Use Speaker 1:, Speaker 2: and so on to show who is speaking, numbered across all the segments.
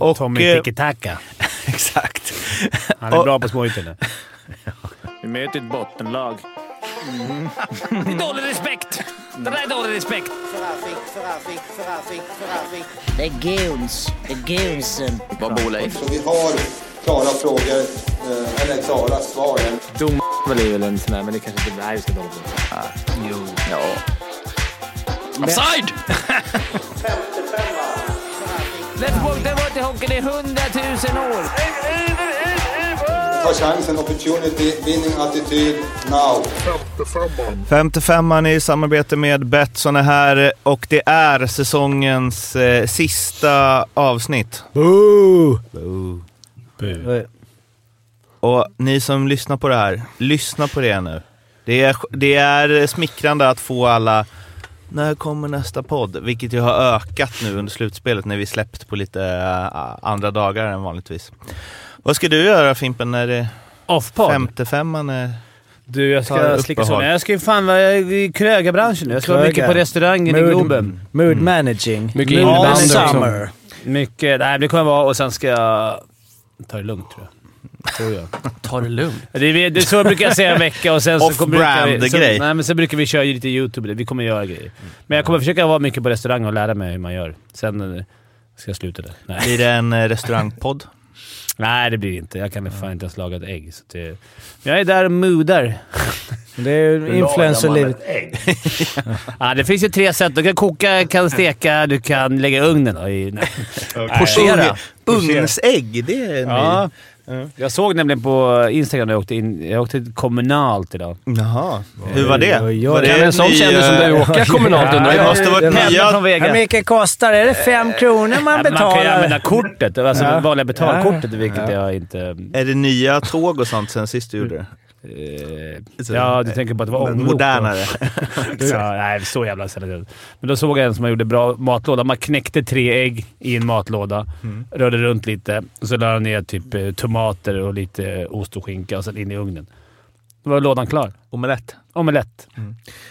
Speaker 1: Och,
Speaker 2: Tommy
Speaker 1: eh,
Speaker 2: Tiki-Taka.
Speaker 1: Exakt.
Speaker 2: Han är
Speaker 1: och-
Speaker 2: bra på småytor nu.
Speaker 3: Vi möter ett bottenlag.
Speaker 4: Dålig respekt! Det där är dålig respekt.
Speaker 5: The goons. The goonsen.
Speaker 6: Vad bor Leif?
Speaker 7: Så vi har klara frågor, eh, eller klara svar.
Speaker 6: Dom är väl en sån där, men det kanske inte... Nej, vi ska inte hålla på. Jo. Ja. Offside!
Speaker 4: Let's det var inte hockeyn i hundratusen år.
Speaker 7: Ta chansen, opportunity, winning attityd, now.
Speaker 1: 55an i samarbete med Betsson är här och det är säsongens eh, sista avsnitt.
Speaker 2: Boo! Boo.
Speaker 1: Och ni som lyssnar på det här, lyssna på det nu. Det är, det är smickrande att få alla “När kommer nästa podd?” vilket ju har ökat nu under slutspelet när vi släppt på lite eh, andra dagar än vanligtvis. Vad ska du göra Fimpen när det
Speaker 2: Off-podd.
Speaker 1: 55an är...
Speaker 2: Du, jag ska
Speaker 1: Tar
Speaker 2: slicka
Speaker 1: uppehåll.
Speaker 2: såna. Jag ska ju fan vara i krögarbranschen nu. Jag ska vara mycket
Speaker 8: Krögar.
Speaker 2: på restaurangen i
Speaker 8: Mood-
Speaker 2: Globen.
Speaker 8: Mood
Speaker 1: Mm.
Speaker 8: managing.
Speaker 3: Mycket
Speaker 8: Mood
Speaker 3: innebandy också.
Speaker 8: summer.
Speaker 2: Mycket. Nej, men det kommer jag vara och sen ska jag ta det lugnt tror jag. Tror jag.
Speaker 6: Ta det lugnt.
Speaker 2: Det är, det är så jag brukar säga en vecka och sen så kommer
Speaker 1: Off-brand
Speaker 2: brukar vi, så,
Speaker 1: grej.
Speaker 2: Nej, men sen brukar vi köra lite YouTube. och det. Vi kommer göra grejer. Men jag kommer försöka vara mycket på restaurang och lära mig hur man gör. Sen eh, ska jag sluta det. Nej,
Speaker 1: Blir det en eh, restaurangpodd?
Speaker 2: nej det blir det inte. Jag kan väl fan inte ens laga ett ägg. Så det, men jag är där och moodar.
Speaker 8: Det är ju influencerlivet.
Speaker 2: Ja, det finns ju tre sätt. Du kan koka, kan steka, du kan lägga i ugnen. då i- nej. Äh,
Speaker 1: Pochera. Ugnsägg, det är en ny.
Speaker 2: Ja. Jag såg nämligen på Instagram när jag åkte in. Jag åkte kommunalt idag.
Speaker 1: Jaha. Hur var det?
Speaker 8: Oj, oj, oj.
Speaker 1: Var
Speaker 8: Kan
Speaker 1: det
Speaker 8: en
Speaker 6: sån
Speaker 1: ny,
Speaker 6: kändis som
Speaker 1: eh,
Speaker 6: du åka kommunalt undrar
Speaker 1: Det
Speaker 6: jag.
Speaker 1: måste Eh, varit
Speaker 8: Det
Speaker 2: Pendlar
Speaker 1: nya...
Speaker 2: från Vega.
Speaker 8: Hur mycket kostar det? Är det fem kronor man
Speaker 2: Nej, men Man kan ju använda
Speaker 8: betalar?
Speaker 2: kortet. Alltså
Speaker 8: Ja.
Speaker 2: det vanliga betalkortet, vilket jag inte...
Speaker 1: Är det nya tåg och sånt sen sist du gjorde det?
Speaker 2: Eh, ja, du tänker på att det var
Speaker 1: Men
Speaker 2: ånglok.
Speaker 1: Modernare.
Speaker 2: Ja, nej, så jävla sällan. Men då såg jag en som gjorde bra matlåda. Man knäckte tre ägg i en matlåda,
Speaker 1: Mm.
Speaker 2: rörde runt lite och så la han ner typ eh, tomater och lite eh, ost och skinka och sen in i ugnen. Då var lådan klar.
Speaker 1: Omelett.
Speaker 2: Omelett.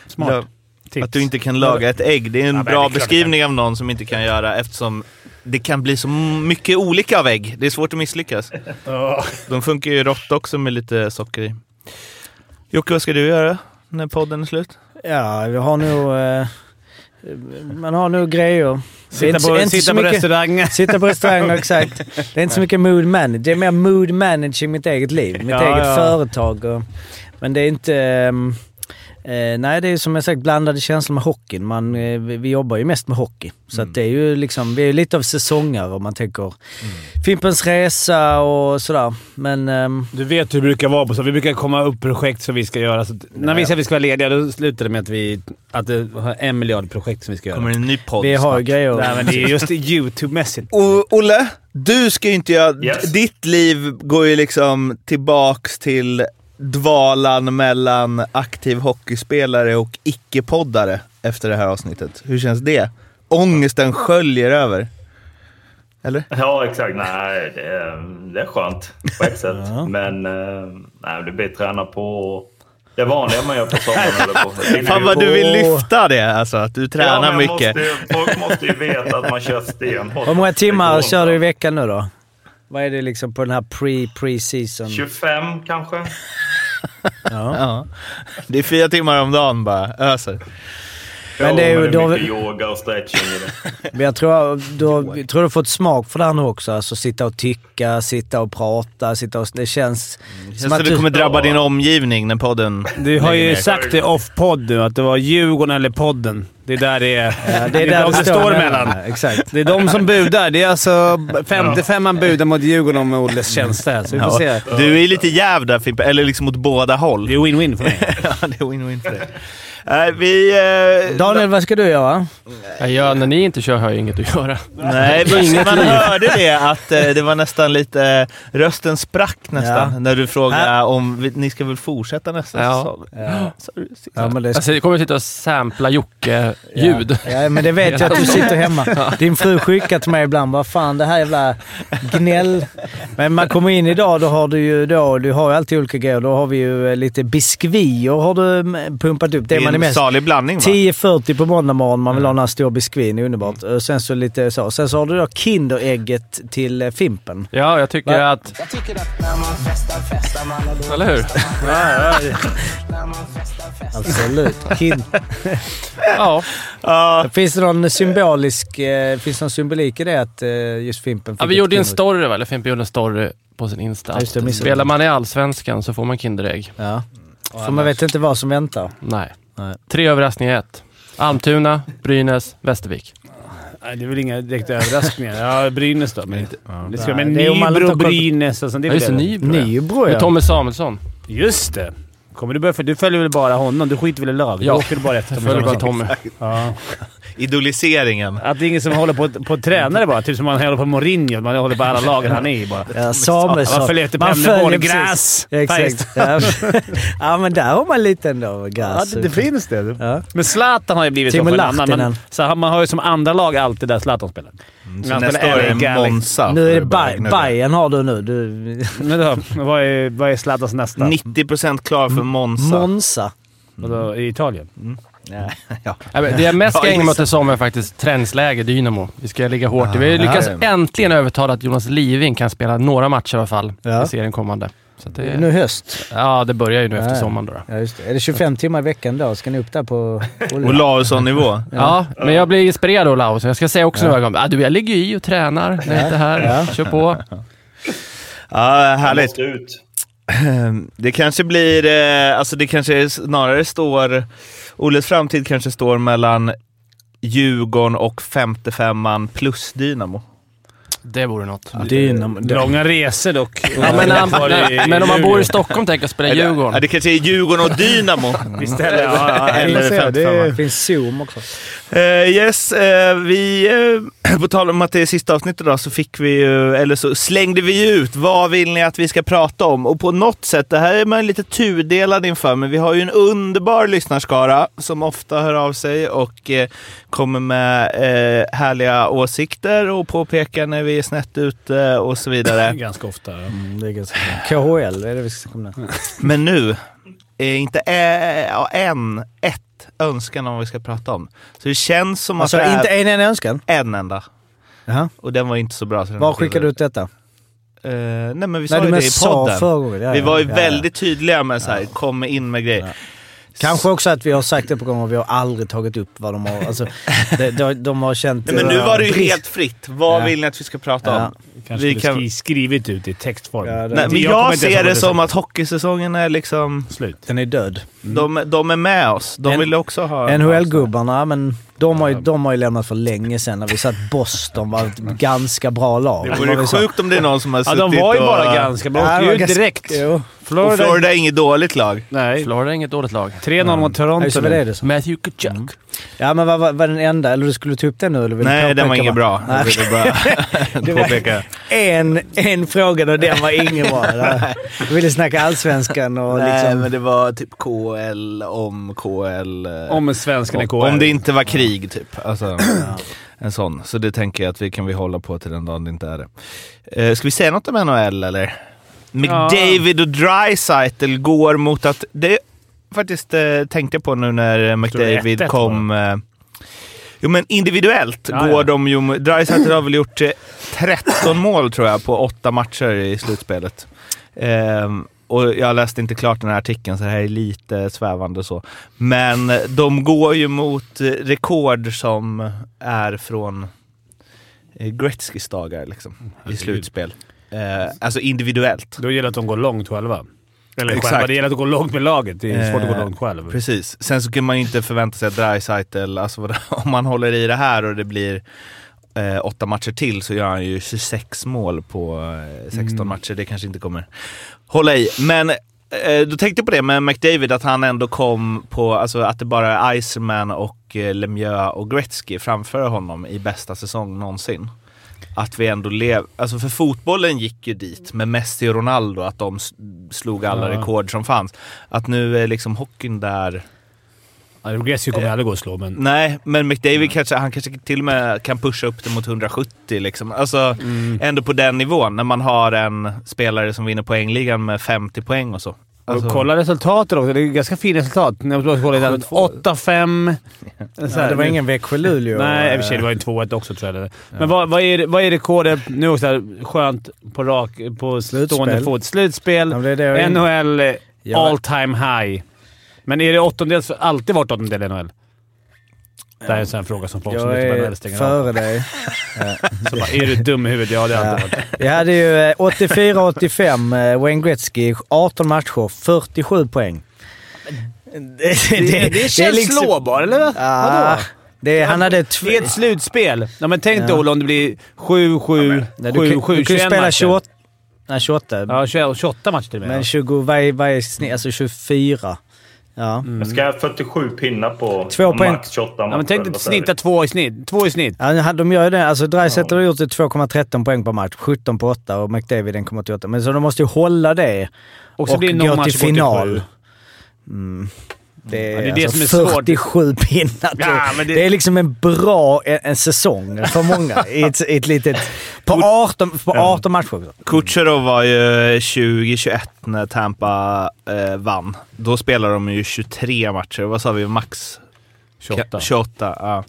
Speaker 2: Smart.
Speaker 1: Mm. Ja,
Speaker 2: Tips.
Speaker 1: Att du inte kan laga ett ägg. Det är en
Speaker 2: men det är
Speaker 1: bra
Speaker 2: klart jag
Speaker 1: beskrivning av någon som inte kan göra eftersom det kan bli så mycket olika av ägg. Det är svårt att misslyckas. De funkar ju rått också med lite socker i. Jocke, vad ska du göra när podden är slut?
Speaker 8: Ja, vi har nog... eh, Man har nog grejer. Det är
Speaker 2: Sitta
Speaker 8: inte-
Speaker 2: på,
Speaker 8: inte så
Speaker 2: sitta på
Speaker 8: mycket-
Speaker 2: restaurang.
Speaker 8: Sitta på restaurang, exakt. Det är inte så mycket mood manage. Det är mer mood manage i mitt eget liv, mitt
Speaker 2: Ja,
Speaker 8: eget
Speaker 2: ja.
Speaker 8: företag. Och, men det är inte... ehm, eh, nej, det är ju som jag sagt blandade känslor med hockeyn. Man, eh, vi, vi jobbar ju mest med hockey. Så
Speaker 2: Mm.
Speaker 8: att det är ju liksom, vi är ju lite av säsonger om man tänker
Speaker 2: Mm.
Speaker 8: Fimpens Resa och sådär. Men ehm,
Speaker 2: Du vet hur det brukar vara på så. Vi brukar komma upp projekt som vi ska göra. Så att, när vi säger att vi ska vara lediga, då slutar det med att vi att det har en miljard projekt som vi ska göra.
Speaker 1: Kommer det en ny podd
Speaker 8: vi har ju grejer.
Speaker 2: Nej, men det är just YouTube-mässigt.
Speaker 1: O- Olle, du ska ju inte göra...
Speaker 3: Yes.
Speaker 1: Ditt liv går ju liksom tillbaks till dvalan mellan aktiv hockeyspelare och icke-poddare efter det här avsnittet. Hur känns det? Ångesten sköljer över. Eller?
Speaker 9: Ja, exakt. Nej, det är, det är skönt på ett sätt. Men eh, nej, det blir träna på det vanliga man gör på sommaren. Eller på. Det är
Speaker 1: Fan
Speaker 9: ju-
Speaker 1: vad du vill
Speaker 8: Åh.
Speaker 1: lyfta det alltså, att du
Speaker 9: Ja,
Speaker 1: tränar
Speaker 9: men
Speaker 1: mycket.
Speaker 9: Måste, ju- folk måste ju veta att man kör stenhårt.
Speaker 8: Hur många
Speaker 9: Det går
Speaker 8: timmar
Speaker 9: inte.
Speaker 8: kör du i veckan nu då? Vad är det liksom på den här pre-pre-season?
Speaker 9: 25 kanske?
Speaker 1: Ja. Det är fyra timmar om dagen bara, öser.
Speaker 8: Men det är
Speaker 9: Ja,
Speaker 8: ju- då-
Speaker 9: mycket yoga och stretching i det.
Speaker 8: Men jag tror, då, jag tror du har fått smak för det här nu också. Alltså sitta och tycka, sitta och prata, sitta och... Det känns...
Speaker 1: Känns som det kommer drabba din omgivning när podden...
Speaker 2: Du har ju sagt det off-podd nu, att det var Djurgården eller podden. Det är där det är.
Speaker 8: Ja, det är där
Speaker 2: de
Speaker 8: det står
Speaker 2: det står
Speaker 8: mellan.
Speaker 2: mellan.
Speaker 8: Exakt.
Speaker 2: Det är de som budar. Det är alltså 55 man budar mot Djurgården om Olles tjänster. Så vi får se.
Speaker 1: Du är ju lite jäv där Fimpen, eller liksom åt båda håll.
Speaker 2: Det är win-win för mig.
Speaker 1: Ja, det är win-win för dig. Nej, vi... Eh,
Speaker 8: Daniel, vad ska du göra?
Speaker 6: Ja, när ni inte kör har jag inget att göra.
Speaker 1: nej, men man hörde det att eh, det var nästan lite... Eh, rösten sprack nästan
Speaker 8: Ja.
Speaker 1: när du frågade om vi, ni ska väl fortsätta nästa
Speaker 6: Ja.
Speaker 10: Alltså,
Speaker 1: säsong. Så- så-
Speaker 8: Ja, men det...
Speaker 6: Alltså, jag kommer sitta och sampla Jocke-ljud.
Speaker 8: Ja, men det vet jag att du sitter hemma. Din fru skickar till mig ibland bara “Fan, det här jävla gnäll”. Men man kommer in idag, då har du ju då, du har ju alltid olika grejer. Då har vi ju eh, lite biskvier har du mm, pumpat upp. Det,
Speaker 1: Det är
Speaker 8: man man är mest.
Speaker 1: salig blandning va?
Speaker 8: 10.40 på måndag morgon, man vill ha några stora biskvin, underbart. Och Sen så lite så. Sen så har du då Kinderägget till eh, Fimpen.
Speaker 10: Ja, jag tycker
Speaker 8: Va?
Speaker 10: att... Eller hur?
Speaker 8: Absolut. Kind.
Speaker 10: Ja.
Speaker 8: Finns det någon symbolisk... Eh, finns det någon symbolik i det att eh, just Fimpen fick
Speaker 10: ja vi
Speaker 8: ett
Speaker 10: gjorde ju en
Speaker 8: Kinderägg?
Speaker 10: story, va? eller Fimpen gjorde en story på sin Insta.
Speaker 8: Ja, just det, jag missade
Speaker 10: Spelar
Speaker 8: det.
Speaker 10: man i Allsvenskan så får man Kinderägg.
Speaker 8: Ja. För man vet inte vad som väntar.
Speaker 10: Nej.
Speaker 8: Nej.
Speaker 10: Tre överraskningar i ett. Almtuna, Brynäs, Västervik.
Speaker 2: Nej, det är väl inga direkta överraskningar. Ja, Brynäs då, men inte... Det ska, men
Speaker 8: Det är om man inte har
Speaker 2: Nybro,
Speaker 8: koll på-
Speaker 2: Brynäs och sånt. Det är
Speaker 10: Ja,
Speaker 2: väl
Speaker 10: just det.
Speaker 2: det.
Speaker 10: Nybro. ja.
Speaker 8: Nybro
Speaker 10: Med
Speaker 8: ja.
Speaker 10: Tommy Samuelsson.
Speaker 2: Just det. Kommer du börja för Du följer väl bara honom? Du skiter väl i lag?
Speaker 10: Ja.
Speaker 2: Du åker bara efter
Speaker 10: Jag följer bara Tommy.
Speaker 2: Ja.
Speaker 1: Idoliseringen.
Speaker 2: Att det är ingen som håller på, på tränare bara. Typ som man håller på Mourinho. Man håller på alla lagen han är i bara.
Speaker 8: Ja, Samuelsson.
Speaker 2: Man följer efter
Speaker 8: Man
Speaker 2: Pemneborg.
Speaker 8: följer precis.
Speaker 2: Gräs!
Speaker 8: Exakt. Ja. ja, men där har man lite ändå
Speaker 2: Ja,
Speaker 8: gräs.
Speaker 2: det, det finns det.
Speaker 8: Ja.
Speaker 2: Men Zlatan har ju blivit
Speaker 8: Alltså, Timo
Speaker 2: så för en annan. Man,
Speaker 8: Lahtinen.
Speaker 2: så han- man har ju som andra lag alltid där Zlatan spelar. Mm,
Speaker 1: Så nästa år är det
Speaker 2: liksom.
Speaker 1: Monza.
Speaker 8: Nu är det
Speaker 1: Börjar
Speaker 8: Bay-
Speaker 1: gnugga.
Speaker 8: Bayern har du nu. Du,
Speaker 2: Men då, vad är, vad är Zlatans nästa?
Speaker 1: 90% klar för Monza.
Speaker 8: Monza.
Speaker 2: Och då, I Italien?
Speaker 10: Nej, men Det jag mest ska
Speaker 1: Ja,
Speaker 10: ägna mig åt
Speaker 1: gissa.
Speaker 10: i sommar är faktiskt träningsläger, Dynamo. Vi ska ligga hårt i. Vi har
Speaker 1: Ah,
Speaker 10: lyckats
Speaker 1: ja.
Speaker 10: äntligen övertala att Jonas Living kan spela några matcher i alla fall
Speaker 8: Ja.
Speaker 10: i serien kommande. Så att
Speaker 8: Nu
Speaker 10: det,
Speaker 8: i höst.
Speaker 10: ja, det börjar ju nu efter
Speaker 8: Ja.
Speaker 10: sommaren då. då.
Speaker 8: Ja, just det. Är det 25 timmar i veckan då? Ska ni upp där på...
Speaker 1: Olausson-nivå.
Speaker 10: Ja, men jag blir inspirerad av Laos. Jag ska säga också några gånger, ah, du, jag ligger ju i och tränar när jag inte är här. Kör på.
Speaker 1: Ja,
Speaker 9: Jag
Speaker 1: härligt. Ehm,
Speaker 9: måste ut.
Speaker 1: Det kanske blir... eh, Alltså det kanske snarare står... Oles framtid kanske står mellan Djurgården och 55an plus Dynamo.
Speaker 10: Det vore något.
Speaker 8: Dynamo.
Speaker 2: Långa resor dock.
Speaker 10: Ja, men, han,
Speaker 2: Var det i-
Speaker 10: men om man
Speaker 2: i
Speaker 10: bor i
Speaker 2: Luleå?
Speaker 10: Stockholm tänker jag spela i
Speaker 1: Ja,
Speaker 10: Djurgården.
Speaker 1: det kanske är Djurgården och Dynamo.
Speaker 2: Istället. Ja, ja, ja.
Speaker 1: Eller
Speaker 8: Det, det
Speaker 1: 55an.
Speaker 8: finns Zoom också.
Speaker 1: Eh, yes, eh, vi... eh, på tal om att det är sista avsnittet idag så fick vi ju... Eller så slängde vi ut vad vill ni att vi ska prata om? Och på något sätt, det här är man lite tudelad inför, men vi har ju en underbar lyssnarskara som ofta hör av sig och eh, kommer med eh, härliga åsikter och påpekar när vi är snett ute och så vidare.
Speaker 2: Ganska ofta. ja.
Speaker 8: Mm, det är ganska KHL, det är det vi ska komma
Speaker 1: Mm.
Speaker 8: ihåg.
Speaker 1: Men nu är inte ä- ja, en, ett önskan om vad vi ska prata om. Så det känns som
Speaker 8: Alltså,
Speaker 1: att det är
Speaker 8: inte en enda önskan?
Speaker 1: en enda.
Speaker 8: Jaha.
Speaker 1: Och den var inte så bra. så den
Speaker 8: Var
Speaker 1: inte
Speaker 8: skickar du
Speaker 1: vidare.
Speaker 8: ut detta?
Speaker 1: Eh, nej men vi sa
Speaker 8: Nej, du
Speaker 1: ju
Speaker 8: men
Speaker 1: det i
Speaker 8: sa
Speaker 1: podden.
Speaker 8: förra gången. Ja,
Speaker 1: vi
Speaker 8: ja,
Speaker 1: var ju
Speaker 8: ja, ja.
Speaker 1: väldigt tydliga med så här, kom in med grejer.
Speaker 8: Kanske också att vi har sagt det på gång och vi har aldrig tagit upp vad de har... Alltså, de, de, de har känt...
Speaker 1: Nej, men nu
Speaker 8: eh,
Speaker 1: var det ju
Speaker 8: brist.
Speaker 1: helt fritt. Vad
Speaker 8: Ja.
Speaker 1: vill ni att vi ska prata
Speaker 8: Ja.
Speaker 1: om?
Speaker 2: Kanske
Speaker 1: Vi
Speaker 2: skulle
Speaker 1: kan-
Speaker 2: skri- skrivit ut i textform.
Speaker 8: Ja, det-
Speaker 1: Nej, men jag,
Speaker 2: kommer inte ens
Speaker 1: ser
Speaker 2: ihåg
Speaker 1: det
Speaker 2: du
Speaker 1: som
Speaker 2: sa.
Speaker 1: att hockeysäsongen är liksom...
Speaker 2: Slut.
Speaker 8: Den är död.
Speaker 1: De, de är med oss. De
Speaker 8: Mm. En-
Speaker 1: vill också ha...
Speaker 8: NHL-gubbarna,
Speaker 1: alltså.
Speaker 8: ja, men de har, ju, de har ju lämnat för länge sedan när vi satt Boston var ett ganska bra lag.
Speaker 1: Det
Speaker 8: Vad
Speaker 1: vore
Speaker 8: vi sa.
Speaker 1: sjukt om det är någon som har
Speaker 2: Ja,
Speaker 1: suttit
Speaker 2: de var ju
Speaker 1: och...
Speaker 2: bara ganska bra.
Speaker 8: Ja,
Speaker 2: De
Speaker 8: det var
Speaker 2: åkte ju ut
Speaker 8: ganska-
Speaker 2: direkt.
Speaker 8: Jo.
Speaker 1: Och
Speaker 2: Florida...
Speaker 1: Florida är inget dåligt lag.
Speaker 2: Nej.
Speaker 10: Florida är inget dåligt lag.
Speaker 2: 3-0 mot
Speaker 8: Ja, just det,
Speaker 2: Toronto
Speaker 8: det
Speaker 2: nu.
Speaker 8: är det så.
Speaker 10: Matthew Kachuk.
Speaker 8: Ja, men vad var, var den enda? Eller du skulle ta upp den nu? Eller vill du
Speaker 1: Nej,
Speaker 8: påpeka
Speaker 1: den var inget
Speaker 8: bara?
Speaker 1: bra. Jag ville bara påpeka.
Speaker 8: En, en fråga och den var ingen bra. Du ville snacka allsvenskan och
Speaker 1: Nej,
Speaker 8: liksom...
Speaker 1: men det var typ KL om KL. eh,
Speaker 2: Om svensken är
Speaker 1: om,
Speaker 2: KHL.
Speaker 1: om det inte var krig, typ. Alltså, en sån. Så det tänker jag att vi kan vi hålla på till den dagen det inte är det. Eh, ska vi säga något om NHL, eller? McDavid och Drysaitl går mot att... Det faktiskt eh, tänkte jag på nu när
Speaker 2: det är
Speaker 1: McDavid
Speaker 2: 1-1
Speaker 1: kom... Eh, Jo, men individuellt
Speaker 2: Ja,
Speaker 1: går
Speaker 2: ja.
Speaker 1: de ju... Dreisaitl har väl gjort eh, 13 mål, tror jag, på åtta matcher i slutspelet. Ehm, och jag läste inte klart den här artikeln, så det här är lite svävande så. Men de går ju mot eh, rekord som är från eh, Gretzkys dagar liksom, i slutspel. Eh, alltså individuellt.
Speaker 2: Då gäller det att de går långt själva. Eller
Speaker 1: Exakt.
Speaker 2: själva. Det gäller att gå långt med laget. Det är svårt att gå
Speaker 1: Eh,
Speaker 2: långt själv.
Speaker 1: Precis. Sen så kan man ju inte förvänta sig att Dreisaitl, alltså vad- om man håller i det här och det blir eh, åtta matcher till så gör han ju 26 mål på eh, 16
Speaker 2: Mm.
Speaker 1: matcher. Det kanske inte kommer hålla i. Men eh, då tänkte jag på det med McDavid, att han ändå kom på, alltså att det bara är Iceman och eh, Lemieux och Gretzky framför honom i bästa säsong någonsin. Att vi ändå lev... Alltså för fotbollen gick ju dit med Messi och Ronaldo, att de s- slog alla
Speaker 2: Ja.
Speaker 1: rekord som fanns. Att nu är liksom hockeyn där...
Speaker 2: Ja, Gretzky kommer aldrig gå och slå, men...
Speaker 1: Nej, men McDavid kanske, han kanske till och med kan pusha upp det mot 170 liksom. Alltså ändå på den nivån, när man har en spelare som vinner poängligan med 50 poäng och så. Alltså-
Speaker 2: Och kolla resultaten också. Det är ganska fint resultat. När jag kollade den, 8-5. Så här,
Speaker 8: det var ingen Växjö-Luleå.
Speaker 2: Nej, i och för sig. Det var ju en 2-1 också tror jag. Men vad, vad, är, vad är rekordet nu också? här, Skönt på, rak, på
Speaker 8: Slutspel.
Speaker 2: stående fot. Slutspel.
Speaker 8: Ja, men det är det jag är inne-
Speaker 2: NHL eh,
Speaker 8: Ja.
Speaker 2: all time high. Men är det åttondels... Alltid varit åttondel i NHL? Det här är en sån här fråga som folk som
Speaker 8: Jag
Speaker 2: lyssnar på NHL
Speaker 8: är
Speaker 2: stänger av.
Speaker 8: före dig.
Speaker 2: Så bara, är du dum i huvudet? Ja, det har alltid varit.
Speaker 8: Vi hade ju eh, 84-85, eh, Wayne Gretzky, 18 matcher, 47 poäng. Det, det, liksom-
Speaker 2: slåbar, eller?
Speaker 8: Ah, det, han hade tw-
Speaker 2: Det är ett slutspel. Ja, men tänk
Speaker 8: Ja.
Speaker 2: dig Ola om det blir 7-7,
Speaker 8: Nej, du, kan-
Speaker 2: 7-7,
Speaker 8: du kan ju
Speaker 2: 21
Speaker 8: spela
Speaker 2: matcher.
Speaker 8: 28, nej, 28
Speaker 2: Ja, 21 28 matcher till och med.
Speaker 8: men 20, varje, varje snitt, alltså 24. Ja.
Speaker 2: Mm.
Speaker 9: Jag ska ha 47 pinnar på
Speaker 8: Två poäng.
Speaker 9: max 28
Speaker 2: ja, men tänk dig att
Speaker 9: Vad säger
Speaker 2: snitta
Speaker 9: vi?
Speaker 2: två i snitt. Två i snitt.
Speaker 8: Ja, han- de gör ju det. Alltså Dreisaitl har gjort det 2,13 poäng per match, 17 på 8 och McDavid 1,88. Men så de måste ju hålla det
Speaker 2: Och
Speaker 8: och,
Speaker 2: så blir det någon
Speaker 8: gå
Speaker 2: match
Speaker 8: till
Speaker 2: som går till
Speaker 8: final.
Speaker 2: sju.
Speaker 8: Mm. Det är,
Speaker 2: det är det
Speaker 8: alltså
Speaker 2: som är svårt.
Speaker 8: 47 pinnar.
Speaker 2: Ja, men
Speaker 8: det...
Speaker 2: det-
Speaker 8: är liksom en bra en, en säsong för många i ett, i ett litet... På 18, på 18 matcher också.
Speaker 1: Kucherov var ju 2021 när Tampa eh, vann. Då spelade de ju 23 matcher. Vad sa vi? Max
Speaker 2: 28.
Speaker 1: 28 ja.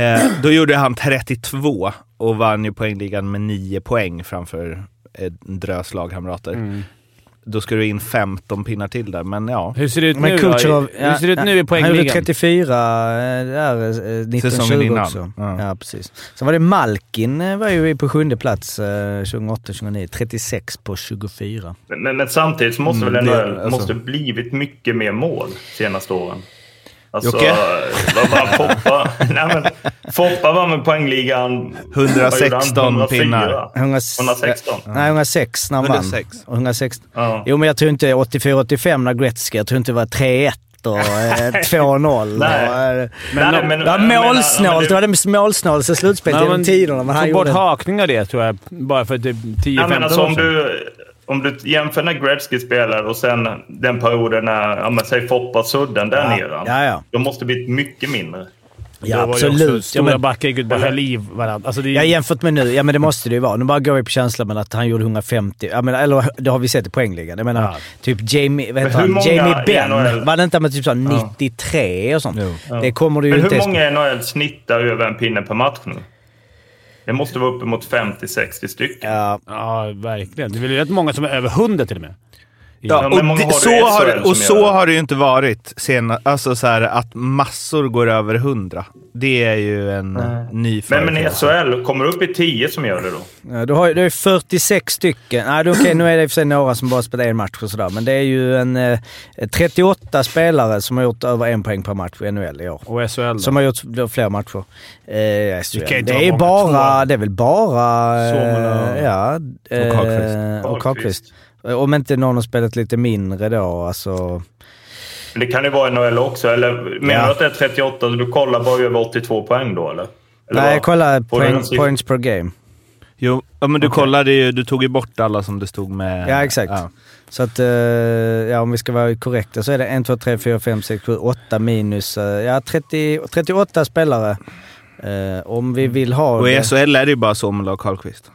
Speaker 1: eh, då gjorde han 32 och vann ju poängligan med 9 poäng framför en drös lagkamrater. Då ska du in 15 pinnar till där, men ja.
Speaker 2: Hur ser det ut
Speaker 8: Men
Speaker 2: nu
Speaker 8: Kucherov,
Speaker 2: då? Hur ser det ut nu i
Speaker 8: Han gjorde
Speaker 2: poängligan?
Speaker 8: 34 eh, där, eh, 1920
Speaker 1: Säsongen innan.
Speaker 8: också.
Speaker 1: Ja.
Speaker 8: Ja. precis. Sen var det Malkin, eh, var ju på sjunde plats eh, 2008-2009. 36 på 24.
Speaker 9: Men, men samtidigt så
Speaker 8: Mm,
Speaker 9: måste väl
Speaker 1: det-
Speaker 9: ändå
Speaker 1: alltså-
Speaker 9: måste blivit mycket mer mål senaste åren. Alltså,
Speaker 1: Jocke?
Speaker 9: vad var Foppa? Nej, men, Foppa var med poängligan... vad gjorde han?
Speaker 1: 116 pinnar.
Speaker 9: 116.
Speaker 8: Nej, 106 när han
Speaker 1: 106.
Speaker 8: vann. Och 106.
Speaker 9: Ja.
Speaker 8: Jo, men jag tror inte 84-85 när Gretzky, jag tror inte det var 3-1 och eh, 2-0.
Speaker 9: Nej.
Speaker 8: Och, eh, det var
Speaker 9: Nej, men- jag menar- men
Speaker 8: målsnålt. Det var det målsnålaste slutspelet
Speaker 2: Ja,
Speaker 8: genom
Speaker 2: men
Speaker 8: tiderna. Men han
Speaker 2: Få bort
Speaker 8: gjorde...
Speaker 2: hakningar det tror jag. Bara för typ 10-15
Speaker 9: Ja, men alltså,
Speaker 2: år
Speaker 9: om,
Speaker 2: sedan.
Speaker 9: du, om du jämför när Gretzky spelar och sen den perioden när ja, men, säg Foppa sudden där
Speaker 8: Ja.
Speaker 9: nere.
Speaker 8: Ja, ja.
Speaker 9: Då måste det blivit mycket mindre.
Speaker 8: Ja,
Speaker 2: Då var det också
Speaker 8: absolut. Ja,
Speaker 2: Stora
Speaker 8: men,
Speaker 2: backar gick ut och bara höll i varandra. Alltså, det är
Speaker 8: Ja, jämfört med nu. Ja, men det måste det ju vara. Nu bara går vi på känslan med att han gjorde 150. Jag menar, eller det har vi sett i poängligan. Jag menar,
Speaker 2: Ja.
Speaker 8: typ Jamie, vad heter
Speaker 9: Men hur
Speaker 8: han?
Speaker 9: många
Speaker 8: Jamie
Speaker 9: i
Speaker 8: Benn.
Speaker 9: NHL?
Speaker 8: Var det inte med typ så här 93 och sånt? Det kommer du ju
Speaker 9: Men hur
Speaker 8: inte ens-
Speaker 9: många i NHL snittar över en pinne per match nu? Det måste vara uppemot 50-60 stycken.
Speaker 8: Ja,
Speaker 2: ja, verkligen. Det är väl rätt många som är över 100 till och med.
Speaker 1: Ja,
Speaker 9: men
Speaker 1: och
Speaker 9: många
Speaker 1: det,
Speaker 9: har det i
Speaker 1: så, har,
Speaker 9: SHL
Speaker 1: det- och
Speaker 9: som
Speaker 1: så
Speaker 9: gör det.
Speaker 1: har det ju inte varit. Sen, alltså så här, att massor går över 100. Det är ju en ny
Speaker 9: Men, men i
Speaker 1: företeelse.
Speaker 9: SHL, kommer du upp i 10 som gör det då?
Speaker 8: Ja, du har ju du har ju 46 stycken. Nej, det är okej, nu är det i och för sig några som bara spelar en match och sådär, men det är ju en eh, 38 spelare som har gjort över en poäng per match i NHL i år.
Speaker 2: Och SHL då?
Speaker 8: Som har gjort då fler matcher. Eh, jag ser-
Speaker 2: Det kan ju inte
Speaker 8: det, är ju
Speaker 2: vara många.
Speaker 8: bara, det är väl bara... eh,
Speaker 2: Suomela och-
Speaker 8: ja, eh,
Speaker 1: och Karlqvist.
Speaker 8: och Karlqvist. Eh, Om inte någon har spelat lite mindre då, alltså...
Speaker 9: Men det kan ju vara NHL också. Eller menar
Speaker 8: Ja.
Speaker 9: du att det är 38? Du kollar bara över 82 poäng då, eller? eller
Speaker 8: Nej,
Speaker 9: vad?
Speaker 8: kolla
Speaker 9: Får du en
Speaker 8: poäng,
Speaker 9: siffra?
Speaker 8: points per game.
Speaker 1: Jo, ja, men du kollade ju. Du tog ju bort alla som det stod med.
Speaker 8: Ja, exakt. Så att, eh, ja om vi ska vara korrekta så är det 1, 2, 3, 4, 5, 6, 7, 8 minus, eh, ja 30, 38 spelare. Eh, om vi vill ha
Speaker 1: Och i
Speaker 8: det.
Speaker 1: SHL är det ju bara Sommerla och Karlqvist.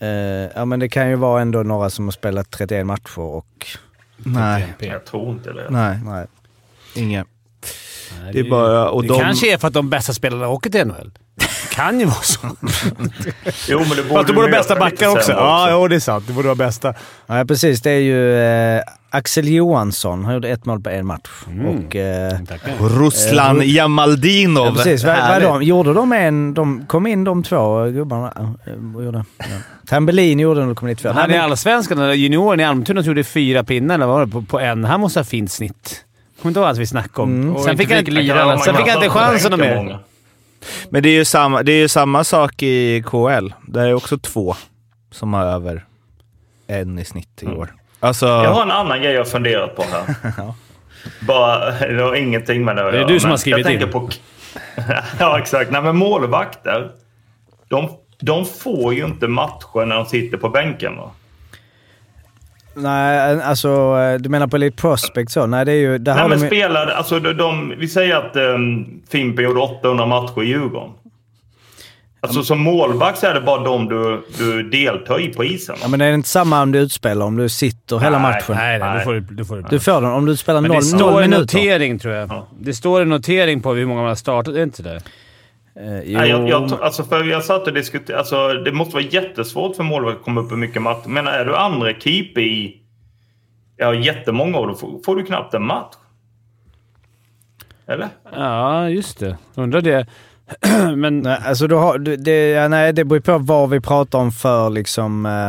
Speaker 8: Eh, ja men det kan ju vara ändå några som har spelat 31 matcher och...
Speaker 1: Nej,
Speaker 9: Jag tror inte det.
Speaker 1: nej,
Speaker 8: Nej.
Speaker 1: inga.
Speaker 2: Nej,
Speaker 1: Det är bara... Och
Speaker 2: det
Speaker 1: de,
Speaker 2: kanske är för att de bästa spelarna åker till NHL. kan ju vara så.
Speaker 9: Jo, men det borde
Speaker 2: Fast då borde
Speaker 9: ju
Speaker 2: bästa
Speaker 9: veta lite
Speaker 2: backar också.
Speaker 9: sämre
Speaker 2: Ja, jo, det är sant. Det borde vara bästa.
Speaker 8: Ja precis, det är ju eh, Axel Johansson. Han gjorde ett mål på en match. Och, eh,
Speaker 1: Ruslan Jamaldinov.
Speaker 8: ja, precis, vad, vad
Speaker 1: Härligt.
Speaker 8: de, gjorde de en... De kom in de två gubbarna. eh, Och gjorde, ja. Tambellin gjorde när de kom dit. två. Nej,
Speaker 2: Han i
Speaker 8: men-
Speaker 2: Allsvenskan, eller junioren i Almtuna, som gjorde fyra pinnar eller vad var det, på, på en. Han måste ha fint snitt. Kommer inte ihåg allt vi snackade om.
Speaker 10: Och
Speaker 2: Sen
Speaker 10: inte
Speaker 2: fick han
Speaker 10: fick
Speaker 2: inte,
Speaker 10: lira
Speaker 9: Ja, man
Speaker 2: sen
Speaker 9: kan
Speaker 2: fick han inte
Speaker 9: ha
Speaker 2: chansen
Speaker 9: ganska
Speaker 2: mer.
Speaker 9: många.
Speaker 1: Men det är, ju samma, det är ju samma sak i KL. Där är också två som har över en i snitt i år. Alltså...
Speaker 9: Jag har en annan grej jag funderat på här. Bara, det har ingenting med det att
Speaker 2: Det är
Speaker 9: göra,
Speaker 2: du som
Speaker 9: men
Speaker 2: har skrivit
Speaker 9: jag tänker
Speaker 2: in.
Speaker 9: På... ja, exakt. Nej, men målvakter, de, de får ju inte matcher när de sitter på bänken. Va?
Speaker 8: Nej, alltså eh, du menar på Elite Prospect så? Nej, det är ju... Där
Speaker 9: Nej,
Speaker 8: har
Speaker 9: men
Speaker 8: de ju...
Speaker 9: spelar, ehm, alltså, de, de, vi säger att um, Fimpen gjorde 800 matcher i Djurgården. Alltså som målvakt så är det bara de du, du deltar i på isen.
Speaker 8: Ja, men är det inte samma om du utspelar, om du sitter hela matchen?
Speaker 2: Nej, nej, du får du, du, får du.
Speaker 8: Du får den om du spelar
Speaker 2: Men det
Speaker 8: noll,
Speaker 2: står
Speaker 8: noll
Speaker 2: en
Speaker 8: minuter.
Speaker 2: notering, tror jag. Det står en notering på hur många man har startat. Är det inte det?
Speaker 8: Eh, jo,
Speaker 9: Nej, jag, jag, alltså för jag satt och diskuterade. Alltså, det måste vara jättesvårt för målvakt att komma upp i mycket matcher. Men är du andra keeper i ja, jättemånga år, då får, får du knappt en match. Eller?
Speaker 2: Ja, just det. Undrar det. Men
Speaker 8: nej, alltså du har, du, det, ja, nej, det beror ju på vad vi pratar om för liksom... Eh,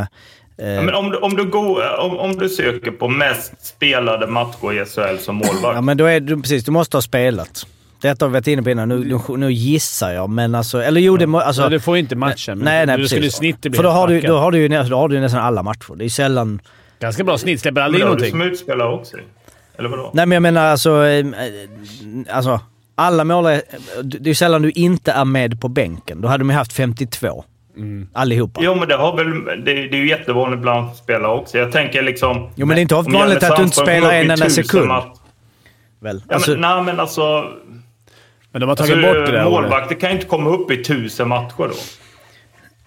Speaker 8: eh,
Speaker 9: Ja, men om, du- om, du går, om, om du söker på mest spelade matcher i SHL som målvakt.
Speaker 8: Ja, men då är du, precis, du måste ha spelat. Detta har vi varit inne på innan. Nu, nu, nu gissar jag, men alltså... Eller jo, det må, alltså,
Speaker 2: ja, du får inte matchen. men
Speaker 8: Nej, nej,
Speaker 2: du
Speaker 8: precis.
Speaker 2: skulle i snitt bli
Speaker 8: För då har, du,
Speaker 2: packad.
Speaker 8: då, har du ju, nä- då har du ju nästan alla matcher. Det är ju sällan...
Speaker 2: Ganska bra snitt. Släpper
Speaker 9: men
Speaker 2: aldrig
Speaker 9: det
Speaker 2: in
Speaker 9: har du som
Speaker 2: någonting.
Speaker 9: utspelare också. Eller vadå?
Speaker 8: Nej, men jag menar alltså... eh, eh, alltså alla målare... Det är ju sällan du inte är med på bänken. Då hade de ju haft 52.
Speaker 2: Mm.
Speaker 8: Allihopa.
Speaker 9: Jo, men det, har väl, det, det är ju jättevanligt bland spelare också. Jag tänker liksom...
Speaker 8: Jo, men det är inte
Speaker 9: om
Speaker 8: vanligt
Speaker 9: Janne
Speaker 8: att du inte
Speaker 9: Sandström
Speaker 8: spelar
Speaker 9: går upp i
Speaker 8: en enda
Speaker 9: tusen
Speaker 8: sekund.
Speaker 9: matcher.
Speaker 8: Väl?
Speaker 9: Ja,
Speaker 8: Alltså,
Speaker 9: men, nej, men alltså...
Speaker 2: Men de har tagit
Speaker 9: alltså
Speaker 2: bort det där året.
Speaker 9: målvakter kan ju inte komma upp i tusen matcher då.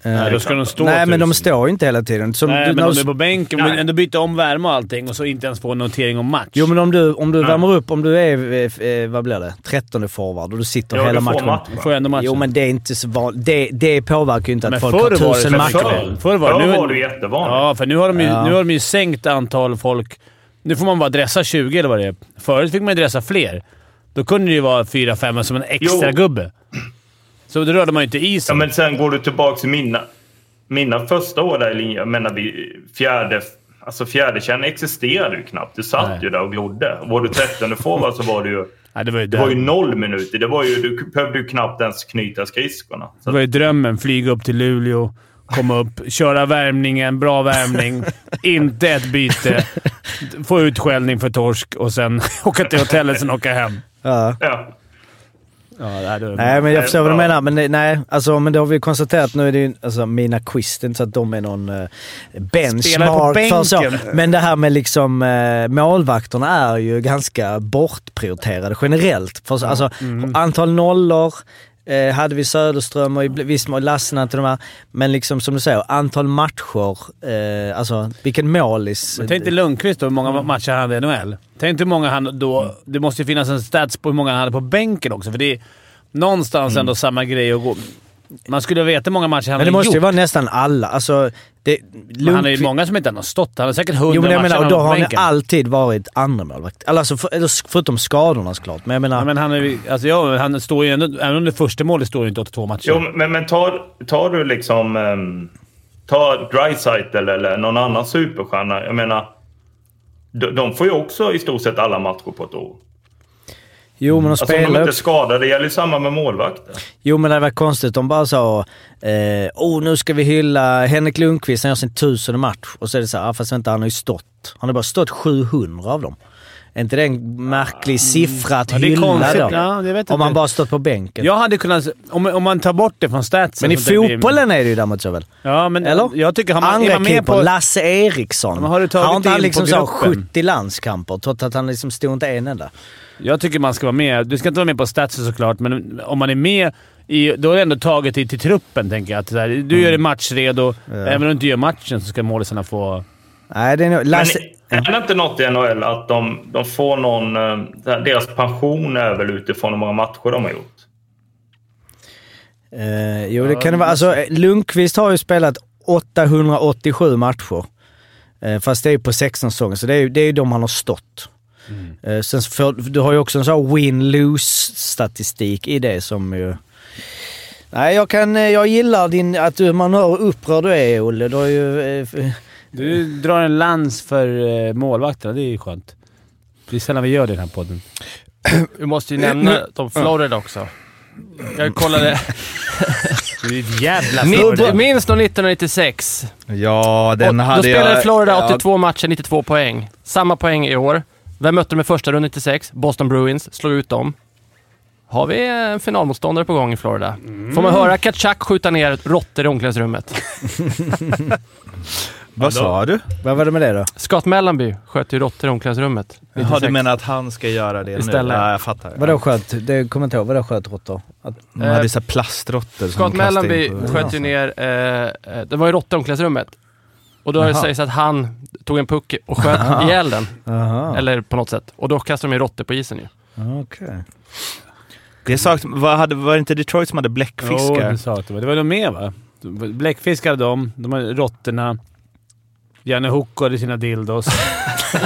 Speaker 2: Nej, då ska de stå
Speaker 8: eh, nej, men de
Speaker 2: tusen.
Speaker 8: står ju inte hela tiden. Som,
Speaker 2: Nej,
Speaker 8: du,
Speaker 2: men
Speaker 8: när
Speaker 2: om
Speaker 8: du-
Speaker 2: du är på bänken
Speaker 9: Nej.
Speaker 2: men ändå byta om värme och allting och så inte ens få en notering om match.
Speaker 8: Jo, men om du, om du värmer upp, om du är, eh, eh, vad blir det, trettonde forward och du sitter
Speaker 9: Ja,
Speaker 8: hela
Speaker 9: du får
Speaker 8: matchen.
Speaker 9: match.
Speaker 2: Du får ju ändå matchen.
Speaker 8: Jo, men det är inte så vanligt. Det, det påverkar ju inte att
Speaker 2: Men
Speaker 8: folk
Speaker 2: förr
Speaker 8: har
Speaker 2: var det-
Speaker 8: tusen
Speaker 2: men
Speaker 8: matcher.
Speaker 2: förr- förr var det-
Speaker 9: Förr
Speaker 2: nu-
Speaker 9: var det ju jättevanligt.
Speaker 2: Ja, för nu har, de ju, nu har de ju sänkt antal folk. Nu får man bara dressa 20 eller vad det är. Förut fick man ju dressa fler. Då kunde det ju vara fyra, fem som en extra
Speaker 9: Jo.
Speaker 2: gubbe. Så då rörde man ju inte
Speaker 9: Ja,
Speaker 2: isen.
Speaker 9: men sen går du tillbaka till mina, mina första år där i linjen. Jag menar, vi, fjärde, alltså fjärdekärnan existerade ju knappt. Du satt
Speaker 2: Nej.
Speaker 9: ju där och glodde. Och Var du trettonde forward så var det ju,
Speaker 2: Nej, det var ju,
Speaker 9: det var ju
Speaker 2: dröm.
Speaker 9: noll minuter. Det var ju, du behövde ju knappt ens knyta skridskorna.
Speaker 2: det var ju drömmen. Flyga upp till Luleå, komma upp, köra värmningen, bra värmning, inte ett byte, få utskällning för torsk och sen åka till hotellet sen åka hem.
Speaker 8: Ja.
Speaker 9: Ja.
Speaker 2: Ja, det här, det
Speaker 8: Nej, men jag
Speaker 9: Nej,
Speaker 8: förstår vad du
Speaker 9: bra.
Speaker 8: menar. Men det- nej, alltså, men det har vi ju konstaterat. Nu är det ju alltså, mina quiz. Det är inte så att de är någon eh,
Speaker 2: Spelare på
Speaker 8: benchmark för
Speaker 2: bänken.
Speaker 8: så. Men det här med liksom eh, målvakterna är ju ganska bortprioriterade generellt. För, så- alltså,
Speaker 2: Mm.
Speaker 8: Antal nollor. Eh, hade vi Söderström och i bl- viss mån Lassina till de här. Men liksom som du säger, antal matcher. Eh, alltså vilken målis.
Speaker 2: Men tänk dig Lundqvist då, hur många
Speaker 8: Mm.
Speaker 2: matcher han hade i NHL. Tänk dig hur många han då... Det måste ju finnas en stats på hur många han hade på bänken också, för det är någonstans ändå samma grej att gå... Man skulle veta hur många matcher han
Speaker 8: Mm. Men det
Speaker 2: hade
Speaker 8: måste ju
Speaker 2: gjort.
Speaker 8: vara nästan alla. Alltså, det,
Speaker 2: Men han är ju
Speaker 8: Lundqvist-
Speaker 2: många som inte har stått. Han har säkert hundra
Speaker 8: Jo men jag
Speaker 2: matcher
Speaker 8: menar, och då
Speaker 2: på
Speaker 8: har han
Speaker 2: bänken.
Speaker 8: alltid varit andra målvakt. Alltså för, eller s- förutom skadorna såklart, men jag menar...
Speaker 2: Ja, men han, är, ju- alltså, ja, han står ju ändå... Även om det är första målet står ju inte 82 matcher.
Speaker 9: Jo, men, men tar, tar du liksom... ehm, ta Dreisaitl eller någon annan superstjärna. Jag menar, de, de får ju också i stort sett alla matcher på ett år.
Speaker 8: jo men de
Speaker 9: Alltså om
Speaker 8: spelar
Speaker 9: de
Speaker 8: ju
Speaker 9: inte är skadade. Det gäller ju samma med målvakter.
Speaker 8: Jo men det var konstigt de bara sa eh, oh nu ska vi hylla Henrik Lundqvist, han gör sin tusende match. Och så är det så här, ah, fast vänta han har ju stått. Han har bara stått 700 av dem. Är inte det en märklig siffra att
Speaker 2: Ah, mm. Ja, det är
Speaker 8: hylla
Speaker 2: konstigt.
Speaker 8: då?
Speaker 2: Ja, jag vet
Speaker 8: Om
Speaker 2: inte.
Speaker 8: han bara stått på bänken.
Speaker 2: Jag hade kunnat... Om, om man tar bort det från statsen...
Speaker 8: men i
Speaker 2: så det blir-
Speaker 8: fotbollen är det ju däremot så väl?
Speaker 2: Ja, men
Speaker 8: Eller?
Speaker 2: jag tycker... Har man, är
Speaker 8: Andra
Speaker 2: man med på...
Speaker 8: keepern, Lasse Eriksson.
Speaker 2: Men har du tagit
Speaker 8: inte
Speaker 2: in
Speaker 8: han liksom
Speaker 2: på
Speaker 8: så här
Speaker 2: gruppen?
Speaker 8: 70 landskamper trots att han liksom stod inte en enda?
Speaker 2: Jag tycker man ska vara med. Du ska inte vara med på statsen såklart, men om man är med i, då har du ändå tagit dig till truppen, tänker jag. Att det där, du gör dig matchredo. Även om du inte gör matchen så ska målisarna få...
Speaker 8: Nej, det är nog... Lasse...
Speaker 9: Men är det inte något i NHL att de, de får någon... eh, Deras pension är väl utifrån hur många matcher de har gjort?
Speaker 8: Eh, jo, det kan det vara. Alltså, eh, Lundqvist har ju spelat 887 matcher. Eh, fast det är ju på 16 säsonger, så det är ju det är ju de han har stått.
Speaker 2: Mm.
Speaker 8: Eh, sen så för, du har ju också en sån här win-lose-statistik i det som ju... Nej, jag, kan, eh, jag gillar din, att du, man hör hur upprörd du är, Olle. Du har ju... eh, f-
Speaker 2: Du drar en lans för eh, målvakterna. Det är ju skönt. Det är sällan vi gör det i den här podden.
Speaker 10: Vi måste ju nämna att de Florida också. Jag kollade.
Speaker 2: Det är ett jävla
Speaker 10: Min, minst då 1996.
Speaker 1: Ja,
Speaker 10: Och
Speaker 1: den hade
Speaker 10: då spelade
Speaker 1: jag...
Speaker 10: Florida
Speaker 1: ja,
Speaker 10: 82 matcher, 92 poäng. Samma poäng i år. Vem mötte de i första rundan 96? Boston Bruins. Slog ut dem. Har vi en finalmotståndare på gång i Florida?
Speaker 1: Mm.
Speaker 10: Får man höra Katschak skjuta ner råttor i omklädningsrummet?
Speaker 1: Vad sa du?
Speaker 8: Vad var det med det då?
Speaker 10: Scott Mellanby sköt ju råttor i omklädningsrummet.
Speaker 1: Jaha, du menar att han ska göra det nu?
Speaker 10: Istället.
Speaker 1: Ja, jag fattar.
Speaker 8: Vadå sköt? Det kommer jag inte ihåg. Vadå sköt råttor? Att-
Speaker 1: De hade ju så här plastråttor som
Speaker 10: Scott
Speaker 1: de kastade
Speaker 10: Mellanby
Speaker 1: in på-
Speaker 10: sköt ju ner... Eh, eh, det var ju råttor i omklädningsrummet. Och då
Speaker 8: Jaha.
Speaker 10: sägs att han tog en puck och sköt ihjäl den.
Speaker 8: Jaha,
Speaker 10: Eller på något sätt. Och då kastar de ju råttor på isen ju.
Speaker 8: okej.
Speaker 1: Det sak, vad hade, var det inte Detroit som hade
Speaker 2: Jo,
Speaker 1: bläckfiskar?
Speaker 2: det sa att det var. Det var de med va? Bläckfiskar hade de. De har råttorna. Janne Hook hade sina dildos.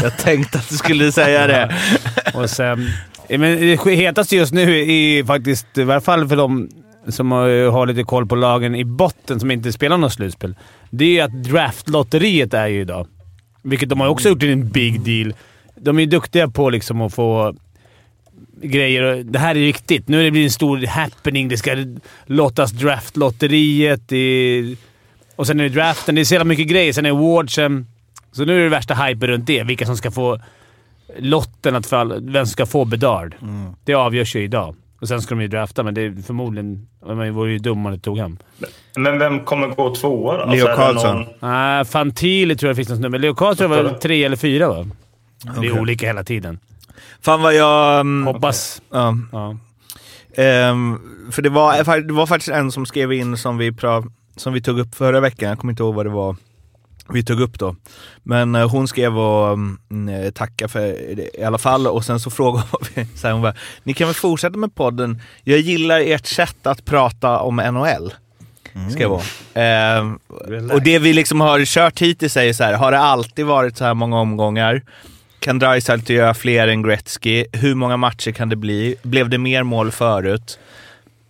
Speaker 1: jag tänkte att du skulle säga det.
Speaker 2: Och sen... Eh, Men det hetaste just nu är faktiskt, i varje fall för de som har har lite koll på lagen i botten som inte spelar något slutspel, det är ju att draftlotteriet är ju idag. Vilket de har
Speaker 1: Mm.
Speaker 2: också gjort till en big deal. De är ju duktiga på liksom att få grejer. och- Det här är riktigt. Nu är det blivit en stor happening. Det ska lottas draftlotteriet. i- Och sen är det draften. Det är så jävla mycket grejer. Sen är det awardsen. Så nu är det värsta hypen runt det. Vilka som ska få lotten att falla. Vem som ska få Bedard. Det avgörs ju idag. Och sen ska de ju drafta, men det är förmodligen... Man vore ju dum om man inte tog hem.
Speaker 9: Men vem kommer gå tvåa då? Alltså,
Speaker 1: Leo
Speaker 9: är det
Speaker 1: Carlsson.
Speaker 9: någon-
Speaker 2: Nej, Fantili Ah, tror jag det finns någon snubbe. Leo Carlström var tre eller fyra, va? Det är
Speaker 1: Okej.
Speaker 2: olika hela
Speaker 1: Mm,
Speaker 2: tiden.
Speaker 1: Fan vad jag... mm,
Speaker 2: Hoppas...
Speaker 1: ja.
Speaker 2: Ja.
Speaker 1: Ehm, för det var, det var faktiskt en som skrev in som vi, pra, som vi tog upp förra veckan, jag kommer inte ihåg vad det var vi tog upp då. Men eh, hon skrev och mm, tacka för det i alla fall och sen så frågade vi, så här, hon bara, ni kan väl fortsätta med podden, jag gillar ert sätt att prata om NHL. Skrev hon. Ehm, och det vi liksom har kört hittills är ju så här, har det alltid varit så här många omgångar? Kan Draisaitl göra fler än Gretzky? Hur många matcher kan det bli? Blev det mer mål förut?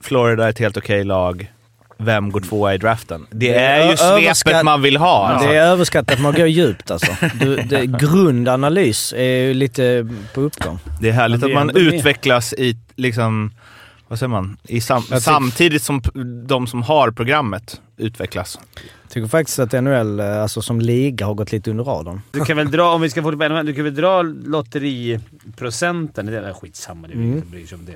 Speaker 1: Florida är ett helt okej lag. Vem går tvåa i draften? Det är ju
Speaker 8: Överskatt-
Speaker 1: svepet man vill ha. alltså.
Speaker 8: Det är överskattat. Man går djupt alltså. Du, det, grundanalys är ju lite på uppgång.
Speaker 1: Det är härligt
Speaker 2: Men
Speaker 1: att
Speaker 2: det är
Speaker 1: man
Speaker 2: ändå med.
Speaker 1: utvecklas i, liksom, vad säger man? I sam
Speaker 8: tycker-
Speaker 1: samtidigt som p- de som har programmet utvecklas.
Speaker 8: Tycker faktiskt att NHL eh, alltså, som liga har gått lite under radarn.
Speaker 2: Du kan väl dra, om vi ska få det på du kan väl dra lotteriprocenten? Det är skitsamma, det är
Speaker 1: Mm.
Speaker 2: ingen som bryr sig om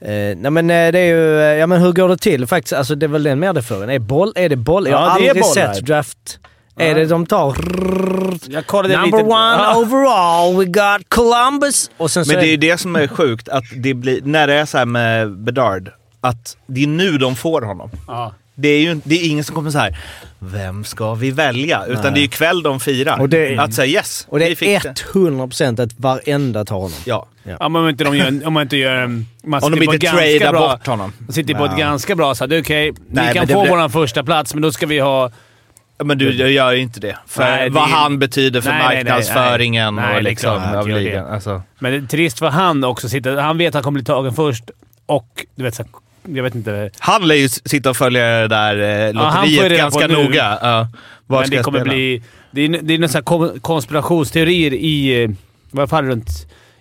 Speaker 2: det.
Speaker 8: Eh, nej men eh, det är ju... eh, Ja men hur går det till? Faktiskt, alltså, det är väl den medelföringen. Är, boll, är det boll? Jag
Speaker 2: Ja,
Speaker 8: har
Speaker 2: det är
Speaker 8: aldrig
Speaker 2: bollar.
Speaker 8: sett draft... Är det de tar... rrrr,
Speaker 2: Jag kollade
Speaker 8: Number
Speaker 2: lite...
Speaker 8: one
Speaker 2: Ja.
Speaker 8: overall, we got Columbus! Och sen så
Speaker 1: Men
Speaker 8: är
Speaker 1: det är ju det som är sjukt, att det blir, när det är så här med Bedard, att det är nu de får honom.
Speaker 2: Ja.
Speaker 1: Det är ju det är ingen som kommer så här. vem ska vi välja? Utan det är ju kväll de firar.
Speaker 8: Och det-
Speaker 1: att säga yes,
Speaker 8: Och det
Speaker 1: vi
Speaker 8: är
Speaker 1: fick det.
Speaker 8: 100% att varenda tar honom.
Speaker 1: Ja.
Speaker 2: Ja, men om inte de gör... Om man inte gör en... Man
Speaker 1: Om de
Speaker 2: sitter på
Speaker 1: inte
Speaker 2: ett ganska
Speaker 1: tradar
Speaker 2: bra-
Speaker 1: bort honom.
Speaker 2: Man sitter på ett ganska bra så här, det är okej,
Speaker 1: Nej,
Speaker 2: ni kan
Speaker 1: men det
Speaker 2: få
Speaker 1: blir-
Speaker 2: vår första plats men då ska vi ha...
Speaker 1: Ja, Men du, jag gör ju inte det. För
Speaker 2: Nej, det
Speaker 1: vad
Speaker 2: är-
Speaker 1: han betyder för
Speaker 2: Nej, nej, nej, nej.
Speaker 1: marknadsföringen
Speaker 2: Nej, det
Speaker 1: och
Speaker 2: är
Speaker 1: liksom
Speaker 2: klart att
Speaker 1: av
Speaker 2: jag gör
Speaker 1: ligan.
Speaker 2: det.
Speaker 1: Alltså.
Speaker 2: Men det är trist för han också. Sitter, han vet att han kommer bli tagen först och du vet så här, Jag vet inte.
Speaker 1: Han lär ju s- sitta och följa det där eh,
Speaker 2: han får ju
Speaker 1: lotteriet
Speaker 2: reda på
Speaker 1: ganska
Speaker 2: nu.
Speaker 1: noga. Ja. Var
Speaker 2: men
Speaker 1: ska
Speaker 2: det
Speaker 1: jag
Speaker 2: kommer
Speaker 1: spela?
Speaker 2: bli... Det är, det är några så här kom- konspirationsteorier i... eh, I varje fall runt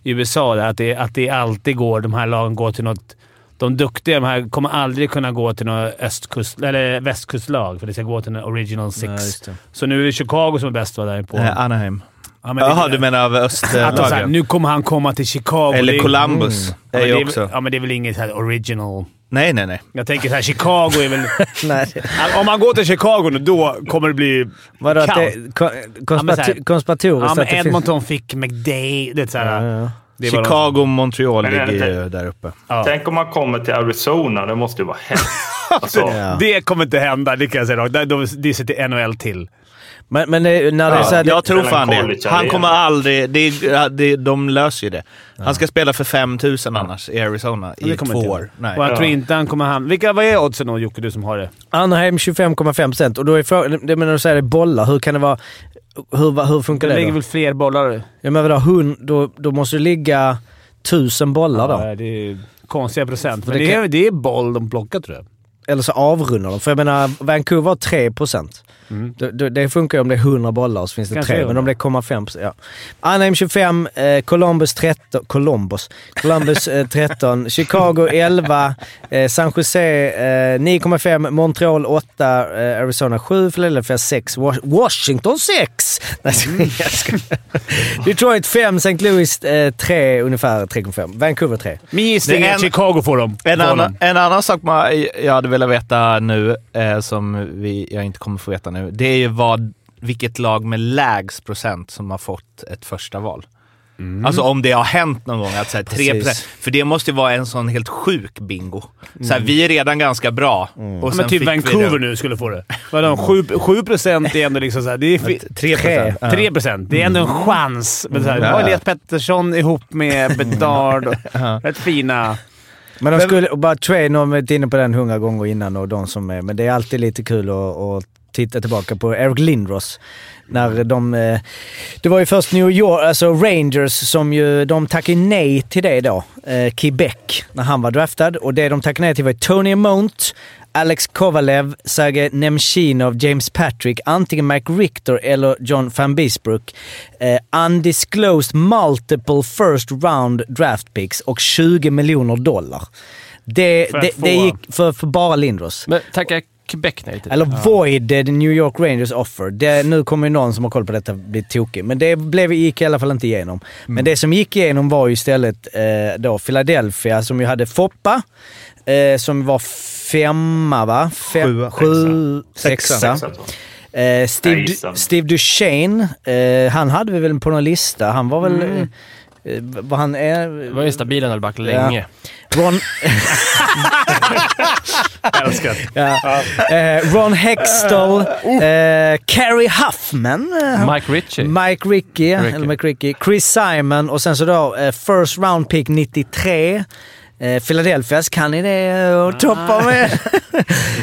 Speaker 2: i USA. Där, att, det, att det alltid går... De här lagen går till något... De duktiga de här kommer aldrig kunna gå till något östkust, eller västkustlag, för det ska gå till en original six.
Speaker 8: Ja, just det.
Speaker 2: så nu är det Chicago som är bäst va, där på.
Speaker 1: Eh, Anaheim.
Speaker 2: Ja, men det-
Speaker 1: Jaha, du menar av
Speaker 2: att de, så här,
Speaker 1: östlagen?
Speaker 2: nu kommer han komma till Chicago. Det
Speaker 1: Eller
Speaker 2: är-
Speaker 1: Columbus
Speaker 2: Ja,
Speaker 1: är
Speaker 2: men
Speaker 1: ju
Speaker 2: det är, väl-
Speaker 1: också.
Speaker 2: ja, men det är väl inget så här original...
Speaker 1: Nej, nej, nej.
Speaker 2: Jag tänker så här, Chicago är väl...
Speaker 8: Nej.
Speaker 2: Alltså, Om man går till Chicago nu, då kommer det bli
Speaker 8: Vadå? Att det,
Speaker 2: kaos.
Speaker 8: kon-
Speaker 2: Ja, men så
Speaker 8: konspirati-
Speaker 2: här-
Speaker 8: konspiratoriskt
Speaker 2: Ja, men
Speaker 8: att det finns...
Speaker 2: Edmonton fick McDay. Det är så här,
Speaker 8: Ja, ja.
Speaker 2: det är vad de-
Speaker 1: Chicago och Montreal
Speaker 9: Men är det
Speaker 1: ligger ju
Speaker 9: inte-
Speaker 1: där uppe.
Speaker 2: Ja.
Speaker 9: Tänk om man kommer till Arizona. Det måste ju vara hemskt. Alltså,
Speaker 8: Ja.
Speaker 2: Det kommer inte hända, det kan jag säga rakt. Det- de- Det sitter NHL till.
Speaker 8: Men, men det, när det är
Speaker 1: Ja,
Speaker 8: så här,
Speaker 1: jag tror
Speaker 9: mellan
Speaker 1: fan det.
Speaker 9: college
Speaker 1: Han
Speaker 9: och
Speaker 1: kommer
Speaker 9: det.
Speaker 1: aldrig... Det, är- det, de löser ju det. Han ska spela för 5 000 annars i Arizona
Speaker 2: Det
Speaker 1: i
Speaker 2: kommer
Speaker 1: två
Speaker 2: inte.
Speaker 1: år. Nej.
Speaker 2: Och jag tror inte han kommer hamna... Vilka, vad är oddsen då, Jocke? Du som har det.
Speaker 8: Anaheim 25,5% och då är frågan... Det menar du säger det är bollar. Hur kan det vara... Hur, va- hur funkar
Speaker 2: Det
Speaker 8: det
Speaker 2: ligger
Speaker 8: då?
Speaker 2: väl fler bollar?
Speaker 8: Ja, men vadå? Hund, då, då måste det ligga tusen bollar då.
Speaker 2: Ja, det är konstiga procent. Men
Speaker 8: det
Speaker 2: det, är, det är boll de plockar, tror jag.
Speaker 8: Eller så avrundar de. För jag menar, Vancouver har 3%. Det, det, det funkar ju om det är 100 bollar så finns det
Speaker 2: Kanske
Speaker 8: tre,
Speaker 2: gör
Speaker 8: men om
Speaker 2: det.
Speaker 8: det är 0,5%. Ja. Anaheim 25, eh, Columbus 13, Columbus, Columbus eh, 13, Chicago 11, eh, San Jose eh, 9,5, Montreal 8, eh, Arizona 7, Philadelphia 6, Was- Washington 6! Nej, jag skojar. Detroit 5, St. Louis eh, 3, ungefär 3,5. Vancouver 3.
Speaker 2: Min gissning
Speaker 1: Det är
Speaker 2: är
Speaker 1: en-
Speaker 2: att Chicago får dem.
Speaker 1: En
Speaker 2: Får
Speaker 1: annan,
Speaker 2: dem.
Speaker 1: en annan sak man, jag hade velat veta nu, eh, som vi, jag inte kommer få veta nu, det är ju vad vilket lag med lägst procent som har fått ett första val. Alltså om det har hänt någon gång, att så här 3%,
Speaker 8: Precis.
Speaker 1: för det måste ju vara en sån helt sjuk bingo. Så här, Vi är redan ganska bra. Och
Speaker 2: Men
Speaker 1: sen
Speaker 2: typ
Speaker 1: fick vi
Speaker 2: Vancouver
Speaker 1: det.
Speaker 2: nu skulle få det. Vadå, 7, 7 procent är ändå liksom såhär... Det är fi-
Speaker 1: 3%, ja.
Speaker 2: 3 procent. Det är ändå en chans. Men såhär,
Speaker 1: Ja.
Speaker 2: var Elias Pettersson ihop med Bedard? och- Rätt fina.
Speaker 8: Men de skulle, och bara Train har varit inne på den hundra gånger innan och de som är, men det är alltid lite kul att, att titta tillbaka på Eric Lindros. När de, eh, det var ju först New York, alltså Rangers som ju, de tackade ju nej till det då, eh, Quebec, när han var draftad. Och det de tackade nej till var Tony Mount, Alex Kovalev, Sergej Nemchinov, James Patrick, antingen Mike Richter eller John van Biesbrook. Eh, undisclosed multiple first round draft picks och 20 miljoner dollar. Det,
Speaker 2: För att
Speaker 8: det,
Speaker 2: få-
Speaker 8: det gick för, för bara Lindros.
Speaker 10: Men tacka Quebec nej till.
Speaker 8: Eller voided New York Rangers offer. Det, nu kommer ju någon som har koll på detta bli tokig, men det blev, gick i alla fall inte igenom. Men det som gick igenom var ju istället eh, då Philadelphia som ju hade Foppa, eh, som var femma va? Fem,
Speaker 1: Sjua.
Speaker 8: Sju, sexa.
Speaker 9: Exakt så.
Speaker 8: Eh, Steve,
Speaker 9: Nej,
Speaker 8: Du-
Speaker 9: gissar.
Speaker 8: Steve Duchene, eh, han hade vi väl på någon lista. Han var väl... Eh, vad han eh, är...
Speaker 10: Det var ju stabilen där back länge.
Speaker 8: Ron...
Speaker 2: Älskar.
Speaker 8: Ja. Eh, Ron Hextall, eh, Carrie Huffman, eh,
Speaker 10: Mike Ritchie.
Speaker 8: Mike Ricky,
Speaker 10: Rickey.
Speaker 8: eller Mike Ricky, Chris Simon och sen så då eh, First Round Pick 93. Eh, Philadelphias, kan ni det? Och toppa med...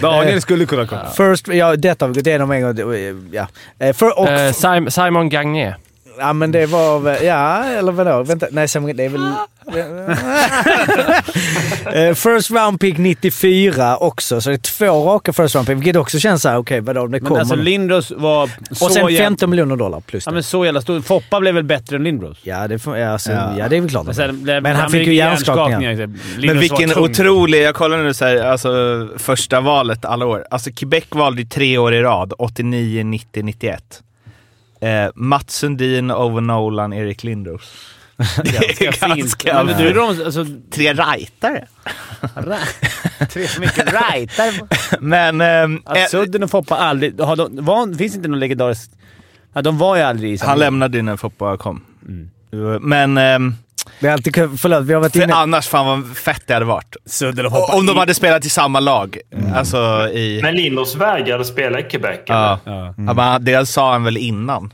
Speaker 2: Daniel skulle kunna komma.
Speaker 8: First, ja, detta har vi gått igenom en gång. eh, Ja. Eh, för, och,
Speaker 10: Eh, Sim- Simon Gagné.
Speaker 8: ja, men det var väl- Ja, eller vadå? Vänta, nej, Simon, det är väl... Eh, first Round Pick 94 också, så det är två raka First Round Pick, vilket också känns såhär, okej, vadå, det
Speaker 2: Men
Speaker 8: kommer...
Speaker 2: alltså
Speaker 8: någon.
Speaker 2: Lindros var så
Speaker 8: Och sen
Speaker 2: jävla-
Speaker 8: 15 miljoner dollar plus
Speaker 2: Ja,
Speaker 8: det.
Speaker 2: men så jävla stor. Foppa blev väl bättre än Lindros?
Speaker 8: Ja, det, får, ja, alltså,
Speaker 1: Ja.
Speaker 8: ja. det är väl klart.
Speaker 2: Men,
Speaker 8: att
Speaker 2: sen,
Speaker 8: det-
Speaker 2: blev-
Speaker 8: men han
Speaker 2: blev
Speaker 8: fick ju hjärnskakningar.
Speaker 2: hjärnskakningar. liksom.
Speaker 1: Men
Speaker 2: Lindros var
Speaker 1: vilken
Speaker 2: tung.
Speaker 1: otrolig, jag kollar nu så här, alltså första valet alla år. Alltså Quebec valde ju tre år i rad, 89, 90, 91. Eh, Mats Sundin, Ove Nolan, Erik Lindros. Det är ganska...
Speaker 2: Men du är de... Alltså,
Speaker 1: Tre rightare.
Speaker 2: tre så mycket right.
Speaker 1: Men... ehm, eh,
Speaker 2: Att Sudden och Foppa aldrig... Har de, var, finns inte någon legendarisk... Ja, de var ju aldrig i samma-
Speaker 1: han lämnade ju när Foppa kom. Men ehm,
Speaker 8: Det är alltid kul. Förlåt, vi har varit
Speaker 1: för
Speaker 8: inne...
Speaker 1: annars, fan vad fett det hade varit.
Speaker 2: Sudden och
Speaker 1: Och, om de hade spelat i samma lag. Alltså i...
Speaker 9: Men Lindos vägrade spela i Quebec.
Speaker 1: Ja.
Speaker 9: eller?
Speaker 1: Ja. men det sa han väl innan.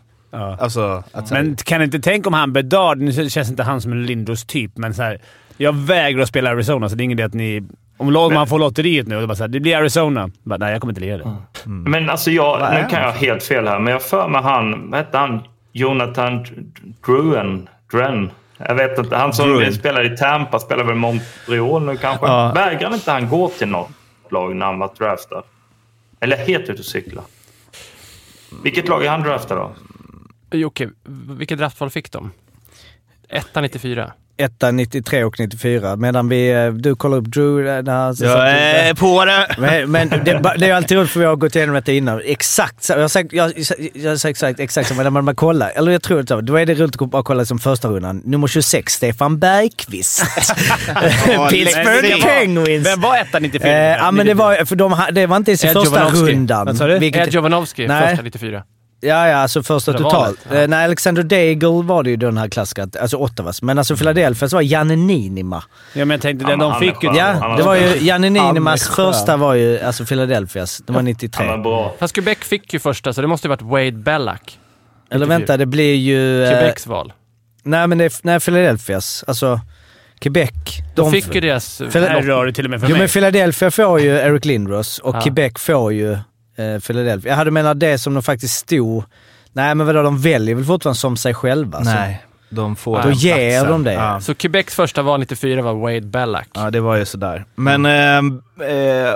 Speaker 1: Alltså, att, så här-
Speaker 2: Men kan inte tänka om han Bedard... Nu känns inte han som en Lindros-typ, men så här, Jag vägrar att spela Arizona, så det är ingen idé att ni... Om lag man får lotteriet nu och det bara så här, det blir Arizona. Bara, Nej, jag kommer inte lira det.
Speaker 9: Men alltså jag,
Speaker 1: är
Speaker 9: nu kan
Speaker 1: han
Speaker 9: jag ha helt fel här, men jag för mig han, vad hette han? Jonathan Dr- Druen? Dren? Jag vet inte. Han som
Speaker 1: Druen.
Speaker 9: spelar i Tampa spelar väl Montreal nu kanske.
Speaker 1: Ja.
Speaker 9: Vägrar inte han gå till något lag när han var draftad? Eller helt ute och cykla. Vilket lag är han draftad av?
Speaker 10: Jocke, vilket draftval fick de? Ettan 94.
Speaker 8: Etta 93 och 94, medan vi... eh, Du kollar upp Drew... eh, När han,
Speaker 1: jag är på det!
Speaker 8: Men, men det, är bara- det är ju alltid roligt för vi har gått igenom detta innan. Exakt så- jag har sagt, jag, jag har sagt, sagt exakt samma. När man bara kollar, eller jag tror det, då är det roligt att bara kolla som första rundan. Nummer 26, Stefan Bergqvist. Pittsburgh
Speaker 1: läskigt.
Speaker 8: Penguins.
Speaker 2: Vem var ettan 94?
Speaker 8: Eh, ja, men det var, för de, ha- det var inte ens i
Speaker 10: Ed
Speaker 8: första
Speaker 10: Jovanovski.
Speaker 8: rundan.
Speaker 2: Vad sa du?
Speaker 8: vilket-
Speaker 10: Ed Jovanovski,
Speaker 8: Nej.
Speaker 10: första 94.
Speaker 8: Ja, ja, alltså första
Speaker 10: Eller
Speaker 8: totalt.
Speaker 10: valet, ja.
Speaker 8: Eh, Nej, Alexander Daigle var det ju den här klassiska, alltså Ottawas. Men alltså Philadelphias var Janne Niinima.
Speaker 2: Ja, men jag tänkte den
Speaker 9: Han-
Speaker 2: de
Speaker 9: han
Speaker 2: fick ju...
Speaker 9: är skön.
Speaker 8: Ja,
Speaker 9: Han
Speaker 8: det
Speaker 9: var-
Speaker 8: var ju Janne Niinimas
Speaker 2: Han är skön.
Speaker 8: första var ju alltså Philadelphias. Det var
Speaker 9: Han
Speaker 8: 93.
Speaker 9: var bra.
Speaker 10: Fast Quebec fick ju första, så det måste ju varit Wade Bellack.
Speaker 8: Eller vänta, det blir ju... eh,
Speaker 10: Quebecs val.
Speaker 8: Nej, men det är nej, Philadelphias. Alltså Quebec.
Speaker 10: De fick ju deras...
Speaker 2: Det här
Speaker 8: Phila-
Speaker 2: rör det till och med för
Speaker 8: Jo,
Speaker 2: mig.
Speaker 8: men Philadelphia får ju Eric Lindros och
Speaker 10: Ja.
Speaker 8: Quebec får ju eh, Philadelphia. Jag hade menat det som de faktiskt stod... Nej, men vadå, de väljer väl fortfarande som sig själva? alltså. så-
Speaker 1: Nej, de får
Speaker 8: Då
Speaker 1: den
Speaker 8: ger
Speaker 1: platsen.
Speaker 8: de det.
Speaker 1: Ja.
Speaker 10: Så Quebecs första val 94 var Wade Bellack.
Speaker 1: ja, det var ju sådär. Men
Speaker 8: Mm.
Speaker 1: eh, eh,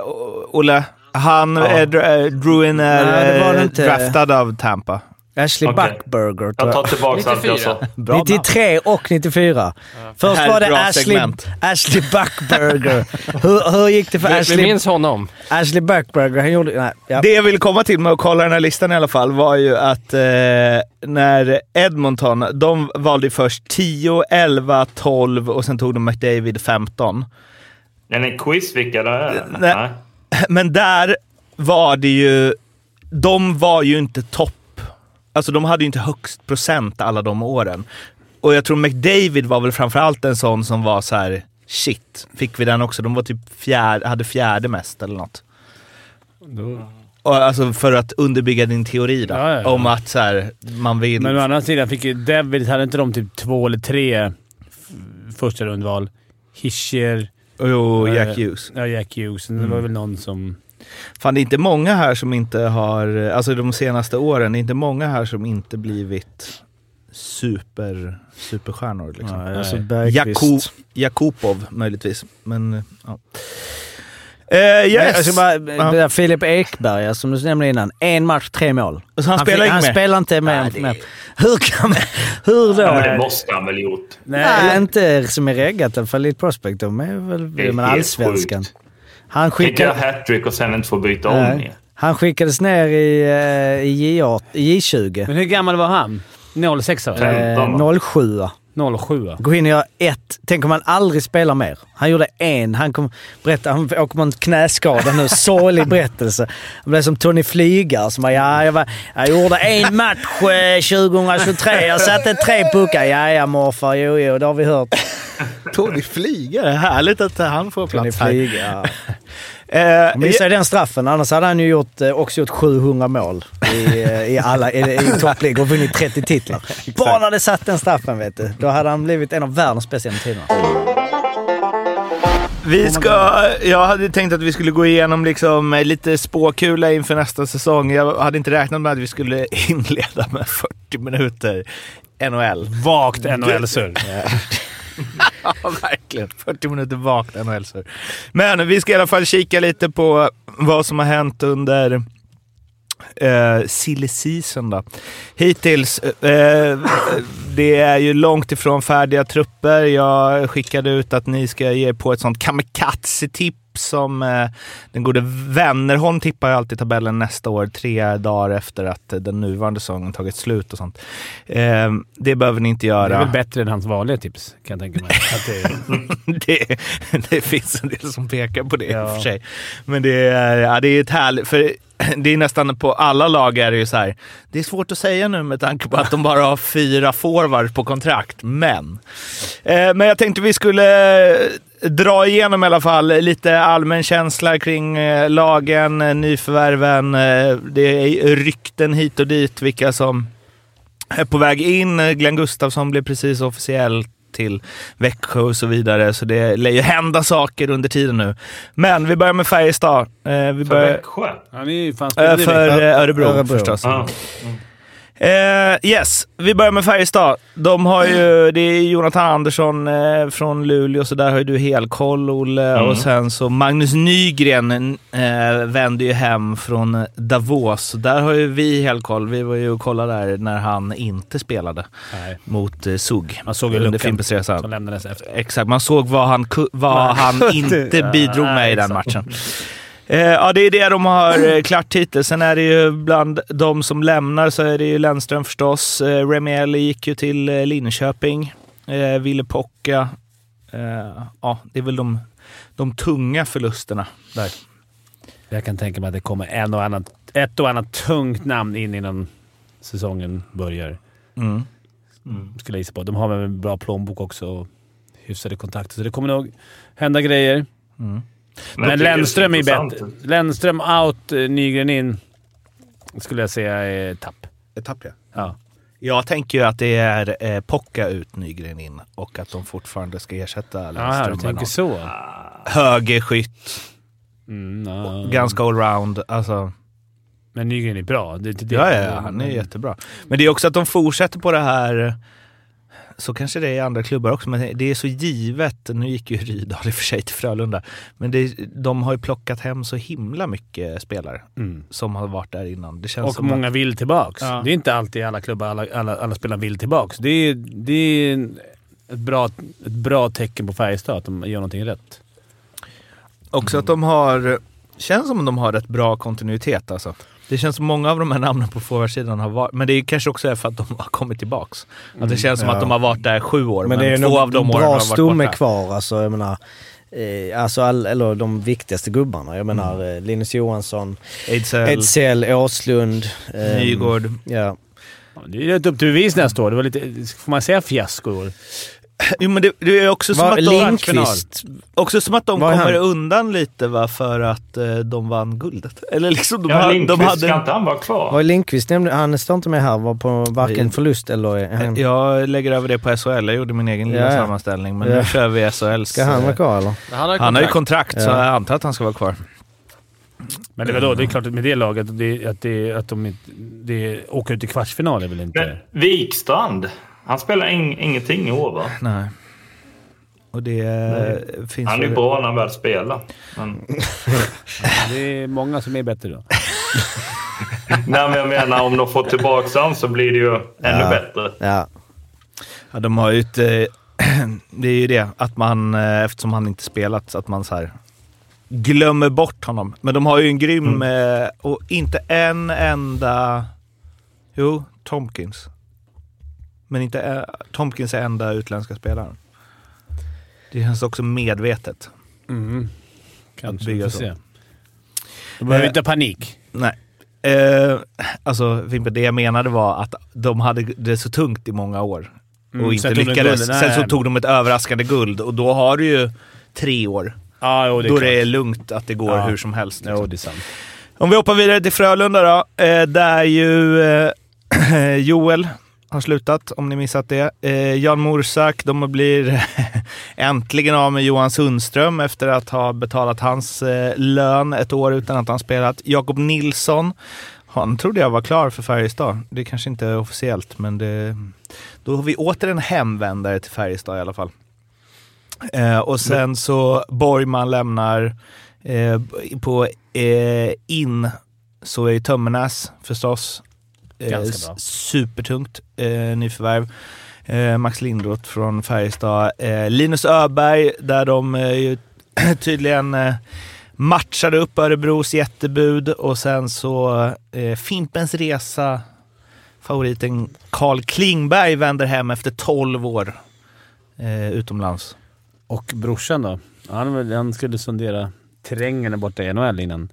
Speaker 1: Olle, han, ja. eh, Dr- eh, Druin är
Speaker 8: Nej, det var det
Speaker 1: eh,
Speaker 8: inte.
Speaker 1: draftad av Tampa.
Speaker 8: Ashley
Speaker 9: Okej.
Speaker 8: Buckberger tror
Speaker 9: Jag
Speaker 8: jag.
Speaker 9: tar tillbaka allt jag
Speaker 10: 94.
Speaker 9: sa.
Speaker 1: Bra namn.
Speaker 8: 93 och 94. Först
Speaker 1: Här är
Speaker 8: var
Speaker 1: ett
Speaker 8: det
Speaker 1: bra
Speaker 8: Ashley,
Speaker 1: segment.
Speaker 8: Ashley Buckberger. hur, hur gick det för
Speaker 10: Vi, vi
Speaker 8: Ashley,
Speaker 10: minns honom.
Speaker 8: Ashley Buckberger? Han gjorde... Nej, ja.
Speaker 1: Det jag ville komma till med att kolla den här listan i alla fall var ju att eh, när Edmonton, de valde ju först 10, 11, 12 och sen tog de McDavid 15.
Speaker 9: Är det en quiz vilka det är?
Speaker 1: Nej. Men där var det ju... De var ju inte topp alltså de hade ju inte högst procent alla de åren. Och jag tror McDavid var väl framförallt en sån som var så här: shit, fick vi den också? De var typ fjärde, hade fjärde mest eller något. Och alltså för att underbygga din teori då,
Speaker 2: Ja, ja, ja.
Speaker 1: om att så här, man vill...
Speaker 2: Men å andra sidan fick ju Devils, hade inte de typ två eller tre f- första rundval? Hischer...
Speaker 1: Jo,
Speaker 2: eh,
Speaker 1: Jack Hughes.
Speaker 2: Ja, Jack Hughes. Det
Speaker 8: Mm.
Speaker 2: var väl någon som...
Speaker 1: Fan, det är inte många här som inte har, alltså de senaste åren, det är inte många här som inte blivit super, superstjärnor. Liksom.
Speaker 2: Nej.
Speaker 8: Alltså
Speaker 2: Nej.
Speaker 8: Bergqvist.
Speaker 1: Jako, Jakupov möjligtvis, men ja. Eh,
Speaker 8: Men Jag
Speaker 1: yes!
Speaker 8: ska alltså bara, ja. Filip Ekberg, ja, som du nämnde innan. En match, tre mål.
Speaker 1: Och så han spelar
Speaker 8: fi-
Speaker 1: inte
Speaker 8: han
Speaker 1: med?
Speaker 8: spelar inte med.
Speaker 1: Nej, det är-
Speaker 8: med. Hur kan man... Hur då?
Speaker 9: Ja, men det måste han väl gjort.
Speaker 8: Nej, inte som är reggat i alla fall. Lite prospect. De är väl
Speaker 9: Det är
Speaker 8: men
Speaker 9: helt
Speaker 8: allsvenskan.
Speaker 9: sjukt.
Speaker 8: Han,
Speaker 9: Inte göra
Speaker 8: skickade,
Speaker 9: hattrick och sen inte få byta om
Speaker 8: nej,
Speaker 9: igen.
Speaker 8: han skickades ner i, eh, i J8 i J20.
Speaker 2: Men hur gammal var han? 06 va?
Speaker 9: Nej. femton,
Speaker 8: Eh, 07
Speaker 2: 07 va?
Speaker 8: Gå in och göra ett. Tänk om han aldrig spelar mer. Han gjorde en. Han kom... Berätta, han åker på en knäskada nu. Sorglig berättelse. Han blev som Tony Flygar som bara ja, jag, var, jag gjorde en match eh, 2023. Jag satte tre puckar. Ja, ja morfar. Jo, jo, det har vi hört.
Speaker 1: Tony Flygare, härligt att han får
Speaker 8: Tony
Speaker 1: plats här.
Speaker 8: Flygar.
Speaker 1: Eh,
Speaker 8: Han missade ju den straffen. Annars hade han ju gjort, eh, också gjort 700 mål i, eh, i, alla- i, i toppligor och vunnit 30 titlar. Bara när det satt den straffen, vet du. Då hade han blivit en av världens bästa genom tiderna.
Speaker 1: Vi ska, jag hade tänkt att vi skulle gå igenom liksom eh, lite spåkula inför nästa säsong. Jag hade inte räknat med att vi skulle inleda med 40 minuter NHL.
Speaker 2: Vagt NHL-surr.
Speaker 1: Ja, verkligen. 40 minuter vakt NHL-surr. Men vi ska i alla fall kika lite på vad som har hänt under eh, silly season då. Hittills, eh, det är ju långt ifrån färdiga trupper. Jag skickade ut att ni ska ge er på ett sånt kamikaze-tips som eh, den gode Wennerholm tippar ju alltid tabellen nästa år, tre dagar efter att eh, den nuvarande säsongen tagit slut och sånt. Eh, det behöver ni inte
Speaker 2: Det
Speaker 1: göra
Speaker 2: är väl bättre än hans vanliga tips, kan jag tänka mig. Att det,
Speaker 1: det, det finns en del som pekar på det i och
Speaker 2: Ja.
Speaker 1: för sig. Men det är, ja, det är ett härligt... För det är nästan på alla lag är det ju så här. Det är svårt att säga nu med tanke på att de bara har fyra forwards på kontrakt, men. Eh, men jag tänkte vi skulle eh, dra igenom i alla fall lite allmän känsla kring eh, lagen, eh, nyförvärven. Eh, det är rykten hit och dit vilka som är på väg in. Eh, Glenn Gustafsson blev precis officiell till Växjö och så vidare, så det lär ju hända saker under tiden nu. Men vi börjar med Färjestad. Eh, vi
Speaker 9: För
Speaker 1: börjar,
Speaker 9: Växjö?
Speaker 2: han är ju fan
Speaker 1: eh,
Speaker 2: spelare i
Speaker 1: för
Speaker 2: Växjö.
Speaker 1: eh, Örebro,
Speaker 8: Örebro.
Speaker 1: förstås.
Speaker 9: Ja.
Speaker 1: Eh, yes, vi börjar med Färjestad. De har
Speaker 2: Mm.
Speaker 1: ju, det är Jonathan Andersson eh, från Luleå, så där har ju du helkoll Olle.
Speaker 9: Mm.
Speaker 1: Och sen så Magnus Nygren eh, vände ju hem från Davos. Så Där har ju vi helkoll. Vi var ju och kollade där när han inte spelade
Speaker 2: Nej,
Speaker 1: mot eh, SUG
Speaker 2: Man såg ju
Speaker 1: under
Speaker 2: luckan
Speaker 1: Fimpensresan.
Speaker 2: som lämnades efter.
Speaker 1: Exakt, man såg vad han, ku- vad han inte bidrog med i den matchen. Eh, ja, det är det de har eh, klart hittills. Sen är det ju bland de som lämnar så är det ju Lennström förstås. Eh, Remiel gick ju till eh, Linköping. Eh, Ville Pocka. Eh, ja, det är väl de, de tunga förlusterna där.
Speaker 2: Jag kan tänka mig att det kommer en och annan, ett och annat tungt namn in innan säsongen börjar.
Speaker 1: Mm.
Speaker 2: Skulle jag gissa på. De har väl en bra plånbok också och hyfsade kontakter, så det kommer nog hända grejer. Men,
Speaker 9: jag tycker
Speaker 2: Lennström
Speaker 9: det
Speaker 2: är
Speaker 9: ser
Speaker 2: ju
Speaker 9: intressant
Speaker 2: bättre.
Speaker 9: ut.
Speaker 2: Lennström out, eh, Nygren in. Skulle jag säga är tapp.
Speaker 1: Etapp, ja.
Speaker 2: Ja.
Speaker 1: Jag tänker ju att det är eh, Pocka ut, Nygren in och att de fortfarande ska ersätta
Speaker 2: Ja, du
Speaker 1: Lennström. med
Speaker 2: tänker
Speaker 1: någon.
Speaker 2: så.
Speaker 1: Högerskytt,
Speaker 2: Mm, ja.
Speaker 1: ganska allround. Alltså.
Speaker 2: Men Nygren är bra. Det, det, det-
Speaker 1: Ja, ja, ja, han är
Speaker 2: men-
Speaker 1: jättebra. Men det är också att de fortsätter på det här, så kanske det är i andra klubbar också, men det är så givet. Nu gick ju Rydahl i och för sig till Frölunda, men det, de har ju plockat hem så himla mycket spelare
Speaker 2: Mm.
Speaker 1: som har varit där innan. Det känns
Speaker 2: Och
Speaker 1: som att-
Speaker 2: många vill tillbaks.
Speaker 1: Ja.
Speaker 2: Det är inte alltid alla klubbar, alla, alla, alla spelare vill tillbaks. Det är, det är en- ett, bra, ett bra tecken på Färjestad att de gör någonting rätt.
Speaker 1: Också att de har, känns som de har rätt bra kontinuitet alltså. Det känns som många av de här namnen på forwardsidan har varit, men det är kanske också är för att de har kommit tillbaks. Att det känns som att de har varit där sju år, men,
Speaker 8: Men det är
Speaker 1: två
Speaker 8: nog
Speaker 1: av de åren har
Speaker 8: bra
Speaker 1: varit
Speaker 8: stomme
Speaker 1: borta.
Speaker 8: kvar. Alltså, jag menar, eh, alltså all, eller de viktigaste gubbarna. Jag menar
Speaker 1: Mm.
Speaker 8: eh, Linus Johansson,
Speaker 1: Ejdsell,
Speaker 8: Edsel, Åslund. ehm,
Speaker 1: Nygård.
Speaker 8: Ja.
Speaker 2: Det är ett upp till bevis nästa år. Det var lite, får man säga fiasko i år?
Speaker 1: Jo, men det, det är också som
Speaker 8: Var-
Speaker 1: att de...
Speaker 8: Lindqvist.
Speaker 1: Också som att de
Speaker 8: Vad är
Speaker 1: kommer
Speaker 8: han?
Speaker 1: undan lite va, för att eh, de vann guldet. Eller liksom, de,
Speaker 9: Ja,
Speaker 1: hade- de
Speaker 9: Lindqvist, ska
Speaker 1: hade...
Speaker 9: inte han vara kvar?
Speaker 8: Var Lindqvist nämnde, han står inte med här, var på varken
Speaker 1: Vi- Eh,
Speaker 8: förlust eller... är Han,
Speaker 1: Jag lägger över det på SHL. Jag gjorde min egen lilla
Speaker 8: Ja, ja.
Speaker 1: sammanställning, men
Speaker 8: Ja.
Speaker 1: nu kör vi SHL.
Speaker 8: ska han vara kvar eller?
Speaker 10: Han har ju
Speaker 1: Han har ju
Speaker 10: kontrakt.
Speaker 1: kontrakt, så
Speaker 8: Ja.
Speaker 1: jag antar att han ska vara kvar.
Speaker 2: Men det, vadå, det är klart att med det laget, det, att, det, att de inte... Det, åka ut i kvartsfinal är väl inte...
Speaker 9: Men Wikstrand. Han spelar ing- ingenting i år, va?
Speaker 1: Nej. Och det eh, finns
Speaker 9: Han är
Speaker 1: väl-
Speaker 9: ju bra när han väl spelar. Men,
Speaker 2: Det är många som är bättre då.
Speaker 9: nej, men jag menar, om de får tillbaka han så blir det ju ännu bättre.
Speaker 8: Ja.
Speaker 1: Ja, de har ju ett, eh, Det är ju det, att man, eh, eftersom han inte spelat, så att man så här glömmer bort honom. Men de har ju en grym... eh, Och inte en enda... Jo, Tomkins. Men inte eh, Tomkins är enda utländska spelaren. Det känns också medvetet.
Speaker 2: Mm. Kanske.
Speaker 1: bygga
Speaker 2: Vi
Speaker 1: så.
Speaker 2: får se. Eh, De behöver inte ha panik.
Speaker 1: Nej. Eh, alltså, Fimpen, det jag menade var att de hade det så tungt i många år och
Speaker 2: Mm,
Speaker 1: inte
Speaker 2: sen tog de
Speaker 1: lyckades.
Speaker 2: guldet. Nej,
Speaker 1: sen så
Speaker 2: nej.
Speaker 1: tog de ett överraskande guld och då har du ju tre år.
Speaker 2: Ja, jo, det är
Speaker 1: då
Speaker 2: klart.
Speaker 1: det är lugnt att det går
Speaker 2: Ja.
Speaker 1: hur som helst. liksom.
Speaker 2: Jo, det är sant.
Speaker 1: Om vi hoppar vidare till Frölunda då, eh, där ju eh, Joel har slutat, om ni missat det. Eh, Jan Morsak, de blir äntligen av med Johan Sundström efter att ha betalat hans eh, lön ett år utan att han spelat. Jakob Nilsson, han trodde jag var klar för Färjestad. Det kanske inte är officiellt, men det, då har vi åter en hemvändare till Färjestad i alla fall. Eh, och sen så Borgman lämnar eh, på eh, in så är ju Tömmernes förstås eh,
Speaker 2: Ganska bra.
Speaker 1: s- supertungt eh, nyförvärv. Eh, Max Lindroth från Färjestad. Eh, Linus Öberg där de eh, ju tydligen eh, matchade upp Örebros jättebud och sen så eh, Fimpens Resa, favoriten Carl Klingberg vänder hem efter 12 år eh, utomlands.
Speaker 2: Och brorsan då? Han, väl- han skulle sondera terrängen där borta i NHL innan.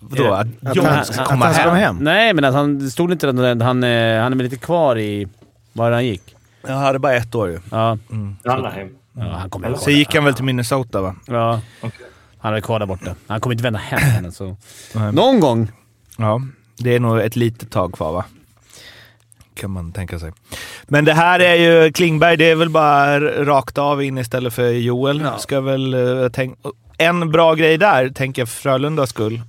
Speaker 1: Vadå? Att
Speaker 8: Eh, Att
Speaker 1: John
Speaker 8: han,
Speaker 1: ska
Speaker 8: att
Speaker 1: komma
Speaker 8: han ska komma
Speaker 1: hem?
Speaker 8: hem?
Speaker 2: Nej, men alltså, han stod inte där. Han, eh, han är väl lite kvar i... Var han gick?
Speaker 1: Jag hade bara ett år ju.
Speaker 2: Ja.
Speaker 9: Anaheim.
Speaker 2: ja han kommer ju
Speaker 1: Sen gick han väl till Minnesota va?
Speaker 2: Ja. Han är kvar där borta. Han kommer inte vända hem henne, så... Någon gång!
Speaker 1: Ja, det är nog ett litet tag kvar va? Kan man tänka sig. Men det här är ju Klingberg, det är väl bara r- rakt av in istället för Joel. Ska väl, eh, tänk- en bra grej där, tänker jag för Frölundas skull.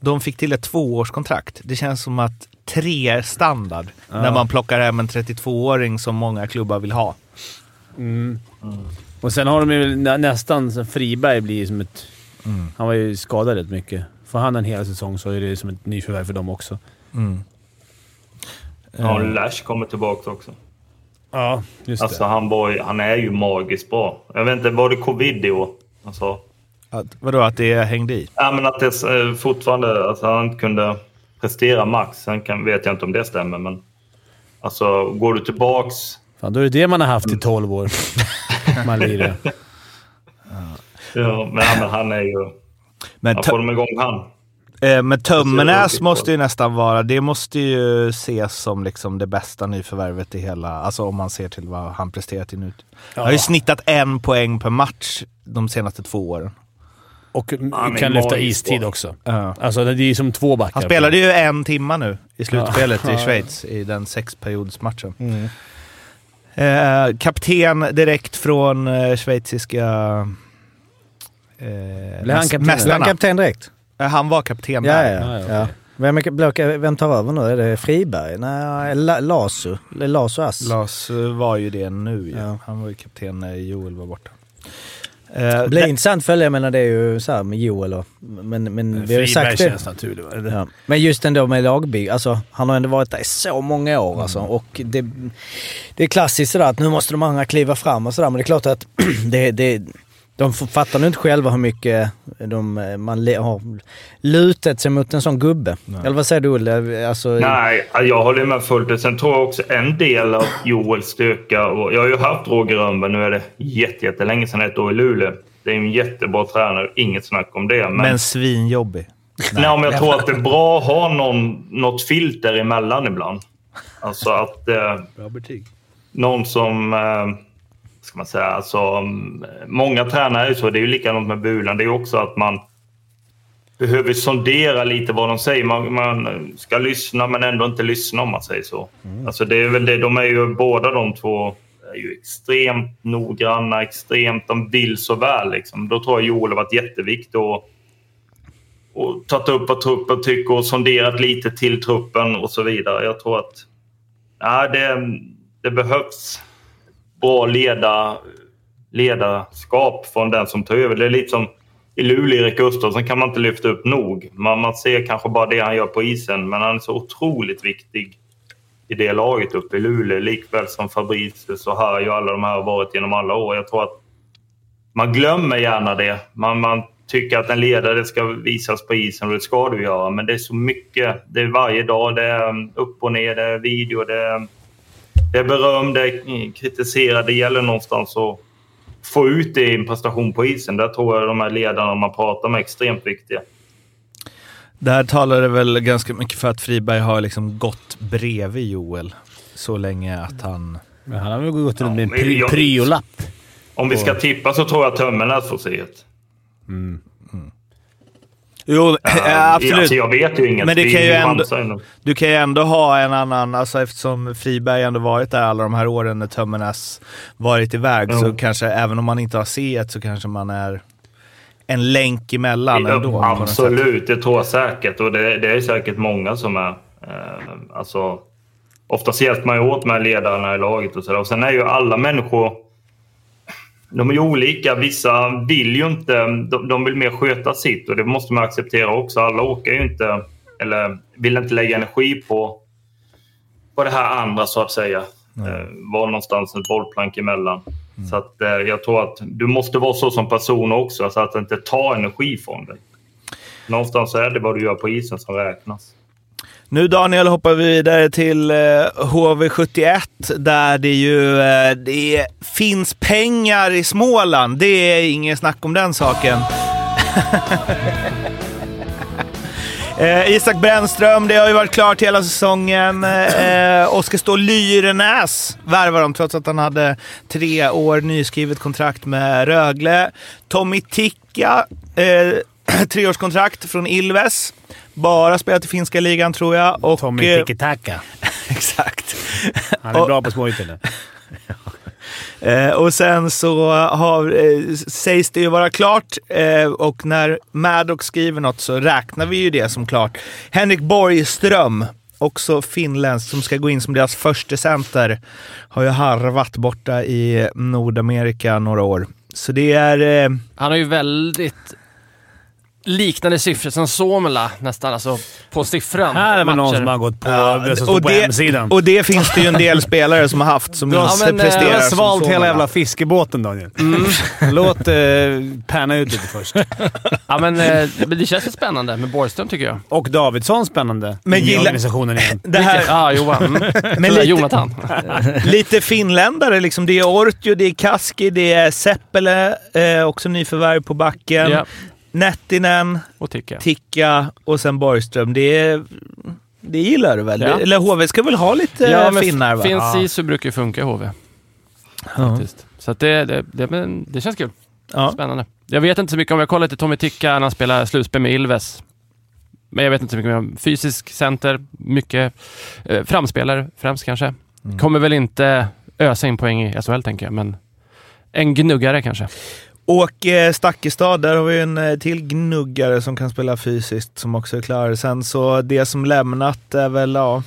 Speaker 1: De fick till ett tvåårskontrakt. Det känns som att tre är standard när man plockar hem en 32-åring som många klubbar vill ha.
Speaker 2: Och sen har de ju nä- nästan... så Friberg blir ju som ett... Han var ju skadad rätt mycket. Får han en hel säsong så är det som ett nyförvärv för dem också.
Speaker 9: Ja, Lash kommer tillbaka också.
Speaker 2: Ja, just
Speaker 9: Alltså, han, var, ju- han är ju magiskt bra. Jag vet inte, var det covid i år? Alltså,
Speaker 1: Att, vadå, att det hängde i?
Speaker 9: ja, men att det eh, fortfarande... Alltså, han inte kunde prestera max. Sen kan, vet jag inte om det stämmer, men... Alltså, går du tillbaks...
Speaker 2: det. Fan, då är det det man har haft i 12 år. man lirar.
Speaker 9: Ja, men, ja, men han är ju...
Speaker 1: Men
Speaker 9: Ja,
Speaker 1: tö-
Speaker 9: får de igång han?
Speaker 1: Eh, Men Tömmernes
Speaker 9: Alltså,
Speaker 1: måste ju nästan vara, det måste ju ses som liksom det bästa nyförvärvet i hela, alltså om man ser till vad han presterat i nu. Han har ju snittat en poäng per match de senaste två åren.
Speaker 2: Och
Speaker 9: Han är
Speaker 2: kan lyfta
Speaker 9: magisk
Speaker 2: istid
Speaker 9: bra.
Speaker 2: också.
Speaker 1: Ja.
Speaker 2: Alltså, det är ju som två backar.
Speaker 1: Han spelade ju en timma nu i slutspelet i Schweiz i den sexperiodsmatchen.
Speaker 8: Mm.
Speaker 1: Eh, kapten direkt från eh, schweiziska eh,
Speaker 2: Blev han
Speaker 1: mäst-
Speaker 2: kapten?
Speaker 8: Blev han
Speaker 1: mästarna.
Speaker 8: kapten direkt?
Speaker 1: Eh, han var kapten
Speaker 8: Ja,
Speaker 1: där.
Speaker 8: ja.
Speaker 2: Ja, ja,
Speaker 8: ja. Vem, är- blå- vem tar över nu? Är det Friberg? Nej, eh, La- Lasu. Lasu Ass.
Speaker 1: Lars eh, var ju det nu ju.
Speaker 8: Ja.
Speaker 1: Han var ju kapten när Joel var borta. Eh,
Speaker 8: Det blir
Speaker 1: det-
Speaker 8: intressant att följa. Jag menar det är ju så här med Joel och... Men,
Speaker 1: Eh,
Speaker 8: men vi har ju
Speaker 2: Friberg
Speaker 8: sagt det.
Speaker 2: känns naturlig. va? Eller?
Speaker 8: Ja. Men just ändå med lagbygg. Alltså, han har ändå varit där i så många år alltså. Och det, det är klassiskt sådär att nu måste de andra kliva fram och sådär. Men det är klart att det, det, de fattar nog inte själva hur mycket de, man le, har lutat sig mot en sån gubbe. Eller vad säger du Olle? Alltså,
Speaker 9: Nej, jag håller med fullt ut. Sen tror jag också en del av Joels styrka... Och jag har ju haft Roger Rönnberg. Nu är det jätte, jättelänge sedan, ett år i Luleå. Det är ju en jättebra tränare, inget snack om det. Men,
Speaker 1: Men svinjobbig.
Speaker 9: nej, men jag tror att det är bra att ha någon, något filter emellan ibland. Alltså att eh,
Speaker 1: Bra betyg.
Speaker 9: någon som... Eh, ska man säga? Alltså, mm, många tränare är ju så. Det är ju likadant med Bulan. Det är ju också att man behöver sondera lite vad de säger. Man, man ska lyssna men ändå inte lyssna om man säger så. Alltså, det är väl det. De är ju båda de två är ju extremt noggranna, extremt, de vill så väl. Liksom. Då tror jag Joel har varit jätteviktig och, och tagit upp vad truppen tycker och sonderat lite till truppen och så vidare. Jag tror att nej, det, det behövs bra leda, ledarskap från den som tar över. Det är lite som i Luleå, Erik Gustafsson kan man inte lyfta upp nog. Man, man ser kanske bara det han gör på isen, men han är så otroligt viktig i det laget uppe i Luleå. Likväl som Fabricius och Harry och alla de här har varit genom alla år. Jag tror att man glömmer gärna det. Man, man tycker att en ledare ska visas på isen och det ska du göra. Men det är så mycket. Det är varje dag. Det är um, upp och ner. Det är video. Det är, um, det är beröm. Det är kritiserat. Det gäller någonstans att få ut det i en prestation på isen. Där tror jag de här ledarna man pratar med är extremt viktiga.
Speaker 1: Där talar det väl ganska mycket för att Friberg har liksom gått bredvid Joel så länge att han...
Speaker 2: Men han har väl gått runt med en
Speaker 9: men jag-
Speaker 2: pri- priolapp.
Speaker 9: Om vi ska tippa så tror jag Tömmernes får se ett.
Speaker 1: Jo, ja, absolut.
Speaker 9: Alltså, jag vet ju inget.
Speaker 1: Men det
Speaker 9: Vi
Speaker 1: kan ju ändå-
Speaker 9: chansar ju.
Speaker 1: Du kan ju ändå ha en annan, alltså eftersom Friberg ändå varit där alla de här åren när Tömmernes varit iväg så
Speaker 9: Jo.
Speaker 1: kanske, även om man inte har C1 så kanske man är en länk emellan
Speaker 9: Ja,
Speaker 1: ändå. på något sätt.
Speaker 9: Absolut, det tror jag säkert. Och det, det är säkert många som är... Eh, alltså, oftast hjälper man ju åt med ledarna i laget och sådär. Och sen är ju alla människor... De är ju olika. Vissa vill ju inte... De, de vill mer sköta sitt och det måste man acceptera också. Alla åker ju inte... Eller vill inte lägga energi på, på det här andra, så att säga. Eh, var någonstans ett bollplank emellan.
Speaker 1: Mm.
Speaker 9: Så att, eh, jag tror att du måste vara så som person också, så att det inte tar energi från dig. Någonstans är det vad du gör på isen som räknas.
Speaker 1: Nu Daniel hoppar vi vidare till eh, HV71 där det ju eh, det finns pengar i Småland. Det är ingen snack om den saken. Eh, Isak Brännström, det har ju varit klart hela säsongen. Eh, Oskar Ståhl Lyrenäs värvar dem trots att han hade tre år nyskrivet kontrakt med Rögle. Tommy Tikka, eh, treårskontrakt från Ilves. Bara spelat i finska ligan tror jag. Och,
Speaker 2: Tommy
Speaker 1: eh,
Speaker 2: Tikitaka.
Speaker 1: Exakt.
Speaker 2: Han är
Speaker 1: Och-
Speaker 2: bra på småytorna.
Speaker 1: Eh, och sen så har, eh, sägs det ju vara klart eh, och när Maddox skriver något så räknar vi ju det som klart. Henrik Borgström, också finländsk, som ska gå in som deras första center har ju harvat borta i Nordamerika några år. Så det är... Eh,
Speaker 10: Han har ju väldigt liknande siffror som Somela nästan, alltså på siffran.
Speaker 2: Här är väl någon
Speaker 10: matcher.
Speaker 2: som har gått på
Speaker 1: ja,
Speaker 2: det som står på hemsidan.
Speaker 1: och det finns det ju en del spelare som har haft som
Speaker 10: Ja,
Speaker 1: inte
Speaker 10: men, eh,
Speaker 1: presterar.
Speaker 10: jag har
Speaker 1: som sådana.
Speaker 2: fiskebåten, Daniel. Mm. Låt eh, pärna ut lite först.
Speaker 10: Ja, men eh, men det känns ju spännande med Borgström tycker jag.
Speaker 2: Och Davidsson spännande
Speaker 1: Men
Speaker 2: i
Speaker 1: gilla-
Speaker 2: organisationen igen.
Speaker 1: Det här,
Speaker 10: Ja, ah, Johan. Mm. Men
Speaker 1: lite-
Speaker 10: Jonathan.
Speaker 1: Lite finländare liksom. Det är Ortio, det är Kaski, det är Seppele, eh, också nyförvärv på backen.
Speaker 10: Ja,
Speaker 1: Nettinen,
Speaker 10: och tycker
Speaker 1: Tikka och sen Borgström. Det, är, det gillar du väl?
Speaker 10: Ja.
Speaker 1: Eller HV ska väl ha lite
Speaker 10: Ja, men
Speaker 1: finnar va? Mm.
Speaker 10: Finns i så brukar ju funka i HV. Faktiskt. Så att det, det, det, men det känns kul.
Speaker 1: Ja.
Speaker 10: Spännande. Jag vet inte så mycket om, jag kollade lite Tommy Tikka när han spelade slutspel med Ilves. Men jag vet inte så mycket mer om fysisk center, mycket eh, framspelare främst kanske.
Speaker 1: Mm.
Speaker 10: Kommer väl inte ösa in poäng i SHL tänker jag, men en gnuggare kanske.
Speaker 1: Och eh, Stakkestad, där har vi en eh, till gnuggare som kan spela fysiskt som också är klar. Sen så det som lämnat är väl, ja,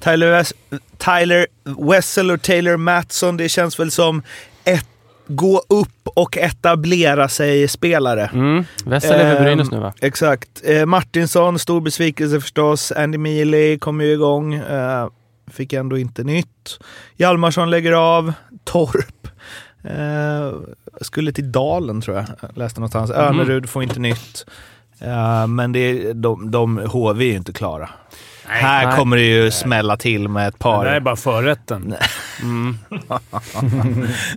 Speaker 1: Tyler, Wes- Tyler Wessel och Taylor Mattsson. Det känns väl som ett, gå upp och etablera sig-spelare.
Speaker 10: Mm. Wessel är för
Speaker 1: Ehm,
Speaker 10: Brynäs nu va?
Speaker 1: Exakt. Eh, Martinsson, stor besvikelse förstås. Andy Mealy kom ju igång. Eh, fick ändå inte nytt. Hjalmarsson lägger av. Torp. Eh, skulle till Dalen tror jag. Läste någonstans.
Speaker 10: Mhm.
Speaker 1: Önerud får inte nytt. Eh, men det, är- de, de, HV är ju inte klara. Här
Speaker 10: Nej.
Speaker 1: kommer det ju smälla till med ett
Speaker 2: Det där
Speaker 1: par.
Speaker 2: är bara förrätten.
Speaker 10: Mm.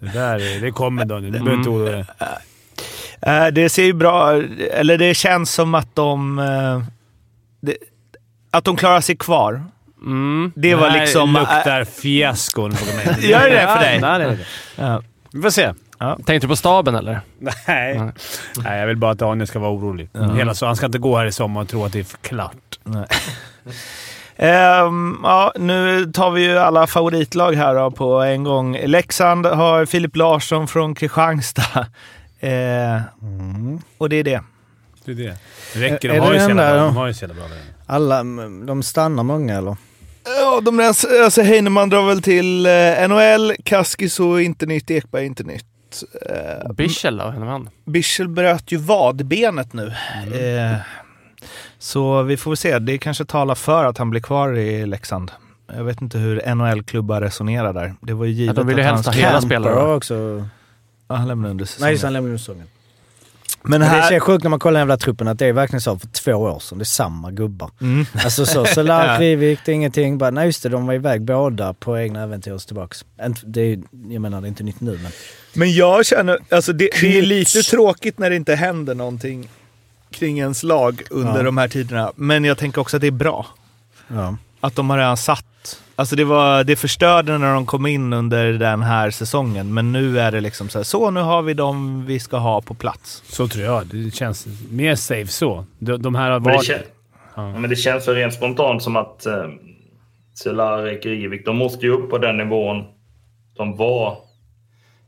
Speaker 2: Det, där är, det kommer Daniel. Du behöver inte oroa dig.
Speaker 1: Eh, det ser ju bra... Eller det känns som att de... Eh, det, att de klarar sig kvar.
Speaker 10: Mm.
Speaker 1: Det var
Speaker 2: här
Speaker 1: liksom...
Speaker 2: luktar fiaskon på mig.
Speaker 1: Gör det för dig?
Speaker 2: Ja, det är det.
Speaker 1: Ja.
Speaker 2: Vi får se.
Speaker 10: Tänkte du på staben eller?
Speaker 2: Nej. Nej, jag vill bara att Daniel ska vara orolig. Hela så, han ska inte gå här i sommar och tro att det är klart.
Speaker 1: Ehm, ja, nu tar vi ju alla favoritlag här då på en gång. Leksand har Filip Larsson från Kristianstad. Eh, Och det är det.
Speaker 2: Det är det. Räcker. De
Speaker 8: Är
Speaker 2: har
Speaker 8: det
Speaker 2: ju så
Speaker 8: den där
Speaker 2: jävla bra.
Speaker 8: då?
Speaker 2: De har ju så jävla bra lag.
Speaker 8: Alla, mm, de stannar många eller?
Speaker 1: Ja, de rens- alltså Heinemann drar väl till eh, NHL, Kaskis och inte nytt, Ekberg inte nytt. Eh,
Speaker 10: Bichel då? Henne han?
Speaker 1: Bischel bröt ju vadbenet nu. Eh, så vi får väl se. Det kanske talar för att han blir kvar i Leksand. Jag vet inte hur NHL-klubbar resonerar där. Det var ju
Speaker 10: Ja,
Speaker 1: givet
Speaker 10: de vill ju
Speaker 1: att
Speaker 10: helst
Speaker 1: han...
Speaker 10: ha hela
Speaker 8: Camper
Speaker 10: spelare.
Speaker 8: har
Speaker 10: va?
Speaker 8: också...
Speaker 1: Ja, han lämnade under
Speaker 8: Nej, just det,
Speaker 1: säsongen.
Speaker 8: han lämnade under säsongen.
Speaker 1: Men
Speaker 8: Men Det
Speaker 1: här...
Speaker 8: känns sjukt när man kollar den jävla truppen att det är verkligen så för två år sedan. Det är samma gubbar.
Speaker 1: Mm.
Speaker 8: Alltså så, Solar, Krivik, det är ingenting. Bara, nej just det, de var iväg båda på egna äventyr och tillbaks. Inte- Det är, jag menar, det är inte nytt nu men...
Speaker 1: Men jag känner, alltså det, det är lite tråkigt när det inte händer någonting kring ens lag under
Speaker 8: Ja.
Speaker 1: de här tiderna. Men jag tänker också att det är bra.
Speaker 8: Ja.
Speaker 1: Att de har redan satt... Alltså det, var, det förstörde när de kom in under den här säsongen, men nu är det liksom så här, så nu har vi dem vi ska ha på plats.
Speaker 2: Så tror jag. Det känns mer safe så. De, de här har
Speaker 9: Men det,
Speaker 2: varit...
Speaker 9: kän- ja, men det känns väl rent spontant som att eh, Cehlarik, Rivik, de måste ju upp på den nivån de var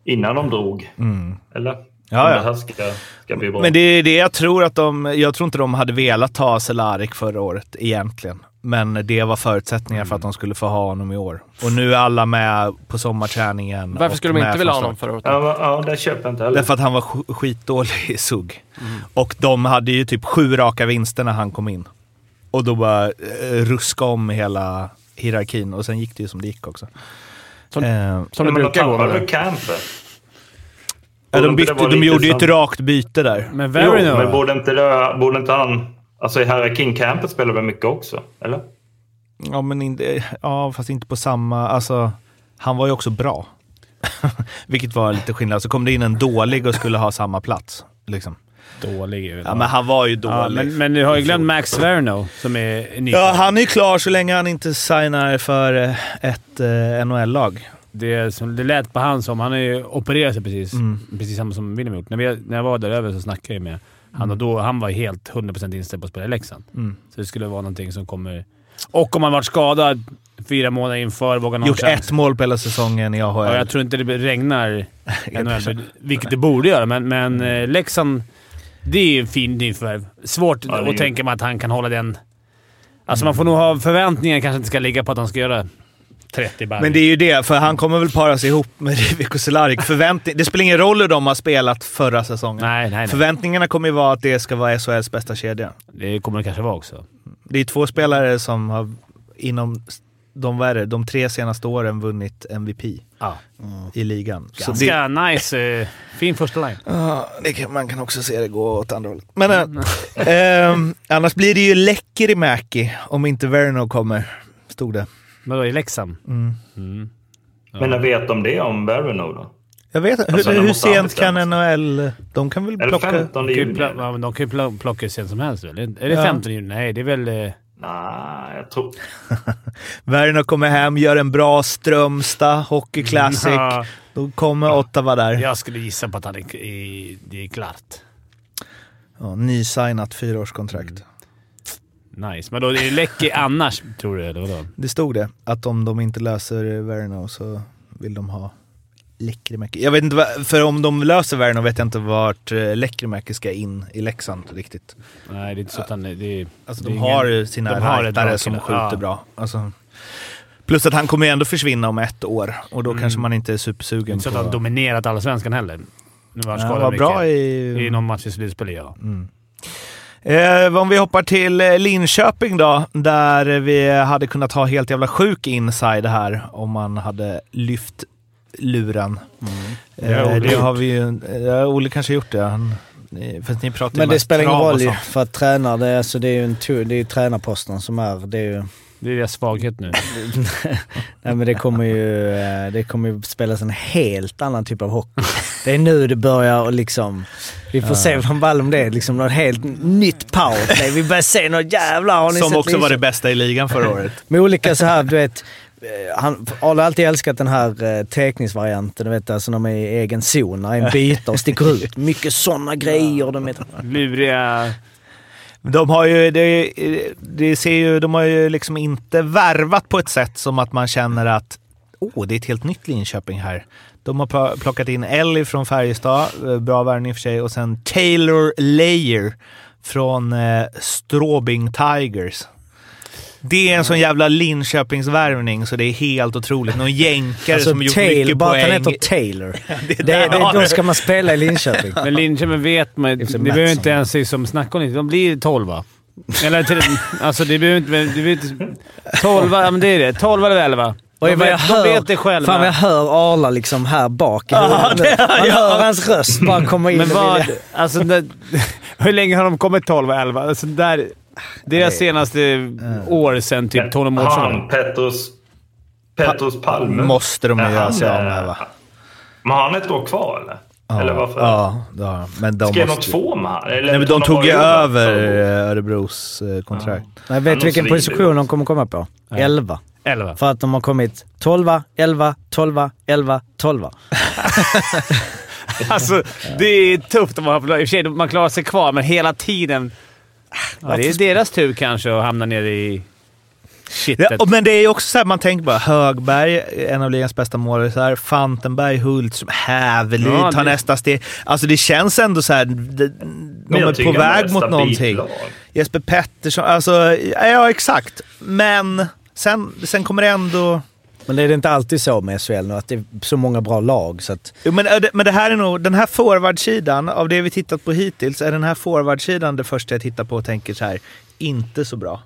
Speaker 9: innan de drog. Eller?
Speaker 1: Mm. Ja,
Speaker 9: Om
Speaker 1: ja.
Speaker 9: Det här ska, ska bli bra.
Speaker 1: Men det är det jag tror att de... Jag tror inte de hade velat ta Cehlárik förra året egentligen. Men det var förutsättningar
Speaker 10: Mm.
Speaker 1: för att de skulle få ha honom i år. Och nu är alla med på sommarträningen.
Speaker 10: Varför
Speaker 1: och
Speaker 10: skulle de
Speaker 1: med
Speaker 10: inte vilja ha
Speaker 1: från
Speaker 10: honom förra året?
Speaker 9: Ja, men- ja, det köper jag inte heller.
Speaker 1: Därför att han var sk- skitdålig i SUG. Och de hade ju typ sju raka vinster när han kom in. Och då bara eh, ruska om hela hierarkin. Och sen gick det ju som det gick också.
Speaker 10: Som-
Speaker 1: eh,
Speaker 10: Som
Speaker 9: Ja,
Speaker 10: det
Speaker 9: men de
Speaker 10: brukar gå.
Speaker 9: tappade
Speaker 10: eller?
Speaker 9: väl Camper?
Speaker 1: ja, de
Speaker 9: borde
Speaker 1: bytte,
Speaker 9: det vara
Speaker 1: de
Speaker 9: lite
Speaker 1: gjorde ju
Speaker 9: sam-
Speaker 1: ett rakt byte där.
Speaker 2: Men
Speaker 9: Jo,
Speaker 2: Verino
Speaker 9: men
Speaker 2: då?
Speaker 9: borde inte, det, borde inte han... Alltså i hierarkin Camper spelar väl mycket också? Eller?
Speaker 1: Ja, men inte, ja, fast inte på samma... Alltså, han var ju också bra. Vilket var lite skillnad. Så kom det in en dålig och skulle ha samma plats. Liksom.
Speaker 2: Dålig är väl-
Speaker 1: Ja, men han var ju dålig.
Speaker 2: Ja, men, men du har ju glömt Max Verno som är ny.
Speaker 1: Ja, han är ju klar så länge han inte signar för eh, ett eh, NHL-lag.
Speaker 2: Det, är som, det lät på han som... Han har ju opererat sig precis. Precis samma som William gjort. När, vi, när jag var där över så snackade jag med han och då Han var helt 100% inställd på att spela i Leksand. Så det skulle vara någonting som kommer... Och om han varit skadad fyra månader inför vågar någon
Speaker 1: Gjort
Speaker 2: chans.
Speaker 1: ett mål på hela säsongen i AHL.
Speaker 2: Ja, jag tror inte det regnar NHL, vilket det borde göra, men, men eh, Leksand... Det är ju en fin nyförvärv. Svårt
Speaker 9: det är ju-
Speaker 2: att tänka mig att han kan hålla den... Alltså man får nog ha förväntningar kanske inte ska ligga på att han ska göra 30 baller.
Speaker 1: Men det är ju det, för han kommer väl paras ihop med Rivik och Cehlárik. Förväntning- Det spelar ingen roll hur de har spelat förra säsongen.
Speaker 2: Nej, nej, nej.
Speaker 1: Förväntningarna kommer ju vara att det ska vara SHLs bästa kedja.
Speaker 2: Det kommer det kanske vara också.
Speaker 1: Det är två spelare som har inom de, vad är det, de tre senaste åren vunnit MVP
Speaker 2: Ja.
Speaker 1: i ligan. Så det,
Speaker 2: Ganska nice. eh, fin första line.
Speaker 1: Ja, det kan, man kan också se det gå åt andra hållet. Men eh, ehm, annars blir det ju läcker i Mäki om inte Verno kommer, stod det.
Speaker 2: Men då i Leksand?
Speaker 9: Men när vet de det om Verino då?
Speaker 1: Jag vet inte.
Speaker 9: Alltså,
Speaker 1: hur,
Speaker 9: de
Speaker 1: hur
Speaker 9: måste ha
Speaker 1: sent kan
Speaker 9: bestämt sig.
Speaker 1: NHL... De kan väl
Speaker 9: Är det
Speaker 1: plocka...
Speaker 9: 15
Speaker 2: De kan
Speaker 9: juni?
Speaker 2: ju pla- ja, men de kan ju pla- plocka hur sent som helst väl? Är det
Speaker 1: Ja.
Speaker 2: 15 juni? Nej, det är väl... eh,
Speaker 9: Nej, jag tror...
Speaker 1: Verno kommer hem, gör en bra Strömstad Hockey Classic.
Speaker 2: Ja.
Speaker 1: Då kommer Ottawa där. Ja.
Speaker 2: Jag skulle gissa på att han är, i, det är klart.
Speaker 1: nysignat fyraårskontrakt.
Speaker 9: Mm.
Speaker 2: Nice. Men då är det läcker annars, tror du? Eller vadå?
Speaker 1: Det stod det, att om de inte löser Verno så vill de ha Lekkerimäki. Jag vet inte, vad- för om de löser Verno vet jag inte vart eh, Lekkerimäki ska in i Leksand riktigt.
Speaker 2: Nej, det är inte så att han... Det är,
Speaker 1: Alltså
Speaker 2: det
Speaker 1: de
Speaker 2: är
Speaker 1: har
Speaker 2: ingen-
Speaker 1: ju sina
Speaker 2: de har ett bra
Speaker 1: rightare som
Speaker 2: kille.
Speaker 1: skjuter
Speaker 2: Ja.
Speaker 1: bra. Alltså, plus att han kommer ju ändå försvinna om ett år och då kanske man inte är supersugen
Speaker 2: Mm. inte så
Speaker 1: på...
Speaker 2: att han dominerat allsvenskan heller. Nu var han
Speaker 1: Ja,
Speaker 2: skadad
Speaker 1: var
Speaker 2: mycket.
Speaker 1: bra i... Mm.
Speaker 2: I någon match i slutspelet, ja.
Speaker 1: Eh, om vi hoppar till eh, Linköping då, där vi hade kunnat ha helt jävla sjuk inside här om man hade lyft luren.
Speaker 2: Mm. Det har
Speaker 1: Eh,
Speaker 2: Olle
Speaker 1: det
Speaker 2: gjort.
Speaker 1: har vi ju... Ja, Olle kanske har gjort det. Han, ni, fast ni pratar ju
Speaker 8: Men det
Speaker 1: mest
Speaker 8: spelar ingen
Speaker 1: trav och
Speaker 8: roll ju,
Speaker 1: sånt.
Speaker 8: för att tränare, det är, alltså, det är ju en tu- det är ju tränarposten som är... Det är ju,
Speaker 2: Det är deras svaghet nu.
Speaker 8: nej men det kommer ju, eh, det kommer ju spelas en helt annan typ av hockey. Det är nu det börjar och liksom... Vi får se från Wall om det är liksom något helt nytt powerplay. Vi börjar se något jävlar har ni
Speaker 1: Som
Speaker 8: sett
Speaker 1: också var det
Speaker 8: Linköping?
Speaker 1: bästa i ligan förra året.
Speaker 8: Med olika så här, du vet. eh, Han Arla har alltid älskat den här eh, teckningsvarianten, du vet alltså när man är i egen zon, när en byter och sticker ut. Mycket sådana grejer. De vet.
Speaker 2: Luriga...
Speaker 1: De har ju, det, det ser ju, de har ju liksom inte värvat på ett sätt som att man känner att åh, det är ett helt nytt Linköping här. De har pl- plockat in Ellie från Färjestad, eh, bra värvning i och för sig, och sen Taylor Layer från eh, Stråbing Tigers. Det är en sån jävla Linköpingsvärvning så det är helt otroligt. Någon jänkare
Speaker 8: Alltså
Speaker 1: som gjort
Speaker 8: Taylor,
Speaker 1: mycket
Speaker 8: bara att han
Speaker 1: poäng.
Speaker 8: heter Taylor. det, det,
Speaker 1: där har
Speaker 8: då
Speaker 1: du.
Speaker 8: ska man spela i Linköping.
Speaker 2: Men Linköping vet man Det
Speaker 8: sig
Speaker 2: behöver
Speaker 8: Mattsson.
Speaker 2: inte ens liksom snacka om det. De blir tolva. Eller till, alltså det behöver inte... Det behöver inte tolva, ja, men det är det. Tolva eller elva.
Speaker 8: Oj,
Speaker 2: De,
Speaker 8: vad jag
Speaker 2: vet,
Speaker 8: hör,
Speaker 2: de vet det själva.
Speaker 8: Fan vad jag hör Arla liksom här bak. i huvudet nu. man hör hans röst bara komma in.
Speaker 2: Men
Speaker 8: och
Speaker 2: vad...
Speaker 8: vilja-
Speaker 2: Alltså, det, hur länge har de kommit 12 och 11? Alltså, där, deras senaste år sedan typ Tony Mårtsson.
Speaker 9: Han, Petrus, Petrus Palme.
Speaker 1: Måste de ju
Speaker 9: Är
Speaker 1: göra
Speaker 9: han,
Speaker 1: sig av
Speaker 9: eh,
Speaker 1: med va?
Speaker 9: Men har han ett år kvar eller? eller varför?
Speaker 1: Ja, det har de. Men de
Speaker 9: Skrev de
Speaker 1: måste...
Speaker 9: två med han? Eller
Speaker 1: Nej, men de
Speaker 9: har
Speaker 1: tog
Speaker 9: bara
Speaker 1: ju
Speaker 9: gjort
Speaker 1: över
Speaker 9: ett år?
Speaker 1: eh, Örebros eh, kontrakt.
Speaker 8: Jag
Speaker 9: Han
Speaker 8: vet vilken
Speaker 9: måste ringa
Speaker 8: position de kommer komma på. Elva.
Speaker 2: 11.
Speaker 8: För att de har kommit 12, 11, 12, 11, 12.
Speaker 2: Alltså, det är tufft om man har I och för sig, man klarar sig kvar, men hela tiden...
Speaker 8: Ah,
Speaker 2: Ja, det är deras tur kanske att hamna nere i shitet.
Speaker 1: Ja, och- men det är ju också så här, man tänker bara Högberg, en av ligans bästa målare, Fantenberg, Hult, Hävelid
Speaker 2: Ja,
Speaker 1: tar
Speaker 2: det-
Speaker 1: nästa steg. Alltså det känns ändå så här, de, de
Speaker 9: Men jag
Speaker 1: är
Speaker 9: tycker
Speaker 1: på
Speaker 9: han är
Speaker 1: väg
Speaker 9: ett
Speaker 1: mot
Speaker 9: stabilt
Speaker 1: någonting.
Speaker 9: lag.
Speaker 1: Jesper Pettersson, alltså ja exakt. Men sen, sen kommer det ändå...
Speaker 8: Men det är det inte alltid så med SHL nu, att det är så många bra lag. Så att,
Speaker 1: Jo, men, äh, det- men det här är nog, den här forwardsidan, av det vi tittat på hittills, är den här forwardsidan det första jag tittar på och tänker så här, inte så bra.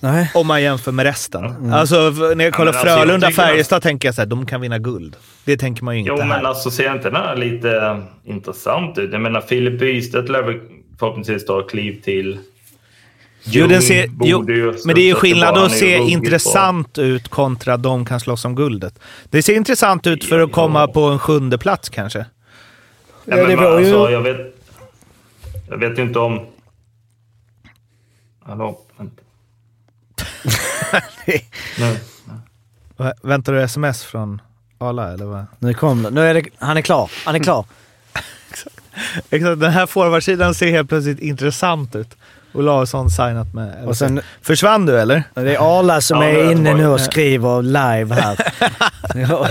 Speaker 8: nej.
Speaker 1: Om man jämför med resten. Alltså v- när jag kollar
Speaker 9: men alltså, jag
Speaker 1: Frölunda,
Speaker 9: tycker-
Speaker 1: Färjestad tänker jag så här, de kan vinna guld. Det tänker man ju inte
Speaker 9: Jo,
Speaker 1: här.
Speaker 9: men alltså ser inte den här lite eh, intressant ut? Jag menar, Filip Bystedt lär väl förhoppningsvis ta ett kliv till.
Speaker 1: jo, den
Speaker 9: Ljung
Speaker 1: ser,
Speaker 9: borde
Speaker 1: jo,
Speaker 9: ju
Speaker 1: men det är ju
Speaker 9: studsa
Speaker 1: skillnad
Speaker 9: tillbaka.
Speaker 1: att
Speaker 9: Han är ju
Speaker 1: se
Speaker 9: ruggigt
Speaker 1: intressant ut kontra de kan slåss om guldet. Det ser intressant ut för att
Speaker 9: Ja.
Speaker 1: komma på en sjunde plats kanske.
Speaker 9: bra.
Speaker 8: Ja,
Speaker 9: Ja,
Speaker 8: det
Speaker 9: men,
Speaker 8: var ju-
Speaker 9: alltså, jag, vet, jag vet ju inte om... Hallå? vänta. Nej.
Speaker 1: Va- Väntar du sms från Arla eller vad?
Speaker 8: Nu kom det. Nu är det, han är klar. Han är klar.
Speaker 1: Exakt, den här forwardsidan ser helt plötsligt intressant ut. Olausson signat med...
Speaker 8: Och sen,
Speaker 1: Försvann du eller?
Speaker 8: det är Arla som
Speaker 9: Ja, det
Speaker 8: är
Speaker 9: är
Speaker 8: inne
Speaker 9: det.
Speaker 8: nu och skriver live här. Ja.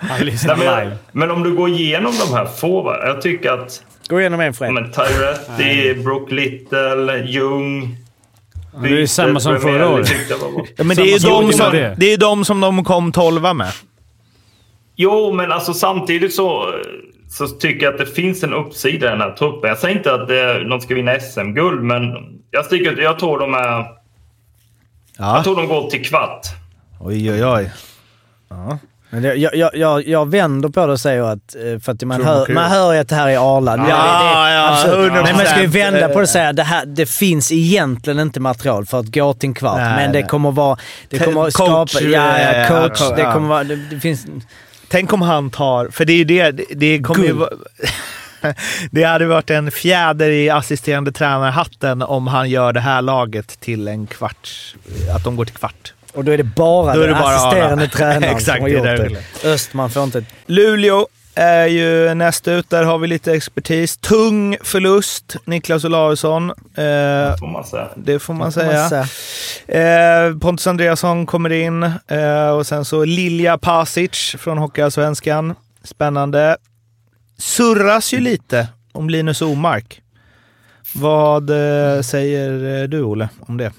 Speaker 2: Han lyssnar
Speaker 9: Nej, men,
Speaker 2: live.
Speaker 9: men om du går igenom de här forward, Jag tycker att
Speaker 8: Gå igenom en för en.
Speaker 9: men Tyretti, Brooke Little, Ljung...
Speaker 2: det är ju
Speaker 9: Bystedt,
Speaker 2: samma som
Speaker 9: vem
Speaker 2: förra
Speaker 9: är det?
Speaker 2: året.
Speaker 9: Tyckte jag var bra.
Speaker 1: Ja, men det är, ju
Speaker 2: Samma
Speaker 1: de
Speaker 2: sak
Speaker 1: som,
Speaker 2: med det.
Speaker 1: det är ju de som de kom tolva med.
Speaker 9: Jo, men alltså samtidigt så, så tycker jag att det finns en uppsida i den här truppen. Jag säger inte att det, de ska vinna SM-guld, men jag, tycker, jag, tror de är, jag
Speaker 1: Ja.
Speaker 9: tror de går till kvart.
Speaker 1: Oj, oj, oj.
Speaker 8: Men det, jag, jag, jag, jag vänder på det och säger att... eh, För att man,
Speaker 1: Tror man
Speaker 8: hör,
Speaker 1: kul.
Speaker 8: man hör ju att det här är Arla. Ja,
Speaker 1: ja, Eh,
Speaker 8: absolut.
Speaker 1: 100%.
Speaker 8: Men man ska ju vända på det och säga att det, här, det finns egentligen inte material för att gå till en kvart.
Speaker 1: Nej,
Speaker 8: men det
Speaker 1: nej.
Speaker 8: kommer vara... Det
Speaker 1: Te-
Speaker 8: kommer att
Speaker 1: coach,
Speaker 8: skapa... Ja,
Speaker 1: ja,
Speaker 8: ja,
Speaker 1: ja,
Speaker 8: coach.
Speaker 1: ja.
Speaker 8: Det kommer vara... Det, det finns...
Speaker 1: Tänk om han tar... För det är ju det... det- Det, kommer ju,
Speaker 8: Guld.
Speaker 1: vara- det hade varit en fjäder i assisterande tränarhatten om han gör det här laget till en kvarts... Att de går till kvart.
Speaker 8: Och då är det bara
Speaker 1: Då är
Speaker 8: den
Speaker 1: det bara
Speaker 8: assisterande
Speaker 1: Arla.
Speaker 8: tränaren
Speaker 1: Exakt,
Speaker 8: som har
Speaker 1: det är
Speaker 8: gjort
Speaker 1: där jag
Speaker 8: det. Östman får inte...
Speaker 1: Luleå är ju näst ut. Där har vi lite expertis. Tung förlust, Niklas Olausson. Eh,
Speaker 9: Får man säga.
Speaker 1: det får man säga.
Speaker 8: Massa.
Speaker 1: Eh, Pontus Andreasson kommer in eh, och sen så Lilja Pasic från Hockeyallsvenskan. Spännande. Surras ju lite om Linus Omark. Vad eh, säger eh, du, Olle, om det?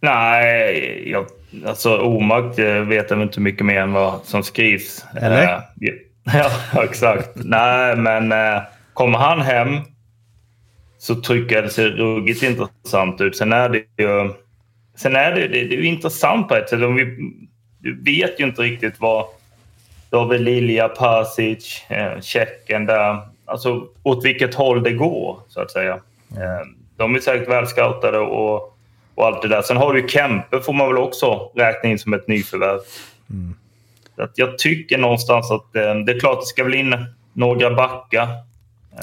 Speaker 9: Nej, jag, alltså omakt eh, vet jag väl inte mycket mer än vad som skrivs.
Speaker 1: Eller?
Speaker 9: Eh, ja, ja, exakt. Nej, men eh, kommer han hem så tycker jag det ser ruggigt intressant ut. Sen är det ju, sen är det, det, det är ju intressant på ett sätt. Om vi, du vet ju inte riktigt vad David Lilja, Pasic, eh, Tjeckien där. Alltså åt vilket håll det går, så att säga. Eh, de är säkert välscoutade och, och allt det där. Sen har du Kempe, får man väl också räkna in som ett nyförvärv. Så att jag tycker någonstans att eh, det är klart det ska väl in några backar.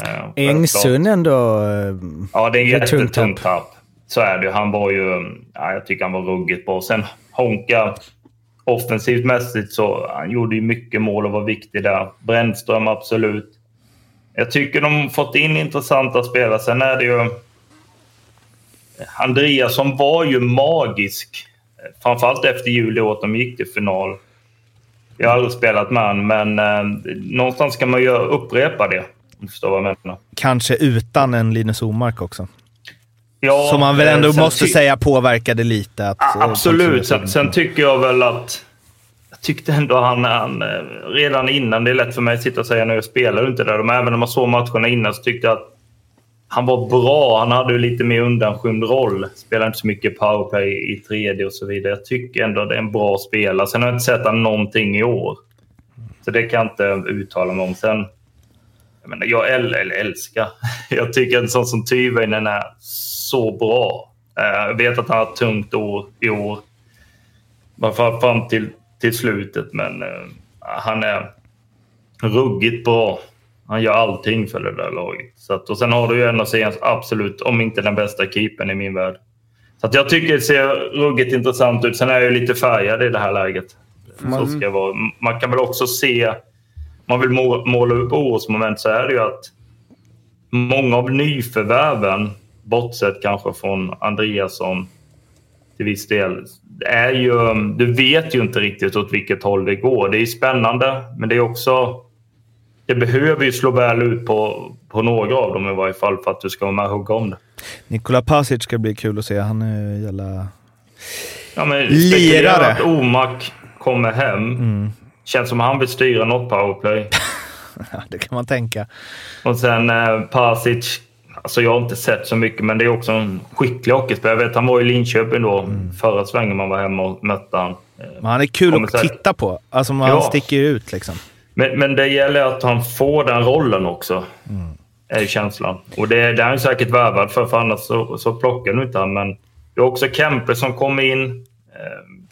Speaker 9: Eh,
Speaker 8: Engsund ändå... eh,
Speaker 9: Ja, det är en
Speaker 8: Det är ett tungt
Speaker 9: jättetung tapp. Så är det ju. Han var ju... Ja, jag tycker han var ruggigt bra. Sen Honka, offensivt mässigt, så han gjorde ju mycket mål och var viktig där. Brännström, absolut. Jag tycker de fått in intressanta spelare. Sen är det ju... Andreasson var ju magisk. Framförallt efter jul i år, att de gick till final. Jag har aldrig spelat med han, men eh, någonstans kan man ju upprepa det. Om du förstår vad jag menar.
Speaker 1: Kanske utan en Linus Omark också.
Speaker 9: Ja,
Speaker 1: Som man väl ändå
Speaker 9: eh, sen
Speaker 1: måste
Speaker 9: ty-
Speaker 1: säga påverkade lite. Att,
Speaker 9: Ja, Absolut. Sen, sen tycker jag väl att... Jag tyckte ändå han, han... eh, Redan innan, det är lätt för mig att sitta och säga nu jag spelar inte där. Men även om man såg matcherna innan så tyckte jag att han var bra. Han hade ju lite mer undanskymd roll. Spelade inte så mycket powerplay i i tredje och så vidare. Jag tycker ändå att det är en bra spelare. Sen har jag inte sett han någonting i år. Så det kan jag inte uttala mig om. Sen, jag, menar, jag äl- eller älskar... Jag tycker en sån som Tyväinen är så bra. Eh, Jag vet att han har ett tungt år i år. Bara fram- fram till, till slutet, men eh, han är ruggigt bra. Han gör allting för det där laget. Så att, och sen har du ju en av seriens absolut, om inte den bästa keepern i min värld. Så att jag tycker det ser ruggigt intressant ut. Sen är jag ju lite färgad i det här läget. Så ska jag vara. Man kan väl också se, om man vill må- måla upp orosmoment så är det ju att många av nyförvärven, bortsett kanske från Andreasson till viss del, är ju, du vet ju inte riktigt åt vilket håll det går. Det är ju spännande, men det är också... Det behöver ju slå väl ut på, på några av dem i varje fall för att du ska vara med och hugga om det.
Speaker 1: Nikola Pasic ska bli kul att se. Han är ju jävla...
Speaker 9: Ja, men
Speaker 1: Lirare.
Speaker 9: spekulera att Omak kommer hem. Känns som han vill styra något powerplay.
Speaker 1: Det kan man tänka.
Speaker 9: Och sen eh, Pasic. Alltså jag har inte sett så mycket, men det är också en skicklig hockeyspelare. Jag vet, han var i Linköping då förra svängen man var hemma och mötte han. Eh,
Speaker 1: Men han är kul
Speaker 9: Kommer
Speaker 1: att
Speaker 9: säkert.
Speaker 1: titta på. Alltså, man
Speaker 9: Ja.
Speaker 1: sticker ju ut liksom.
Speaker 9: Men, men det gäller att han får den rollen också. Är ju känslan. Och det, det är han ju säkert värvad för, för annars så, så plockar du inte han. Men det är också Kempe som kom in. Eh,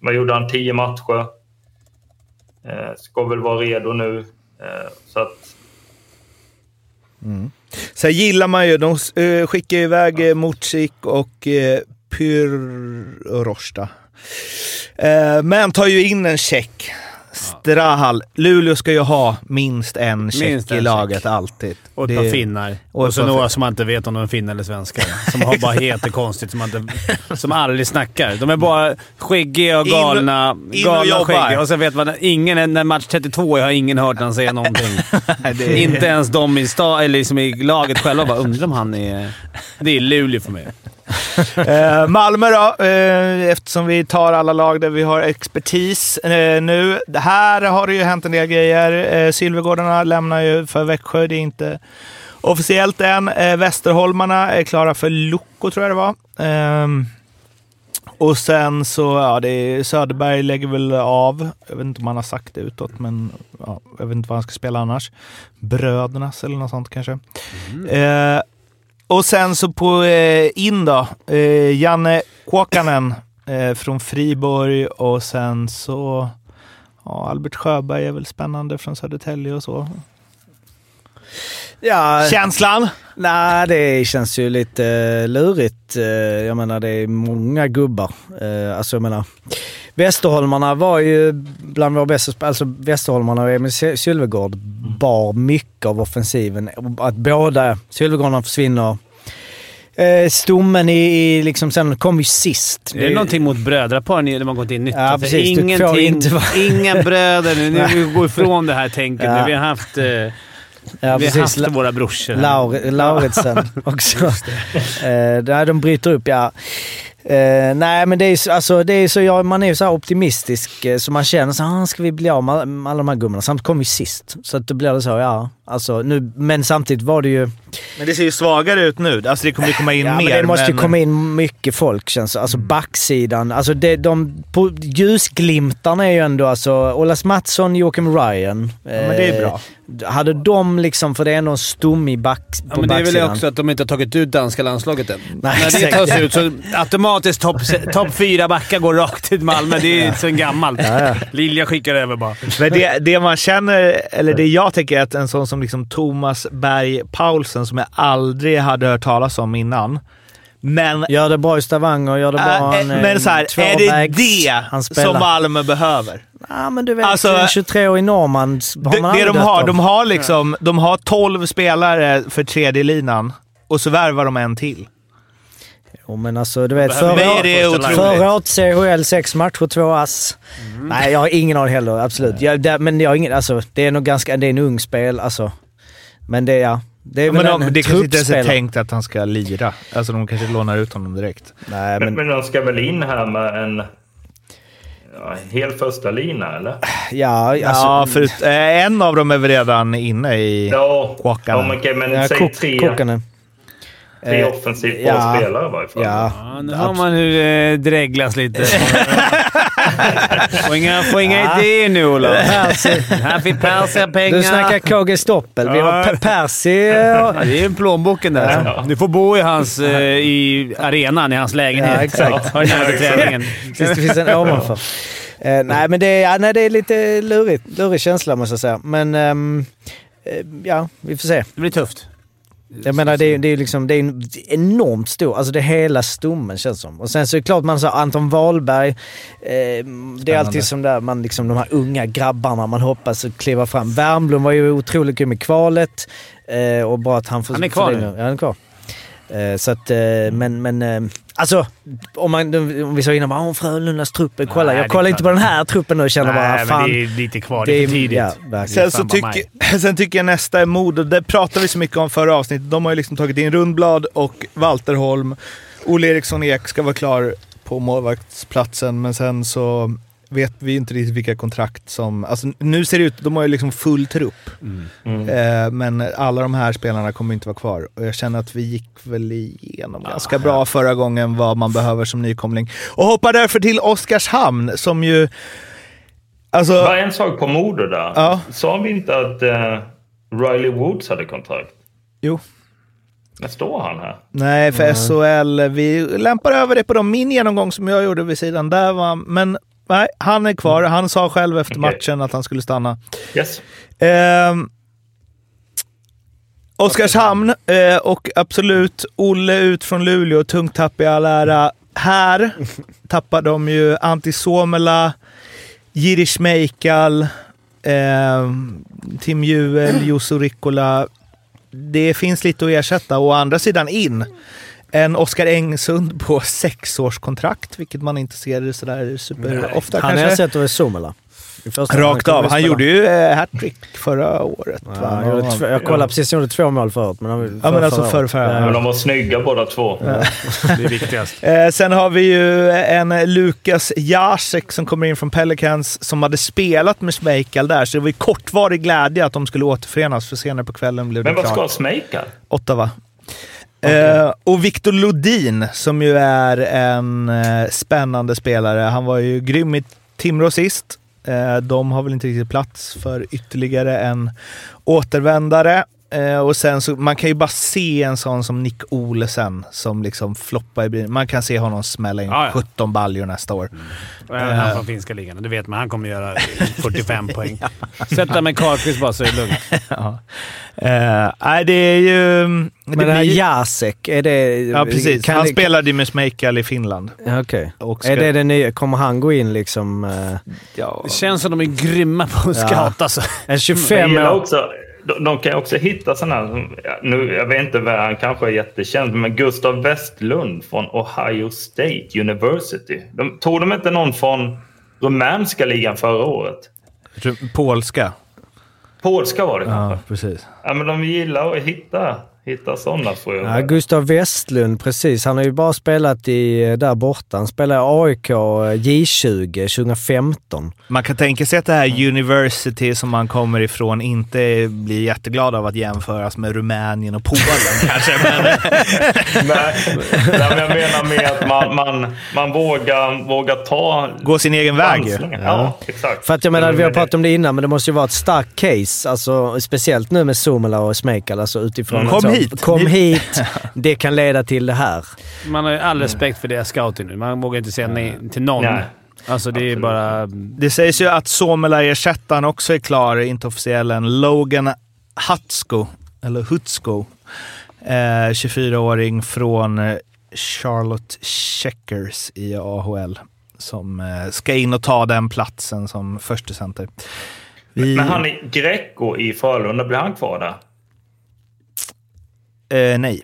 Speaker 9: vad gjorde han? Tio matcher. Eh, ska väl vara redo nu. Eh, så att,
Speaker 1: Sen gillar man ju, de eh, skickar ju iväg eh, Mucic och eh, Pyrrosta. Eh, men tar ju in en check. Strahal. Luleå ska ju ha minst en check
Speaker 2: Minst
Speaker 1: i
Speaker 2: en
Speaker 1: laget alltid.
Speaker 2: Och ett
Speaker 1: Det-
Speaker 2: par finnar.
Speaker 1: och
Speaker 2: Och,
Speaker 1: ett
Speaker 2: så
Speaker 1: par
Speaker 2: några som man inte vet om de är finnar eller svenskar. Som har bara heter konstigt, som, man inte, som aldrig snackar. De är bara skäggiga och
Speaker 1: In och-
Speaker 2: galna.
Speaker 1: in och
Speaker 2: galna
Speaker 1: jobbar.
Speaker 2: skäggiga. Och så vet man att ingen, är- när match 32 är, har ingen hört han säga någonting.
Speaker 1: det-
Speaker 2: Inte ens de i, sta, eller liksom i laget själva bara undrar om han är... Det är Luleå för mig.
Speaker 1: Eh, Malmö då, eh, eftersom vi tar alla lag där vi har expertis eh, nu. Det Här har det ju hänt en del grejer. Eh, Silvergårdarna lämnar ju för Växjö. Det är inte officiellt än. Eh, Västerholmarna är klara för Locko, tror jag det var. Ehm, och sen så, ja, det är, Söderberg lägger väl av. Jag vet inte om han har sagt det utåt, men ja, jag vet inte vad han ska spela annars. Brödernas eller något sånt kanske. Eh, och sen så på eh, in då, eh, Janne Kåkanen eh, från Friborg och sen så ja, Albert Sjöberg är väl spännande från Södertälje och så.
Speaker 8: Ja,
Speaker 1: Känslan?
Speaker 8: nej, det känns ju lite eh, lurigt. Eh, Jag menar, det är många gubbar. Eh, Alltså, jag menar... Västerholmarna var ju bland våra bästa spelare. Alltså Västerholmarna och Emil Sy- Sylvegård bar mycket av offensiven. Att båda Sylvegårdarna försvinner. Eh, Stommen i, i liksom, sen kom ju sist.
Speaker 2: Det är någonting mot brödrapar när man gått in nytt.
Speaker 8: Ja,
Speaker 2: Alltså,
Speaker 8: precis. Du får
Speaker 2: Ingenting,
Speaker 8: inte vara-
Speaker 2: Inga bröder nu. Nu vi går ifrån det här tänket.
Speaker 8: Ja.
Speaker 2: Vi har haft, eh,
Speaker 8: Ja,
Speaker 2: vi har
Speaker 8: precis.
Speaker 2: haft våra brorsor. här.
Speaker 8: Laur- Lauritsen också. Eh, där de bryter upp, ja. Eh, nej, men det är, så- alltså, det är så, ja, man är ju så här optimistisk eh, så man känner så här, "Ah, ska vi bli av med alla, med alla de här gummorna? Samt kom vi sist. Så att då blir det så, ja, Alltså, nu, men samtidigt var det ju...
Speaker 1: Men det ser ju svagare ut nu. Alltså det kommer ju komma in
Speaker 8: Ja,
Speaker 1: mer.
Speaker 8: men det måste ju
Speaker 1: men-
Speaker 8: komma in mycket folk känns det. Alltså backsidan. Alltså det, de på, ljusglimtarna är ju ändå alltså Olas Mattsson, Joakim Ryan. Ja,
Speaker 1: men det är bra.
Speaker 8: Hade de liksom, för det är ändå en stomme i back, på
Speaker 2: Ja, men det är väl
Speaker 8: backsidan.
Speaker 2: också att de inte har tagit ut danska landslaget än. När det
Speaker 8: exakt.
Speaker 2: tas ut så automatiskt topp top fyra backar går rakt till Malmö. Det är ju sen gammalt. Lilja skickar över bara.
Speaker 1: Men det, det man känner, eller det jag tänker är att en sån som liksom Thomas Berg Paulsen, som jag aldrig hade hört talas om innan. Men,
Speaker 8: Gör det bra i Stavanger, gör det bra
Speaker 1: äh,
Speaker 8: en, eh,
Speaker 1: men så här, är det
Speaker 8: tvåvägs.
Speaker 1: det
Speaker 8: Han spelar.
Speaker 1: som Malmö behöver?
Speaker 8: Ja, men du vet,
Speaker 1: Alltså,
Speaker 8: en 23 år i Norman s- har
Speaker 1: Det,
Speaker 8: man
Speaker 1: det
Speaker 8: aldrig
Speaker 1: de
Speaker 8: hört
Speaker 1: har,
Speaker 8: om.
Speaker 1: de har liksom, de har 12 spelare för tredje linan och så värvar de en till.
Speaker 8: Jo, men alltså, du vet,
Speaker 1: För mig
Speaker 8: förra,
Speaker 1: är det otroligt. Mm.
Speaker 8: Förra året CHL sex matcher, två ass. Nej, jag har ingen aning heller. Absolut. Jag, det, men jag har ingen, alltså, det är nog ganska... Det är en ung spel, alltså. Men det, ja. Det är
Speaker 1: Men
Speaker 8: väl
Speaker 1: de,
Speaker 8: en
Speaker 1: det kanske inte ens är
Speaker 8: truppspelare.
Speaker 1: tänkt att han ska lira. Alltså de kanske lånar ut honom direkt.
Speaker 8: Nej,
Speaker 9: Men,
Speaker 8: men
Speaker 9: men de ska väl in här med en ja, en hel första lina, eller?
Speaker 8: ja, alltså,
Speaker 1: ja, förut, eh, en av dem är väl redan inne i...
Speaker 9: Ja,
Speaker 1: Kåkarna.
Speaker 9: ja men, okej, men
Speaker 8: ja,
Speaker 9: säg
Speaker 8: kok,
Speaker 9: tre,
Speaker 8: Kockarna.
Speaker 9: tre
Speaker 8: Eh,
Speaker 9: offensivt
Speaker 8: ja.
Speaker 9: bra spelare i varje fall.
Speaker 8: Ja.
Speaker 2: Ja, nu hör man hur det dreglas lite. Få inga, få inga idéer nu, Olof. Här fick Persia pengar.
Speaker 8: Du snackar KG Stoppel. Vi har
Speaker 2: Ja.
Speaker 8: Pe- Percy eh, och
Speaker 2: Ja, det är ju plånboken där. Du får bo i hans, eh, i arenan, i hans lägenhet.
Speaker 8: Ja, exakt.
Speaker 2: Har nära till träningen.
Speaker 8: Tills det finns en ovanför. Eh, nej, men det är, ja, nej, det är lite lurigt, lurig känsla måste jag säga. Men ehm, eh, ja, vi får se.
Speaker 2: Det blir tufft.
Speaker 8: Jag menar, det är, det är, liksom, det är en enormt stor, alltså det är hela stommen känns som. Och sen så är det klart man sa Anton Wahlberg. Eh, det är alltid som där man liksom, de här unga grabbarna man hoppas att kliva fram. Värmblom var ju otroligt grym i kvalet. Eh, och bra att han får...
Speaker 2: Han är
Speaker 8: får
Speaker 2: kvar
Speaker 8: det
Speaker 2: nu.
Speaker 8: Ja, han är kvar. Eh, så att, eh, men, men eh, alltså om, man, om vi sa innan bara, "Åh, Frölundas trupp, är- kolla.
Speaker 2: Nej, det
Speaker 8: jag
Speaker 2: är
Speaker 8: kollar
Speaker 2: klart.
Speaker 8: inte på den här truppen nu och känner bara, fan.
Speaker 2: det är lite kvar. Det är för tidigt.
Speaker 8: ja, verkligen.
Speaker 2: Det är
Speaker 1: Sen,
Speaker 2: fan
Speaker 1: så
Speaker 2: bara maj.
Speaker 1: tycker, sen tycker jag nästa är mod och det pratade vi så mycket om förra avsnittet. De har ju liksom tagit in Rundblad och Walter Holm. Olle Eriksson Ek ska vara klar på målvaktsplatsen, men sen så vet vi inte riktigt vilka kontrakt som... Alltså nu ser det ut... De har ju liksom full trupp.
Speaker 2: Mm.
Speaker 1: Eh, men alla de här spelarna kommer inte vara kvar. Och jag känner att vi gick väl igenom ganska bra förra gången vad man behöver som nykomling. Och hoppar därför till Oskarshamn som ju... Alltså...
Speaker 9: Bara en sak på Modo där.
Speaker 1: Ja.
Speaker 9: Sa vi inte att eh, Riley Woods hade kontrakt?
Speaker 1: Jo.
Speaker 9: Men står han här?
Speaker 1: Nej, för SHL. Vi lämpar över det på dem. min genomgång som jag gjorde vid sidan där. Var, men nej, han är kvar. Han sa själv efter
Speaker 9: Okej.
Speaker 1: matchen att han skulle stanna.
Speaker 9: Yes.
Speaker 1: Ehm, Oskarshamn eh, och absolut Olle ut från Luleå. Tungt tapp i all ära. Här tappar de ju Antti Suomela, Jirish Meikal, ehm, Tim Juel, Jusso Rikkola. Det finns lite att ersätta. Å andra sidan in en Oskar Engsund på sexårskontrakt, vilket man inte ser sådär superofta
Speaker 8: Han
Speaker 1: kanske.
Speaker 8: ersätter väl Suomela. I första hand.
Speaker 1: Rakt
Speaker 8: kommer
Speaker 1: av. Han
Speaker 8: spela.
Speaker 1: gjorde ju eh, hattrick förra året.
Speaker 8: Ja,
Speaker 1: va?
Speaker 8: han gjorde två, jag kollade precis, han gjorde två mål förut. Men han,
Speaker 1: Ja, men alltså
Speaker 8: förra året.
Speaker 1: förrförra.
Speaker 9: Men de var snygga båda två.
Speaker 2: Det är viktigast.
Speaker 1: Eh, sen har vi ju en Lukas Jacek som kommer in från Pelicans som hade spelat med Schmeichel där, så det var ju kortvarig glädje att de skulle återförenas, för senare på kvällen blev det
Speaker 9: Men vad ska
Speaker 1: klart.
Speaker 9: Smejka?
Speaker 1: Ottawa. Eh, och Victor Lodin, som ju är en eh, spännande spelare. Han var ju grym i Timrå sist. Eh, de har väl inte riktigt plats för ytterligare en återvändare. Eh, och sen så, man kan ju bara se en sån som Nick Olesen som liksom floppar i byn. Man kan se honom smälla in
Speaker 2: Ja, ja.
Speaker 1: 17 baljor nästa år.
Speaker 2: Även Eh,
Speaker 1: Eh.
Speaker 2: han från finska ligan. Du vet man, han kommer göra 45 poäng. Sätt honom med Karlqvist bara så är det lugnt.
Speaker 1: Eh, nej, det är ju...
Speaker 8: Men det här
Speaker 1: blir-
Speaker 8: Jacek, är det...
Speaker 1: ja, precis.
Speaker 8: kan
Speaker 1: Han
Speaker 8: det-
Speaker 1: spelade ju med Schmeichel i Finland.
Speaker 8: Ja, Okej.
Speaker 1: Och
Speaker 8: Är
Speaker 1: ska-
Speaker 8: det den nya? Kommer han gå in liksom... eh,
Speaker 1: Ja.
Speaker 2: Det känns som de är grymma på att
Speaker 8: Ja.
Speaker 2: scouta. Alltså.
Speaker 1: Mm,
Speaker 8: en
Speaker 9: Jag
Speaker 8: 25
Speaker 9: gillar
Speaker 8: år?
Speaker 9: också, de, de kan ju också hitta sådana här, som- ja, nu, jag vet inte, vad- han kanske är jättekänd, men Gustav Westlund från Ohio State University. De, tog de inte någon från rumänska ligan förra året?
Speaker 1: Polska.
Speaker 9: Polska var det kanske.
Speaker 1: precis.
Speaker 9: Ja, men de gillar att hitta, Hitta sådana får jag.
Speaker 8: Ja, Gustav Westlund, precis. Han har ju bara spelat i, eh, där borta. Han spelade AIK J20 2015.
Speaker 1: Man kan tänka sig att det här university som man kommer ifrån inte blir jätteglad av att jämföras med Rumänien och Polen kanske. Men,
Speaker 9: Nej, nej, men jag menar med att man, man, man vågar, vågar ta
Speaker 1: gå sin egen väg ju.
Speaker 9: chansningar. Ja, exakt.
Speaker 8: För att jag
Speaker 1: Mm,
Speaker 8: menar,
Speaker 9: Men
Speaker 8: vi har
Speaker 9: det-
Speaker 8: pratat om det innan, men det måste ju vara ett starkt case. Alltså, speciellt nu med Somela och Smekal. Alltså utifrån
Speaker 1: Mm.
Speaker 8: att
Speaker 1: Kom
Speaker 8: så-
Speaker 1: hit!
Speaker 8: Kom
Speaker 1: Ni-
Speaker 8: hit! Det kan leda till det här.
Speaker 2: Man har ju all respekt för deras scouting nu. Man vågar inte säga nej till någon.
Speaker 9: Nej.
Speaker 2: Alltså det är
Speaker 9: Absolut.
Speaker 2: bara...
Speaker 1: Det sägs ju att Somela-ersättaren också är klar, inte officiell än. Logan Hutsko, eller Hutsko, eh, 24-åring från eh, Charlotte Checkers i AHL, som eh, ska in och ta den platsen som första center. Vi,
Speaker 9: Men han är Greco i Frölunda, blir han kvar där?
Speaker 1: eh, nej.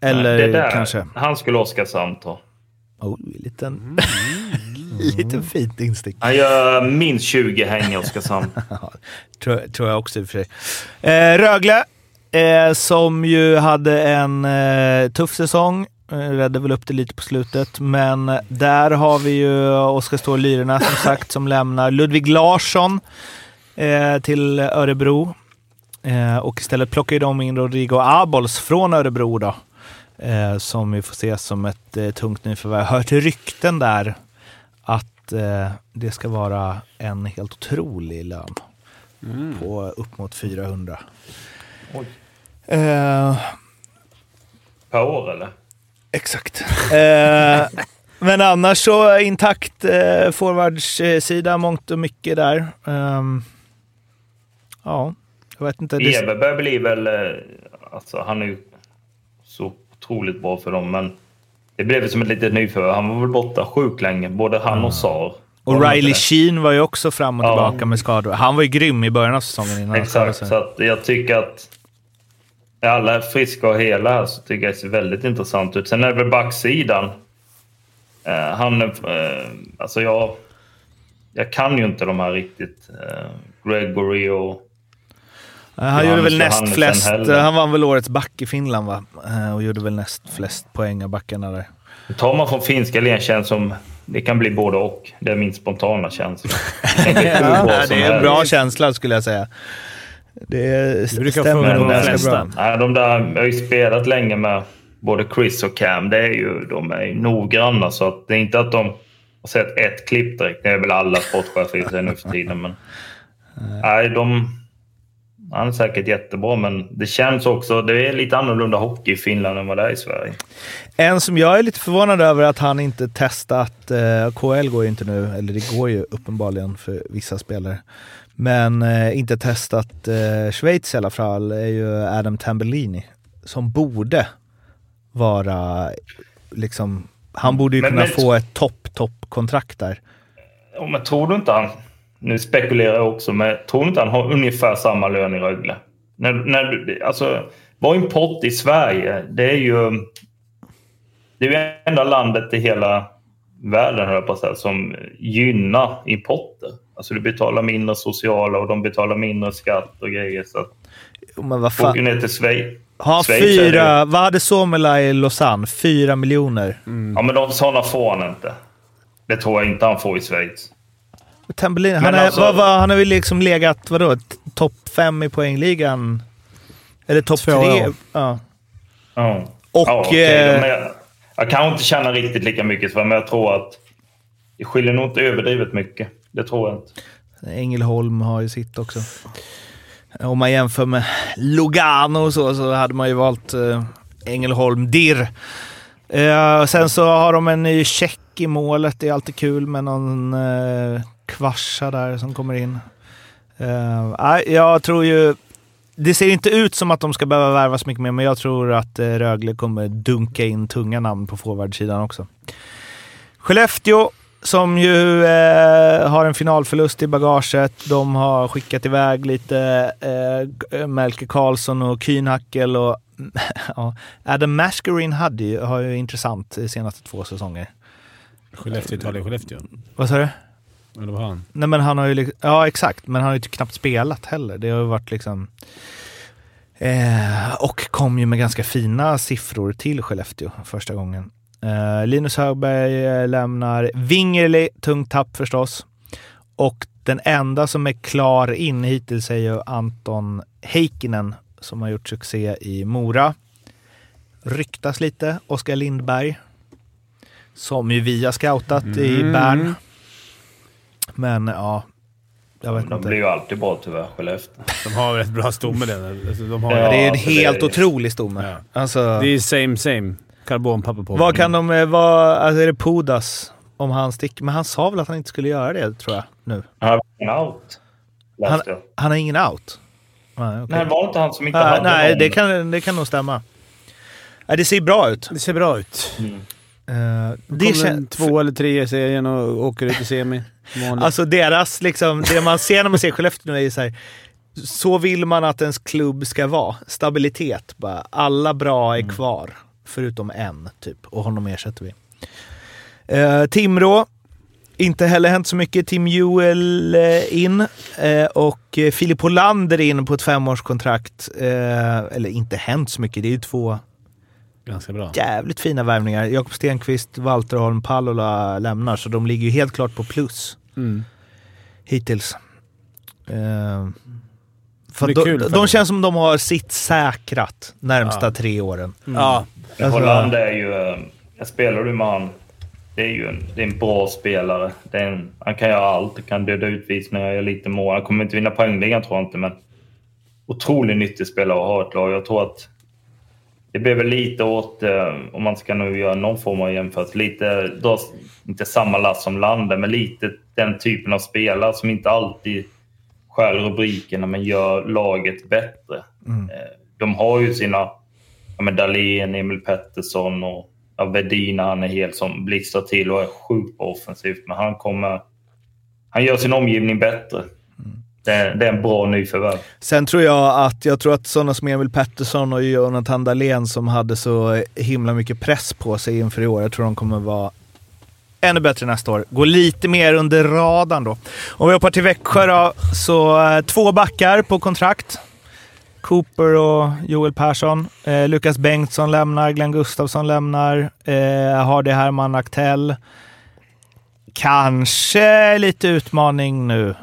Speaker 1: Eller
Speaker 9: det där,
Speaker 1: kanske...
Speaker 9: Han skulle Oskarshamn ta.
Speaker 1: Oh, liten... liten fint instick.
Speaker 9: Han gör minst 20 häng i Oskarshamn.
Speaker 1: Tror, tror jag också i och för sig. Eh, Rögle, eh, som ju hade en eh, tuff säsong. Eh, Räddade väl upp det lite på slutet, men där har vi ju Oskar Ståhl Lyrorna som sagt som lämnar. Ludvig Larsson eh, till Örebro. Eh, och istället plockar ju de in Rodrigo Abols från Örebro då. Eh, som vi får se som ett eh, tungt nyförvärv. Jag har Hört rykten där att eh, det ska vara en helt otrolig lön på upp mot 400.
Speaker 9: Oj.
Speaker 1: Eh,
Speaker 9: Per år eller?
Speaker 1: exakt. Eh, men annars så intakt eh, forwardssida mångt och mycket där. Ehm, ja, jag vet inte. Det,
Speaker 9: Eberberg blir väl... eh, Alltså, han är ju så otroligt bra för dem, men det blev ju som ett litet nyförvärv. Han var väl borta sjukt länge, både han och Sar.
Speaker 1: och Riley
Speaker 9: Sheen.
Speaker 1: Sheen var ju också fram och
Speaker 9: Ja.
Speaker 1: tillbaka med skador. Han var ju grym i början av säsongen innan han skadade
Speaker 9: Exakt,
Speaker 1: sig.
Speaker 9: så att jag tycker att... När alla är friska och hela här så tycker jag det ser väldigt intressant ut. Sen är det väl backsidan. Eh, han... är- Eh, alltså, jag... Jag kan ju inte de här riktigt. Eh, Gregory och...
Speaker 1: Eh, Han gjorde
Speaker 9: Johannes
Speaker 1: väl näst
Speaker 9: Johannesson
Speaker 1: flest. eh,
Speaker 9: heller.
Speaker 1: Han vann väl årets back i Finland va? Eh, Och gjorde väl näst flest poäng av backarna där.
Speaker 9: Tar man från finska ligan känns som det kan bli både och. Det är min spontana känsla. Jag tänker hur bra som
Speaker 1: det är en
Speaker 9: helst.
Speaker 1: bra känsla skulle jag säga. Det
Speaker 2: brukar
Speaker 1: stämmer
Speaker 2: funka
Speaker 1: nog
Speaker 2: på de
Speaker 1: ganska
Speaker 2: flesta.
Speaker 1: bra.
Speaker 9: eh, Nej, de där, jag har ju spelat länge med både Chris och Cam. Det är ju, de är ju noggranna, så att det är inte att de har sett ett klipp direkt. Det är väl alla sportchefer i sig nu för tiden. Men, nej, de, han är säkert jättebra, men det känns också... Det är lite annorlunda hockey i Finland än vad det är i Sverige.
Speaker 1: En som jag är lite förvånad över att han inte testat. Eh, KL går ju inte nu, eller det går ju uppenbarligen för vissa spelare. Men eh, inte testat eh, Schweiz i alla fall är ju Adam Tambellini. Som borde vara liksom... Han borde ju
Speaker 9: Men-
Speaker 1: kunna
Speaker 9: men-
Speaker 1: få ett topp, topp kontrakt där.
Speaker 9: Ja, men tror du inte han... Nu spekulerar jag också, men tror du inte han har ungefär samma lön i Rögle? När, när, du- alltså, vår import i Sverige, det är ju... Det är ju enda landet i hela världen, höll jag på att säga, som gynnar importer. Alltså du betalar mindre sociala och de betalar mindre skatt och grejer. Så att
Speaker 1: Jo, Men vad
Speaker 9: åker du
Speaker 1: fan.
Speaker 9: ner till Schweiz...
Speaker 1: Har han
Speaker 9: Schweiz är det-
Speaker 1: fyra... Vad hade Somela i Lausanne? Fyra miljoner.
Speaker 9: Ja, men de, sådana får han inte. Det tror jag inte han får i Schweiz.
Speaker 1: Tambellini, han,
Speaker 9: Men
Speaker 1: är,
Speaker 9: alltså-
Speaker 1: vad, vad, han har väl liksom legat, vadå, t- topp fem i poängligan? Eller topp
Speaker 8: Två
Speaker 1: tre?
Speaker 8: år.
Speaker 1: Ja.
Speaker 9: Ja.
Speaker 1: Och,
Speaker 9: ja, okej,
Speaker 1: eh,
Speaker 9: men jag, jag kan inte känna riktigt lika mycket, för men jag tror att det skiljer nog inte överdrivet mycket. Det tror jag inte.
Speaker 1: Ängelholm har ju sitt också. Om man jämför med Lugano och så, så hade man ju valt eh, Ängelholm Dirr. Eh, sen så har de en ny check i målet. Det är alltid kul med någon eh, kvarsa där som kommer in. Eh, nej, jag tror ju... Det ser inte ut som att de ska behöva värva så mycket mer, men jag tror att eh, Rögle kommer dunka in tunga namn på forwardsidan också. Skellefteå, som ju eh, har en finalförlust i bagaget. De har skickat iväg lite eh, Melke Karlsson och Kühnhackel och ja, Adam Mascarin hade ju, har ju intressant de senaste två säsonger.
Speaker 2: Skellefteå, Italien, Skellefteå.
Speaker 1: Vad sa du?
Speaker 2: Eller vad han?
Speaker 1: Nej men han har ju, liksom- ja exakt, men han har ju typ knappt spelat heller. Det har ju varit liksom... Eh, och kom ju med ganska fina siffror till Skellefteå första gången. Eh, Linus Högberg eh, lämnar Wingerli, tungt tapp förstås. Och den enda som är klar in hittills är ju Anton Heikkinen som har gjort succé i Mora. Ryktas lite, Oskar Lindberg. Som ju vi har scoutat i Bern. Men ja, jag vet
Speaker 9: De
Speaker 1: inte.
Speaker 9: blir ju alltid bra tyvärr, Skellefteå.
Speaker 2: De har väl ett bra stomme där. Alltså, de har
Speaker 9: Ja.
Speaker 1: det är en
Speaker 9: alltså,
Speaker 1: helt
Speaker 9: det är-
Speaker 1: otrolig stomme.
Speaker 2: Ja.
Speaker 1: Alltså,
Speaker 2: Det är same same. Karbonpapper på.
Speaker 1: vad kan de... eh, Vad, alltså är det Pudas om han sticker? Men han sa väl att han inte skulle göra det, tror jag. Nu.
Speaker 9: Han var out,
Speaker 1: Han,
Speaker 9: läste jag.
Speaker 1: han har ingen out. Nej, okej.
Speaker 9: Nej, var det inte han som inte
Speaker 1: Ah,
Speaker 9: hade
Speaker 1: nej
Speaker 9: någon?
Speaker 1: det, kan, det kan nog stämma. Nej, det ser bra ut.
Speaker 2: Det ser bra ut.
Speaker 1: Eh,
Speaker 2: Det
Speaker 1: det
Speaker 2: kommer en
Speaker 1: kän-
Speaker 2: två eller tre i serien och åker ut i semi. Vanligt.
Speaker 1: Alltså deras, liksom, det man ser när man ser Skellefteå nu är ju så här. Så vill man att ens klubb ska vara. Stabilitet bara. Alla bra är kvar. Förutom en, typ. Och honom ersätter vi. Eh, Timrå. Inte heller hänt så mycket. Tim Juel eh, in. Eh, och eh, Filip Hollander in på ett femårskontrakt. Eh, eller inte hänt så mycket. Det är ju två
Speaker 2: Ganska bra.
Speaker 1: jävligt fina värvningar. Jakob Stenqvist, Walter Holm, Pallola lämnar, så de ligger ju helt klart på plus
Speaker 2: Mm.
Speaker 1: hittills. Eh, för
Speaker 2: blir
Speaker 1: de,
Speaker 2: kul
Speaker 1: de,
Speaker 2: för dem.
Speaker 1: känns som de har sitt säkrat närmsta
Speaker 2: Ja. Mm.
Speaker 1: tre åren.
Speaker 2: Ja.
Speaker 9: Men
Speaker 1: Alltså-
Speaker 9: Hollander är ju... eh, Jag spelar du med han. Det är ju en, det är en bra spelare. Det är en, han kan göra allt. Han kan döda utvisningar, göra lite mål. Han kommer inte vinna poängligan tror jag inte, men otroligt nyttig spelare att ha i ett lag. Jag tror att det blir väl lite åt, eh, om man ska nu göra någon form av jämförelse, lite, då, inte samma last som Lande, men lite den typen av spelare som inte alltid skär rubrikerna men gör laget bättre. Eh, De har ju sina ja, men Dahlén, Emil Pettersson och ja, Vedin när han är helt som blixtrar till och är sjukt bra offensivt. Men han kommer... Han gör sin omgivning bättre.
Speaker 1: Mm.
Speaker 9: Det, det är en bra nyförvärv.
Speaker 1: Sen tror jag att, jag tror att sådana som Emil Pettersson och Jonathan Dahlén som hade så himla mycket press på sig inför i år, jag tror de kommer vara ännu bättre nästa år. Gå lite mer under radarn då. Om vi hoppar till Växjö då, så eh, två backar på kontrakt. Cooper och Joel Persson. Eh, Lukas Bengtsson lämnar, Glenn Gustafsson lämnar, eh, har det Herman Aktell. Kanske lite utmaning nu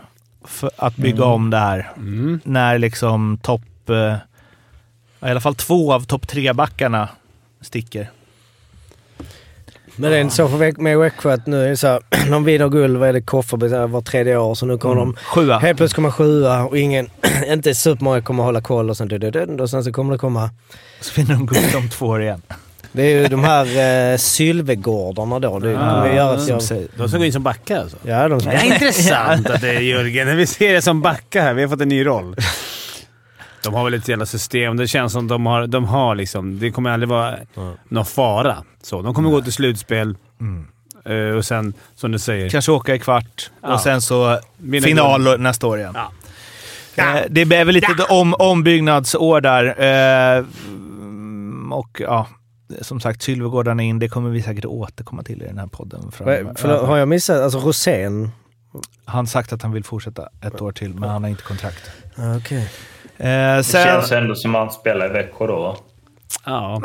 Speaker 1: för att bygga om det här. När liksom topp... Eh, I alla fall två av topp tre-backarna sticker.
Speaker 11: Men det är inte så för Väx- med Växjö att nu är det så här, de vinner guld, vad är det, Kofferberg så här var tredje år, så nu kommer
Speaker 1: Mm.
Speaker 11: de
Speaker 1: Sjua.
Speaker 11: Helt plötsligt kommer sjua och ingen, inte supermånga kommer hålla koll och sen, du, du, du, och sen så kommer det komma.
Speaker 1: Så vinner de guld om två år igen.
Speaker 11: Det är ju de här eh, Sylvegårdarna då. Det kommer ju göra att jag...
Speaker 2: De ska gå in som backa alltså.
Speaker 11: Ja, de ska...
Speaker 2: Det är intressant att det är Jörgen. Vi ser det som backa här. Vi har fått en ny roll. De har väl ett jävla system. Det känns som de har, de har liksom... Det kommer aldrig vara någon fara. Så, de kommer gå till slutspel. Eh, och sen, som du säger...
Speaker 1: Kanske åka i kvart och
Speaker 2: Ja.
Speaker 1: sen så
Speaker 2: Vinna
Speaker 1: final nästa år igen.
Speaker 2: Ja.
Speaker 1: Eh, det blir väl lite om, ombyggnadsår där. Eh, mm, och ja, som sagt, Sylvegården är in. Det kommer vi säkert återkomma till i den här podden. framöver.
Speaker 11: Vad- Förlåt, har jag missat? Alltså Rosén?
Speaker 1: Han har sagt att han vill fortsätta ett år till, men han har inte kontrakt.
Speaker 11: Okej.
Speaker 1: Eh,
Speaker 9: Det
Speaker 1: sen,
Speaker 9: känns ändå som han spelar i Växjö då, va?
Speaker 2: Ja.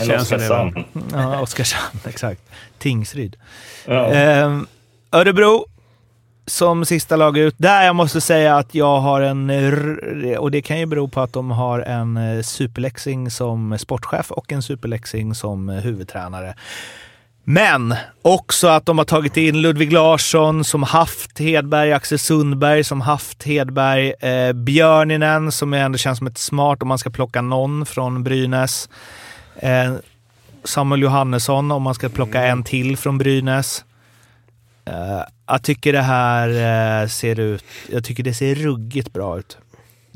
Speaker 9: Eller
Speaker 2: Känns det,
Speaker 9: Oskarshamn.
Speaker 1: ja, Oskarshamn, exakt. Tingsryd.
Speaker 9: Ja.
Speaker 1: Ehm, Örebro som sista lag ut. Där jag måste säga att jag har en... r- Och det kan ju bero på att de har en eh, superläxing som sportchef och en superläxing som eh, huvudtränare. Men också att de har tagit in Ludvig Larsson som haft Hedberg, Axel Sundberg som haft Hedberg, eh, Björninen som ändå känns som ett smart om man ska plocka någon från Brynäs. Eh, Samuel Johannesson om man ska plocka en till från Brynäs. Eh, jag tycker det här eh, ser ut... Jag tycker det ser ruggigt bra ut.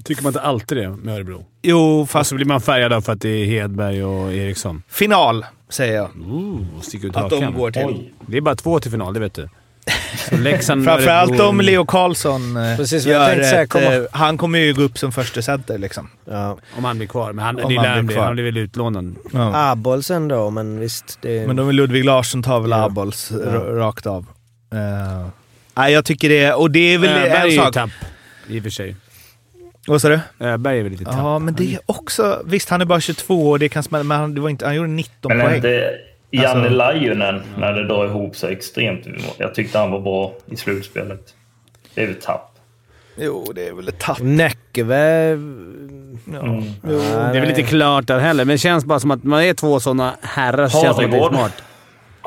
Speaker 2: Tycker man inte alltid det med Örebro?
Speaker 1: Jo,
Speaker 2: Fast
Speaker 1: fast
Speaker 2: så blir man färgad av för att det är Hedberg och Eriksson.
Speaker 1: final säger jag.
Speaker 11: Mm.
Speaker 2: Ooh, sticker ut
Speaker 1: Att de går till.
Speaker 2: Det är bara två till final, det vet du. Så Leksand,
Speaker 1: Framförallt
Speaker 2: Örebro-
Speaker 1: om Leo Karlsson eh,
Speaker 11: Precis vad jag
Speaker 1: gör
Speaker 11: tänkte säga,
Speaker 1: ett,
Speaker 11: komma- Mm.
Speaker 1: eh, Han kommer ju gå upp som första center liksom.
Speaker 11: Ja.
Speaker 2: Om han blir kvar. Men han,
Speaker 1: Om
Speaker 2: det
Speaker 1: han
Speaker 2: lär
Speaker 1: blir
Speaker 2: han bli.
Speaker 1: kvar.
Speaker 2: Han blir väl utlånad.
Speaker 11: Abolsen då, men visst. Det är...
Speaker 1: Men de Ludvig Larsson tar väl Abols r- rakt av. Eh, Nej, jag tycker det. Och det är väl
Speaker 11: Äh,
Speaker 2: Öberg
Speaker 1: en
Speaker 2: är ju
Speaker 1: sak.
Speaker 2: tapp, i och för sig.
Speaker 1: Vad sa du?
Speaker 12: Eh,
Speaker 2: Öberg är väl lite tappad.
Speaker 1: Ja, men det är också... Visst, han är bara 22 och det kan smälla, men han, det var inte, han gjorde 19
Speaker 9: Men
Speaker 1: poäng.
Speaker 9: inte Janne
Speaker 1: Alltså-
Speaker 9: Lajunen när det drar ihop sig extremt. Jag tyckte han var bra i slutspelet. Det är väl tapp.
Speaker 1: Jo, det är väl ett tapp.
Speaker 13: Näckeve...
Speaker 2: Mm. Det är väl inte klart där heller, men det känns bara som att man är två sådana herrar så känns det inte
Speaker 9: Hagegård.
Speaker 2: smart.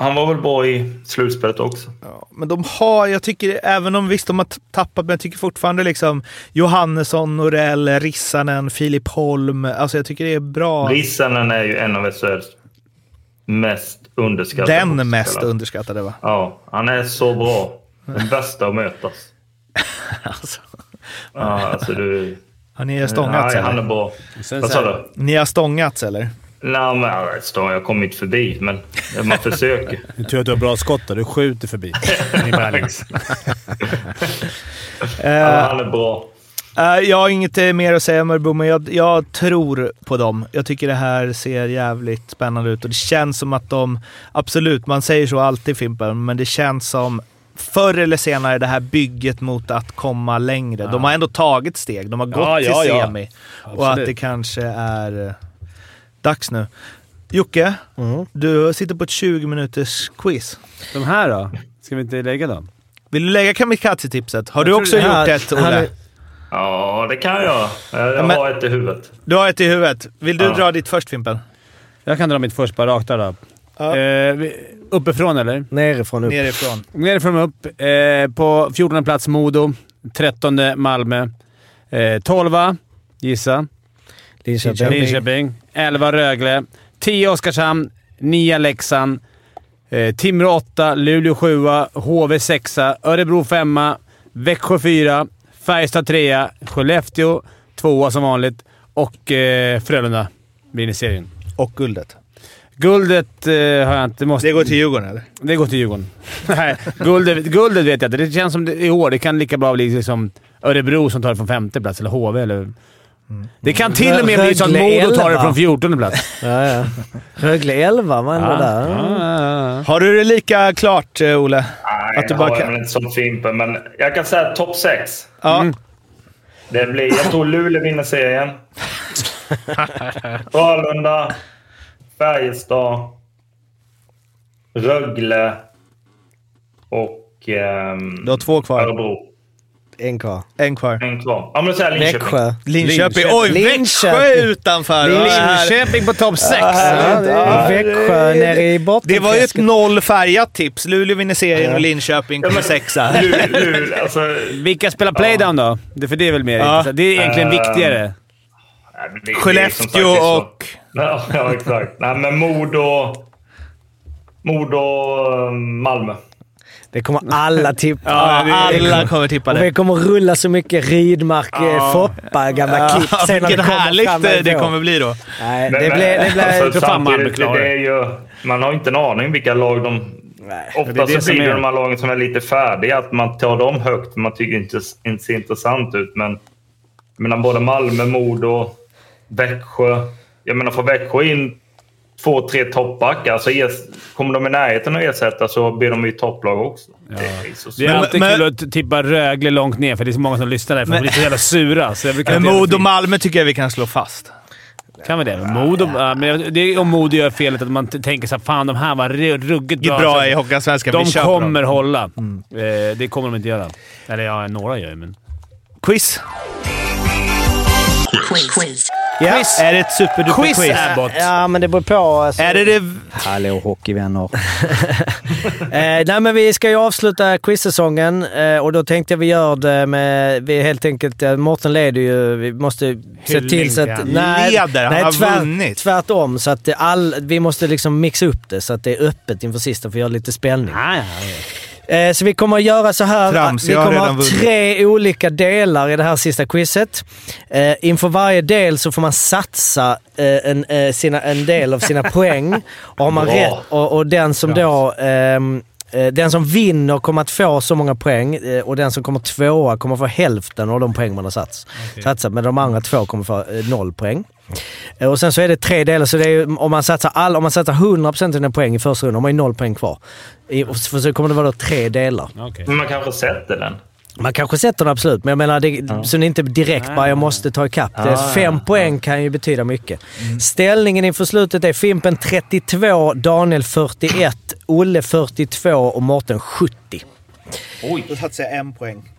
Speaker 9: Han var väl bra i slutspelet också.
Speaker 1: Men de har, jag tycker, även om visst de har t- tappat, men jag tycker fortfarande liksom Johannesson, Norell, Rissanen, Filip Holm. Alltså jag tycker det är bra.
Speaker 9: Rissanen är ju en av SHLs mest underskattade
Speaker 1: Den mest
Speaker 9: fotbollsspelare.
Speaker 1: underskattade va?
Speaker 9: Ja, han är så bra. Den bästa att mötas.
Speaker 1: alltså.
Speaker 9: Ja, alltså du...
Speaker 1: Har ni stångats
Speaker 9: Nej,
Speaker 1: eller?
Speaker 9: han är bra. Vad sa du?
Speaker 1: Ni har stångats eller?
Speaker 9: Nej, men jag vet inte, jag kom inte förbi, men man försöker.
Speaker 12: Det är tur att du har bra skott där. Du skjuter förbi. Ni bara liksom.
Speaker 9: Ja, han är bra.
Speaker 1: Eh, jag har inget eh, mer att säga om Örebro, men jag, jag tror på dem. Jag tycker det här ser jävligt spännande ut och det känns som att de... Absolut, man säger så alltid Fimpen, men det känns som förr eller senare det här bygget mot att komma längre. De har ändå tagit steg. De har gått
Speaker 2: Ja, ja,
Speaker 1: till
Speaker 2: ja.
Speaker 1: semi. Och
Speaker 2: Absolut.
Speaker 1: att det kanske är eh, dags nu. Jocke,
Speaker 2: Mm.
Speaker 1: du sitter på ett 20 minuters quiz.
Speaker 2: De här då? Ska vi inte lägga dem?
Speaker 1: Vill du lägga kamikaze-tipset? Har
Speaker 2: Jag
Speaker 1: du
Speaker 2: tror
Speaker 1: också
Speaker 2: det här-
Speaker 1: gjort ett,
Speaker 2: han
Speaker 1: Olle?
Speaker 2: är-
Speaker 9: Ja, det kan jag. Jag
Speaker 1: Ja, men-
Speaker 9: har ett i huvudet.
Speaker 1: Du har ett i huvudet. Vill du
Speaker 9: Ja.
Speaker 1: dra ditt först, Fimpen?
Speaker 2: Jag kan dra mitt först bara rakt där då. Eh, vi- uppifrån eller?
Speaker 8: Nerifrån upp.
Speaker 1: Nerifrån.
Speaker 2: Nerifrån upp. Eh, på 14 plats Modo. 13 Malmö. Eh, 12 gissa.
Speaker 8: Linköping.
Speaker 2: Linköping. 11 Rögle. 10 Oskarshamn. 9 Leksand. Eh, Timrå 8. Luleå 7. HV 6. Örebro 5. Växjö 4. Färjestad 3. Skellefteå 2 som vanligt. Och eh, Frölunda vinner serien.
Speaker 1: Och guldet.
Speaker 2: Guldet eh, har jag inte... Måste...
Speaker 1: Det går till Djurgården eller?
Speaker 2: Det går till Djurgården. Nej, guldet, guldet vet jag inte. Det känns som det, i år. Det kan lika bra bli liksom Örebro som tar det från femte plats, eller HV. Eller...
Speaker 1: Mm.
Speaker 2: Det kan till och med bli så att
Speaker 8: Rögle
Speaker 2: Modo tar det
Speaker 8: elva.
Speaker 2: från fjortonde plats.
Speaker 8: Ja, ja. Rögle 11 var ändå
Speaker 2: Ja.
Speaker 8: där.
Speaker 1: Har du det lika klart, eh, Olle?
Speaker 9: Nej,
Speaker 1: Att du
Speaker 9: jag
Speaker 1: bara
Speaker 9: har
Speaker 1: kan-
Speaker 9: väl inte som Fimpen, men jag kan säga topp sex.
Speaker 1: Ja.
Speaker 9: Det blir, jag tror Luleå vinner serien. Frölunda, Färjestad, Rögle och... ehm,
Speaker 1: Du har två kvar.
Speaker 9: Örebro.
Speaker 8: En kvar.
Speaker 1: En kvar.
Speaker 9: En kvar. Ja, men då säger jag Linköping.
Speaker 8: Växjö.
Speaker 1: Linköping. Oj, Växjö är utanför!
Speaker 8: Linköping.
Speaker 1: Det här-
Speaker 2: Linköping på topp sex!
Speaker 8: Ja, det är Växjö nere i botten.
Speaker 1: Det var ju ett noll färgat tips. Luleå vinner serien och Linköping kommer sexa.
Speaker 9: alltså,
Speaker 2: Vilka spelar playdown då? Det, för det är väl mer
Speaker 1: Ja.
Speaker 2: intressant. Det är egentligen
Speaker 9: Ehm,
Speaker 2: viktigare.
Speaker 9: Nej, men det- det är som sagt, det
Speaker 1: Skellefteå
Speaker 9: är så-
Speaker 1: och...
Speaker 9: Ja, ja, exakt. Nej, men Modo... Modo... eh, Malmö.
Speaker 8: Det kommer alla tippa.
Speaker 1: Ja, alla kommer tippa
Speaker 8: Och vi
Speaker 1: det.
Speaker 8: kommer rulla så mycket Rydmark, ja. Foppa, gamla klipp
Speaker 1: Ja,
Speaker 8: sen när det
Speaker 1: vilket
Speaker 8: kommer
Speaker 1: härligt
Speaker 8: fram
Speaker 1: eh, det
Speaker 8: ändå.
Speaker 1: kommer bli då.
Speaker 8: Nej, det blir... Det blir
Speaker 9: alltså,
Speaker 2: för fan Malmö
Speaker 9: samtidigt,
Speaker 2: klarar
Speaker 9: det är ju, Man har inte en aning vilka lag de... Ofta
Speaker 2: det är det
Speaker 9: så
Speaker 2: som
Speaker 9: blir det
Speaker 2: är-
Speaker 9: de här lagen som är lite färdiga, att man tar dem högt. Man tycker inte inte ser intressant ut, men... Jag menar, både Malmö, Modo, Växjö. Jag menar, får Växjö in två, tre toppbackar, alltså ers- kommer de i närheten att ersätta så blir de ju topplag också. Det är så
Speaker 2: Det är
Speaker 1: Men-
Speaker 2: alltid
Speaker 1: men-
Speaker 2: kul att tippa Rögle långt ner, för det är så många som lyssnar där. för De
Speaker 1: Men-
Speaker 2: blir så jävla sura. Så jag brukar
Speaker 1: Men
Speaker 2: inte göra
Speaker 1: Modo
Speaker 2: fel.
Speaker 1: Malmö tycker jag vi kan slå fast.
Speaker 2: Kan vi det? Modo, ja. men jag- det är om Modo gör felet att man t- tänker så här, fan de här var ru- ruggigt
Speaker 1: Det är
Speaker 2: bra.
Speaker 1: bra i
Speaker 2: Alltså,
Speaker 1: Hockeyallsvenskan.
Speaker 2: de
Speaker 1: Vi köper
Speaker 2: kommer
Speaker 1: dem. Mm.
Speaker 2: hålla. Eh, det kommer de inte göra. Eller ja, några gör ju, men...
Speaker 1: Quiz.
Speaker 4: Quiz. Quiz.
Speaker 1: Ja. Är det ett superduper quiz?
Speaker 8: Ja, Ja, men det beror på. Alltså.
Speaker 1: Är det det...
Speaker 13: Hallå hockeyvänner.
Speaker 8: Eh, nej, men vi ska ju avsluta quizsäsongen eh, och då tänkte jag vi gör det med... Vi helt enkelt... Eh, Mårten leder ju. Vi måste se
Speaker 1: Hyllning
Speaker 8: till så
Speaker 1: till
Speaker 8: att...
Speaker 1: han. Leder? Han har vunnit.
Speaker 8: Tvärtom. Så att det all, vi måste liksom mixa upp det så att det är öppet inför sista för att göra lite spänning.
Speaker 2: Ah,
Speaker 8: Eh, Så vi kommer att göra så här.
Speaker 1: Trams,
Speaker 8: vi
Speaker 1: jag har
Speaker 8: kommer att
Speaker 1: redan
Speaker 8: ha
Speaker 1: vunnit.
Speaker 8: tre olika delar i det här sista quizet. Eh, Inför varje del så får man satsa eh, en, eh, sina, en del av sina poäng. Och, har man
Speaker 9: Bra.
Speaker 8: rätt, och, och den som då... ehm, eh, den som vinner kommer att få så många poäng eh, och den som kommer tvåa kommer få hälften av de poäng man har sats, satsat. Men de andra två kommer få eh, noll poäng. Eh, Och sen så är det tre delar, så det är, ju- om, man satsar all, om man satsar 100% av dina poäng i första rundan, har man ju noll poäng kvar. I, och så, för så kommer det vara då tre delar.
Speaker 2: Okej.
Speaker 9: Men man kanske sätter den.
Speaker 8: Man kanske sätter den absolut, men jag menar det, ja. så det är inte direkt bara jag måste ta ikapp det. Ja, Fem ja, poäng kan ju betyda mycket. Mm. Ställningen inför slutet är Fimpen 32, Daniel 41, Olle 42 och Mårten 70.
Speaker 1: Oj! Då satsar jag en poäng.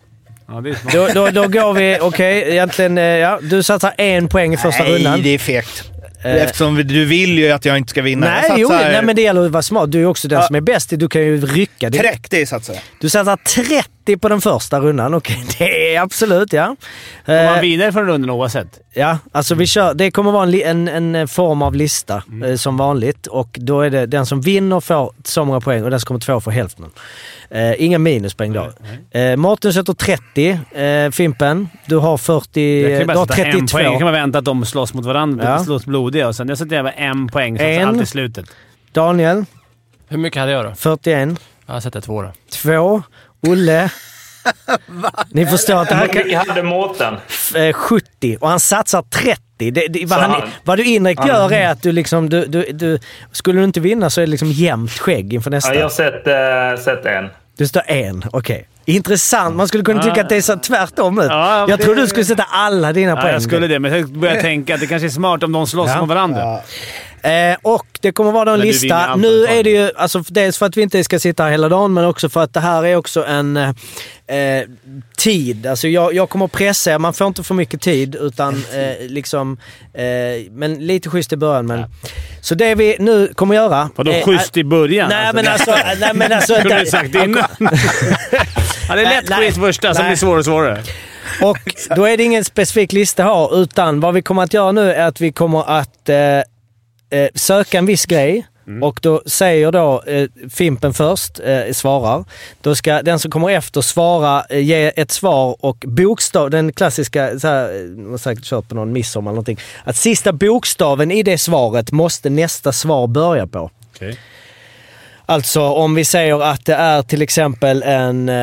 Speaker 8: Ja, då, då, då går vi... Okej, okay, egentligen... eh, Ja, du satsar en poäng i första
Speaker 1: Nej,
Speaker 8: rundan. Eh.
Speaker 1: Nej, det är fegt. Eftersom du vill ju att jag inte ska vinna.
Speaker 8: Nej, satsar... jo, nej men det gäller att vara smart. Du är ju också den ja. som är bäst. Du kan ju rycka.
Speaker 1: Direkt. 30 satsar jag.
Speaker 8: Du satsar 30 på den första rundan. Okej, okay. det är absolut ja. Eh,
Speaker 2: Kommer man vidare från rundan oavsett?
Speaker 8: Ja, alltså vi kör. Det kommer vara en, en, en form av lista mm. som vanligt. Och då är det den som vinner får så många poäng och den som kommer två får hälften. Uh, inga minuspoäng då. Mm. Uh, Mårten sätter 30. Uh, Fimpen, du har 40... Jag kan bara du har 32.
Speaker 2: Poäng. Jag kan man vänta att de slåss mot varandra. Ja. Slåss blodiga och sen jag sätter jag bara en poäng. Så en. allt i slutet.
Speaker 8: Daniel.
Speaker 10: Hur mycket hade jag då?
Speaker 8: 41.
Speaker 10: Jag sätter två då.
Speaker 8: Två. Olle. Ni förstår att det här
Speaker 9: kan... Hur hade Mårten?
Speaker 8: 70 och han satsar 30. Det, det, vad, han, vad, du indirekt gör är att du liksom... Du, du, du, skulle du inte vinna så är det liksom jämnt skägg inför nästa.
Speaker 9: Ja, jag har sett, äh, en.
Speaker 8: Du står en, okej. Okay. Intressant. Man skulle kunna tycka att det är så tvärtom ut. Ja, jag det... tror du skulle sätta alla dina poäng.
Speaker 2: Ja, jag skulle det, men jag började tänka att det kanske är smart om de slåss ja. mot varandra.
Speaker 8: Eh, och det kommer vara en lista. Nu är det ju, alltså, dels för att vi inte ska sitta här hela dagen, men också för att det här är också en eh, tid. Alltså jag, jag kommer att pressa er. Man får inte för mycket tid, utan eh, liksom... men lite schysst i början. Men. Så det vi nu kommer att göra... eh,
Speaker 2: Vadå schysst i början?
Speaker 8: Nej, men alltså... nej, men alltså
Speaker 2: kunde du sagt innan. ja, det är lätt schysst första, sen blir det svårare och svårare.
Speaker 8: Och då är det ingen specifik lista här, utan vad vi kommer att göra nu är att vi kommer att eh, söka en viss grej mm. och då säger då eh, Fimpen först, eh, svarar. Då ska den som kommer efter svara, eh, ge ett svar och bokstav, den klassiska, så här, eh, man har säkert kört på någon midsommar eller någonting, att sista bokstaven i det svaret måste nästa svar börja på. Okay. Alltså om vi säger att det är till exempel en, eh,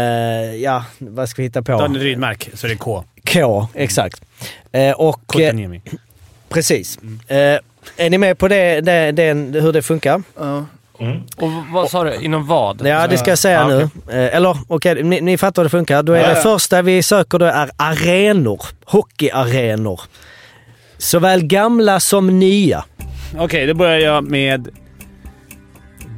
Speaker 8: ja vad ska vi hitta på?
Speaker 2: Daniel Rydmark, så är det K.
Speaker 8: K, exakt. Eh, och...
Speaker 2: Kotaniemi.
Speaker 8: precis. Mm. Är ni med på det, det, det hur det funkar?
Speaker 10: Ja. Mm. Och vad sa du? Inom vad?
Speaker 8: Ja, det ska jag säga ah, nu. Okay. Eller okej, okay, ni, ni, fattar hur det funkar. Då är ja, det ja. första vi söker då är arenor. Hockeyarenor. Såväl gamla som nya.
Speaker 2: Okej, okay, då börjar jag med...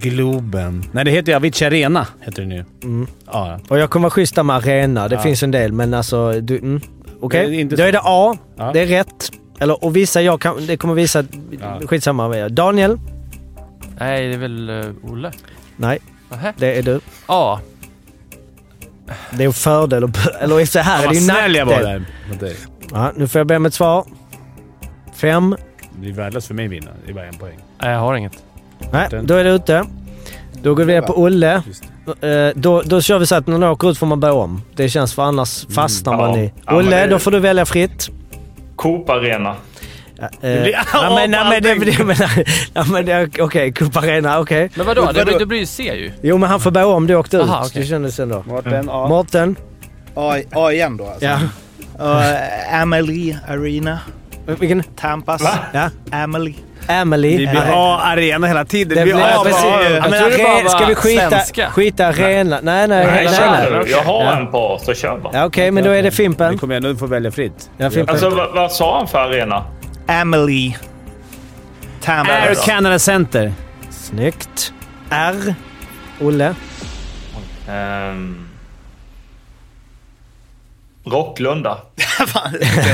Speaker 2: Globen. Nej, det heter ju Avicii Arena. Heter det nu. Mm.
Speaker 8: Ja. Och jag kommer vara schyssta med arena. Det ja. finns en del, men alltså... Du, mm. Okej, okay. då är det A. Ja. Det är rätt. Eller och vissa jag kan, det kommer visa... Ja. Skitsamma. Daniel?
Speaker 10: Nej, det är väl uh, Olle?
Speaker 8: Nej, Aha. det är du.
Speaker 10: Ja.
Speaker 8: Det är en fördel och, Eller efter här är det ju
Speaker 2: snäll jag var där mot dig.
Speaker 8: Ja, nu får jag be om ett svar. Fem.
Speaker 2: Det är värdelöst för mig att vinna. Det är bara en poäng.
Speaker 10: Nej, jag har inget.
Speaker 8: Nej, då är det ute. Då går vi ner på Olle. Uh, då, då kör vi så att när någon åker ut får man börja om. Det känns för annars fastnar mm, ja. man i... Olle, då får du välja fritt. Eh,
Speaker 9: Coop Arena.
Speaker 8: Okej, okay, Coop Arena, okej. Okay.
Speaker 10: Men vadå? Det, vadå? det blir ju C ju.
Speaker 8: Jo, men han får börja om. Du åkte ut. Aha, okay. Du kände sen då.
Speaker 1: Mårten, mm. A.
Speaker 8: Mårten.
Speaker 1: Mm. A, A igen då alltså.
Speaker 8: Ja.
Speaker 1: Uh, Amelie Arena.
Speaker 8: Vilken?
Speaker 1: Tampas. Va?
Speaker 8: Ja.
Speaker 1: Amelie.
Speaker 8: Emily.
Speaker 2: Det blir A-arena hela tiden. Det blir
Speaker 8: A, precis. Men arena, ska vi skita, svenska? skita arena? Nej, nej. nej, nej, nej,
Speaker 9: nej. Jag har en på så kör bara.
Speaker 8: Ja, Okej, okay, men då är det Fimpen.
Speaker 2: Kom igen, nu får välja fritt.
Speaker 8: Ja,
Speaker 9: fimpen. Alltså, vad, vad sa han för arena?
Speaker 1: Emily.
Speaker 2: Tampa. Air Canada Center.
Speaker 8: Snyggt. R. Olle.
Speaker 9: Um. Rocklunda.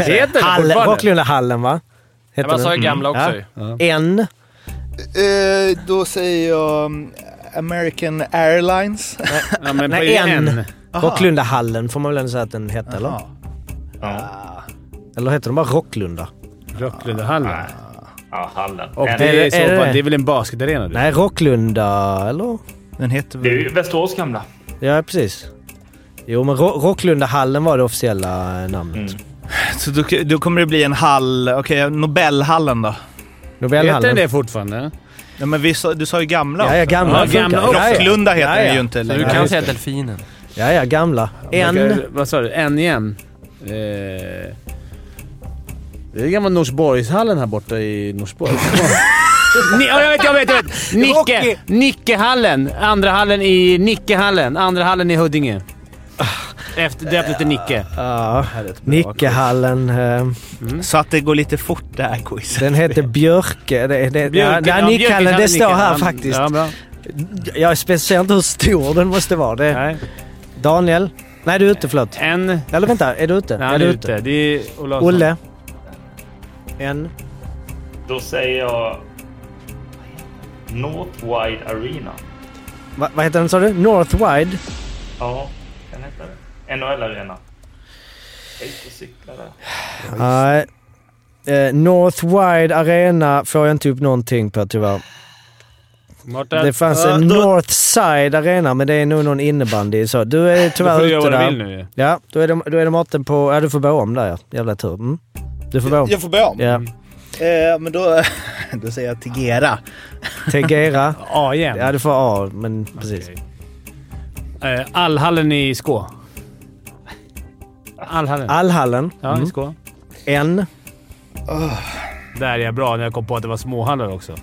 Speaker 2: Heter
Speaker 8: Hall, Rocklunda Hallen, va?
Speaker 10: Heter man sa ju gamla också mm.
Speaker 8: ja. ja. En?
Speaker 1: Uh, då säger jag um, American Airlines.
Speaker 8: Nej, ja, Nej en. en. Rocklundahallen får man väl ändå säga att den hette, Aha. eller? Ja. Eller heter den bara Rocklunda?
Speaker 2: Rocklundahallen.
Speaker 9: Ja, hallen.
Speaker 2: Och det, är, i så fall, det är väl en basketarena?
Speaker 8: Nej, Rocklunda, eller?
Speaker 2: Den heter väl...
Speaker 9: Det är ju Västerås gamla.
Speaker 8: Ja, precis. Jo, men Ro Rocklundahallen var det officiella namnet. Mm.
Speaker 1: Så då, då, kommer det bli en hall... Okej, okay, Nobelhallen då.
Speaker 2: Nobelhallen. Heter den det fortfarande?
Speaker 1: Ja, men vi sa, du sa ju gamla
Speaker 8: Ja, ja gamla.
Speaker 1: Ja, gamla. Rocklunda heter ja, ja. den ju inte.
Speaker 10: Du kan säga Delfinen.
Speaker 8: Ja, ja, gamla. En...
Speaker 2: Brukar, vad sa du? En igen? Eh, det är gamla Norsborgshallen här borta i Norsborg. Ni, jag vet, jag vet, jag vet! Nicke, Nickehallen. Andra hallen i Nickehallen. Andra hallen i Huddinge. Efter, döpt efter Nicke.
Speaker 8: Ja, Nickehallen. eh.
Speaker 1: Mm. Så att det går lite fort det här quizet.
Speaker 8: Den heter Björke. Det, det,
Speaker 2: Björke,
Speaker 8: ja,
Speaker 2: ja,
Speaker 8: nej, Nickehallen, det
Speaker 2: Björkehallen,
Speaker 8: står här
Speaker 2: Nickehallen.
Speaker 8: faktiskt.
Speaker 2: Ja, bra.
Speaker 8: Jag specificerar inte hur stor den måste vara. Det, Daniel. Nej, du är ute. Förlåt.
Speaker 2: En...
Speaker 8: Eller vänta, är du ute?
Speaker 2: Nej, han är ute. Det är Olle.
Speaker 8: Olle. En.
Speaker 9: Då säger jag... Northwide Arena.
Speaker 8: Va, vad heter den sa du? Northwide?
Speaker 9: Ja, kan heta det. NHL Arena. Jag är ute och cyklar där.
Speaker 8: Nej. Eh, Northwide Arena får jag inte upp någonting på tyvärr.
Speaker 2: Martin.
Speaker 8: Det fanns en Northside Arena, men det är nog någon innebandy. Så du är tyvärr
Speaker 2: får du
Speaker 8: ute
Speaker 2: göra vad du
Speaker 8: där.
Speaker 2: vill nu ju.
Speaker 8: Ja, då är, det, då är det maten på... Ja, du får börja om där ja. Jävla tur. Mm. Du får börja om.
Speaker 1: Jag får börja om?
Speaker 8: Ja.
Speaker 1: Eh, men då, då säger jag Tegera.
Speaker 8: Tegera.
Speaker 2: A igen.
Speaker 8: Ja, du får A, men precis.
Speaker 2: Eh, Allhallen i Skå. Allhallen.
Speaker 8: Allhallen. Mm.
Speaker 2: Ja, i Skå.
Speaker 8: En.
Speaker 2: Där är jag bra, när jag kom på att det var småhallar också.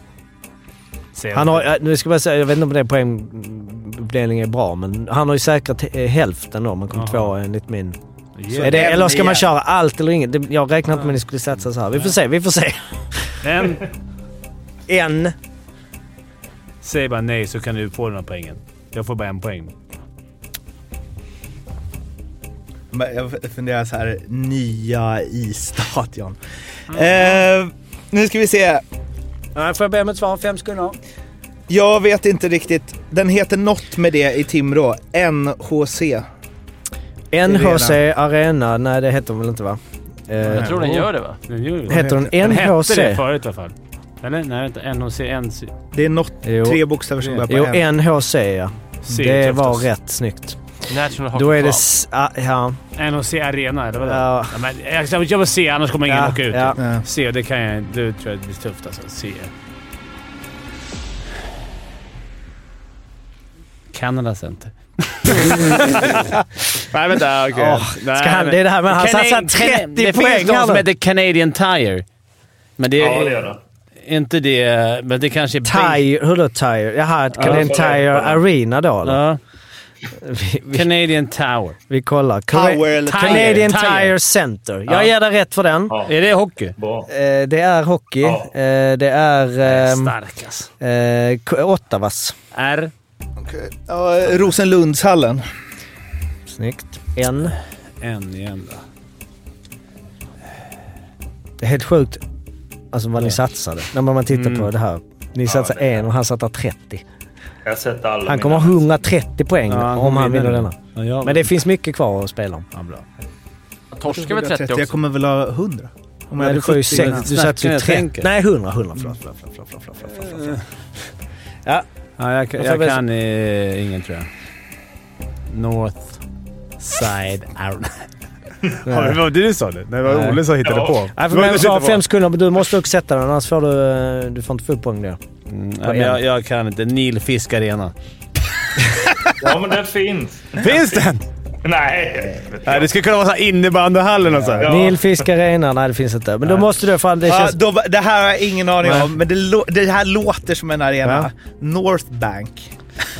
Speaker 2: Säger
Speaker 8: Han
Speaker 2: jag.
Speaker 8: har, ja, nu ska jag bara säga, jag vet inte om det är poängdelningen är bra, men han har ju säkrat eh, hälften då, men kom
Speaker 2: Jaha.
Speaker 8: tvåa enligt min.
Speaker 2: Yeah.
Speaker 8: Är det, eller ska man
Speaker 2: Igen.
Speaker 8: köra allt eller inget? Det- Jag räknar inte med att ni skulle satsa så här. Vi får se, vi får se.
Speaker 2: En.
Speaker 8: En.
Speaker 2: Säg bara nej så kan du få den här poängen. Jag får bara en poäng.
Speaker 1: Men jag funderar så här, nya i stadion. Eh, nu ska vi se.
Speaker 8: Får jag be om ett svar? Fem sekunder.
Speaker 1: Jag vet inte riktigt. Den heter något med det i Timrå. NHC.
Speaker 8: NHC Arena, nej det heter de väl inte va? Eh,
Speaker 10: Jag tror den gör det va?
Speaker 2: Den gör ju det.
Speaker 8: Heter den NHC?
Speaker 2: hette det förut i alla fall. Eller? Nej, vänta. NHC. NC.
Speaker 1: Det är något,
Speaker 8: Jo. Mm.
Speaker 1: tre bokstäver som börjar på
Speaker 8: Jo,
Speaker 1: N.
Speaker 8: NHC ja.
Speaker 2: C
Speaker 8: Det
Speaker 2: kräftas.
Speaker 8: var rätt snyggt.
Speaker 2: National
Speaker 8: Då är det... s- ah, Ja.
Speaker 2: NHC Arena, eller vad det ja. ja, men jag, jag, jag vill se, annars kommer ingen
Speaker 8: Ja,
Speaker 2: åka ut.
Speaker 1: typ.
Speaker 8: ja.
Speaker 2: Se, det kan jag Det tror jag blir tufft alltså. Se. Kanada Center. Nej, vänta. Okej.
Speaker 8: Åh,
Speaker 2: Nej,
Speaker 8: ska han-
Speaker 2: men-
Speaker 8: det är det här med- han
Speaker 2: Cana-
Speaker 8: satsar 30
Speaker 2: Det
Speaker 8: poäng
Speaker 2: finns någon
Speaker 8: här
Speaker 2: som
Speaker 8: nu.
Speaker 2: heter Canadian Tire. Men det
Speaker 9: Ja,
Speaker 2: är
Speaker 9: det gör det.
Speaker 2: inte det... Men det kanske är...
Speaker 8: Tire, hur då tire? Jaha,
Speaker 2: Ja,
Speaker 8: kan det en
Speaker 2: jag får det.
Speaker 8: tire arena då eller?
Speaker 2: Ja. Canadian Tower.
Speaker 8: Vi kollar.
Speaker 2: Tower eller Tire?
Speaker 8: Canadian
Speaker 2: Tire.
Speaker 8: Tire, Center. Jag
Speaker 2: Ja.
Speaker 8: ger dig rätt för den.
Speaker 2: Är det hockey?
Speaker 8: Eh, det är hockey. Eh, det är... ehm,
Speaker 2: Starkas.
Speaker 8: eh, K- Ottawas.
Speaker 2: R.
Speaker 1: Ja, Rosenlundshallen.
Speaker 8: Snyggt. En.
Speaker 2: En igen då.
Speaker 8: Det är helt sjukt alltså, vad ni satsade. När man tittar på
Speaker 2: Mm.
Speaker 8: det här. Ni satsar en och han satsar 30.
Speaker 9: Jag har sett alla
Speaker 8: Han kommer
Speaker 9: mina.
Speaker 8: ha 130 poäng
Speaker 2: Ja, han
Speaker 8: om
Speaker 2: kommer
Speaker 8: han
Speaker 2: vinna
Speaker 8: vinner
Speaker 2: den.
Speaker 8: denna.
Speaker 2: Ja, jag-
Speaker 8: Men det finns mycket kvar att spela om.
Speaker 2: Ja, bra.
Speaker 10: Torskar väl 30
Speaker 1: Jag
Speaker 10: också?
Speaker 1: kommer väl ha 100. Om
Speaker 8: Nej, du får ju
Speaker 1: 70
Speaker 8: sex.
Speaker 1: innan.
Speaker 8: Du satte ju
Speaker 2: jag
Speaker 8: tre.
Speaker 2: tänker. Mm.
Speaker 8: Nej, 100. 100. Förlåt. förlåt, förlåt, förlåt, förlåt, förlåt, förlåt, förlåt. Ja,
Speaker 2: Ja, jag,
Speaker 8: Jag får
Speaker 2: jag
Speaker 8: väl-
Speaker 2: kan eh, ingen tror jag. North Side Arena.
Speaker 14: Har det var du sa det? Nej, det var
Speaker 8: Nej.
Speaker 14: Olle som hittade
Speaker 8: Ja.
Speaker 14: på.
Speaker 8: Nej, för
Speaker 14: Det var
Speaker 8: mig
Speaker 14: du
Speaker 8: var
Speaker 14: som hittade
Speaker 8: fem sekunder, men du måste också sätta den annars får du, eh, du får inte full poäng då.
Speaker 2: Ja, men jag, jag kan inte. Nilfisk Arena.
Speaker 9: Ja, men den finns.
Speaker 14: på. Finns den?
Speaker 9: Nej.
Speaker 14: Nej, det skulle kunna vara så här innebandyhallen och så här.
Speaker 8: Nilfisk Arena, nej det finns inte. Men då måste du fram... Det
Speaker 1: Ja,
Speaker 8: känns...
Speaker 1: då, det här har jag ingen aning
Speaker 8: Nej.
Speaker 1: om, men det, lå- det här låter som en arena. North Bank.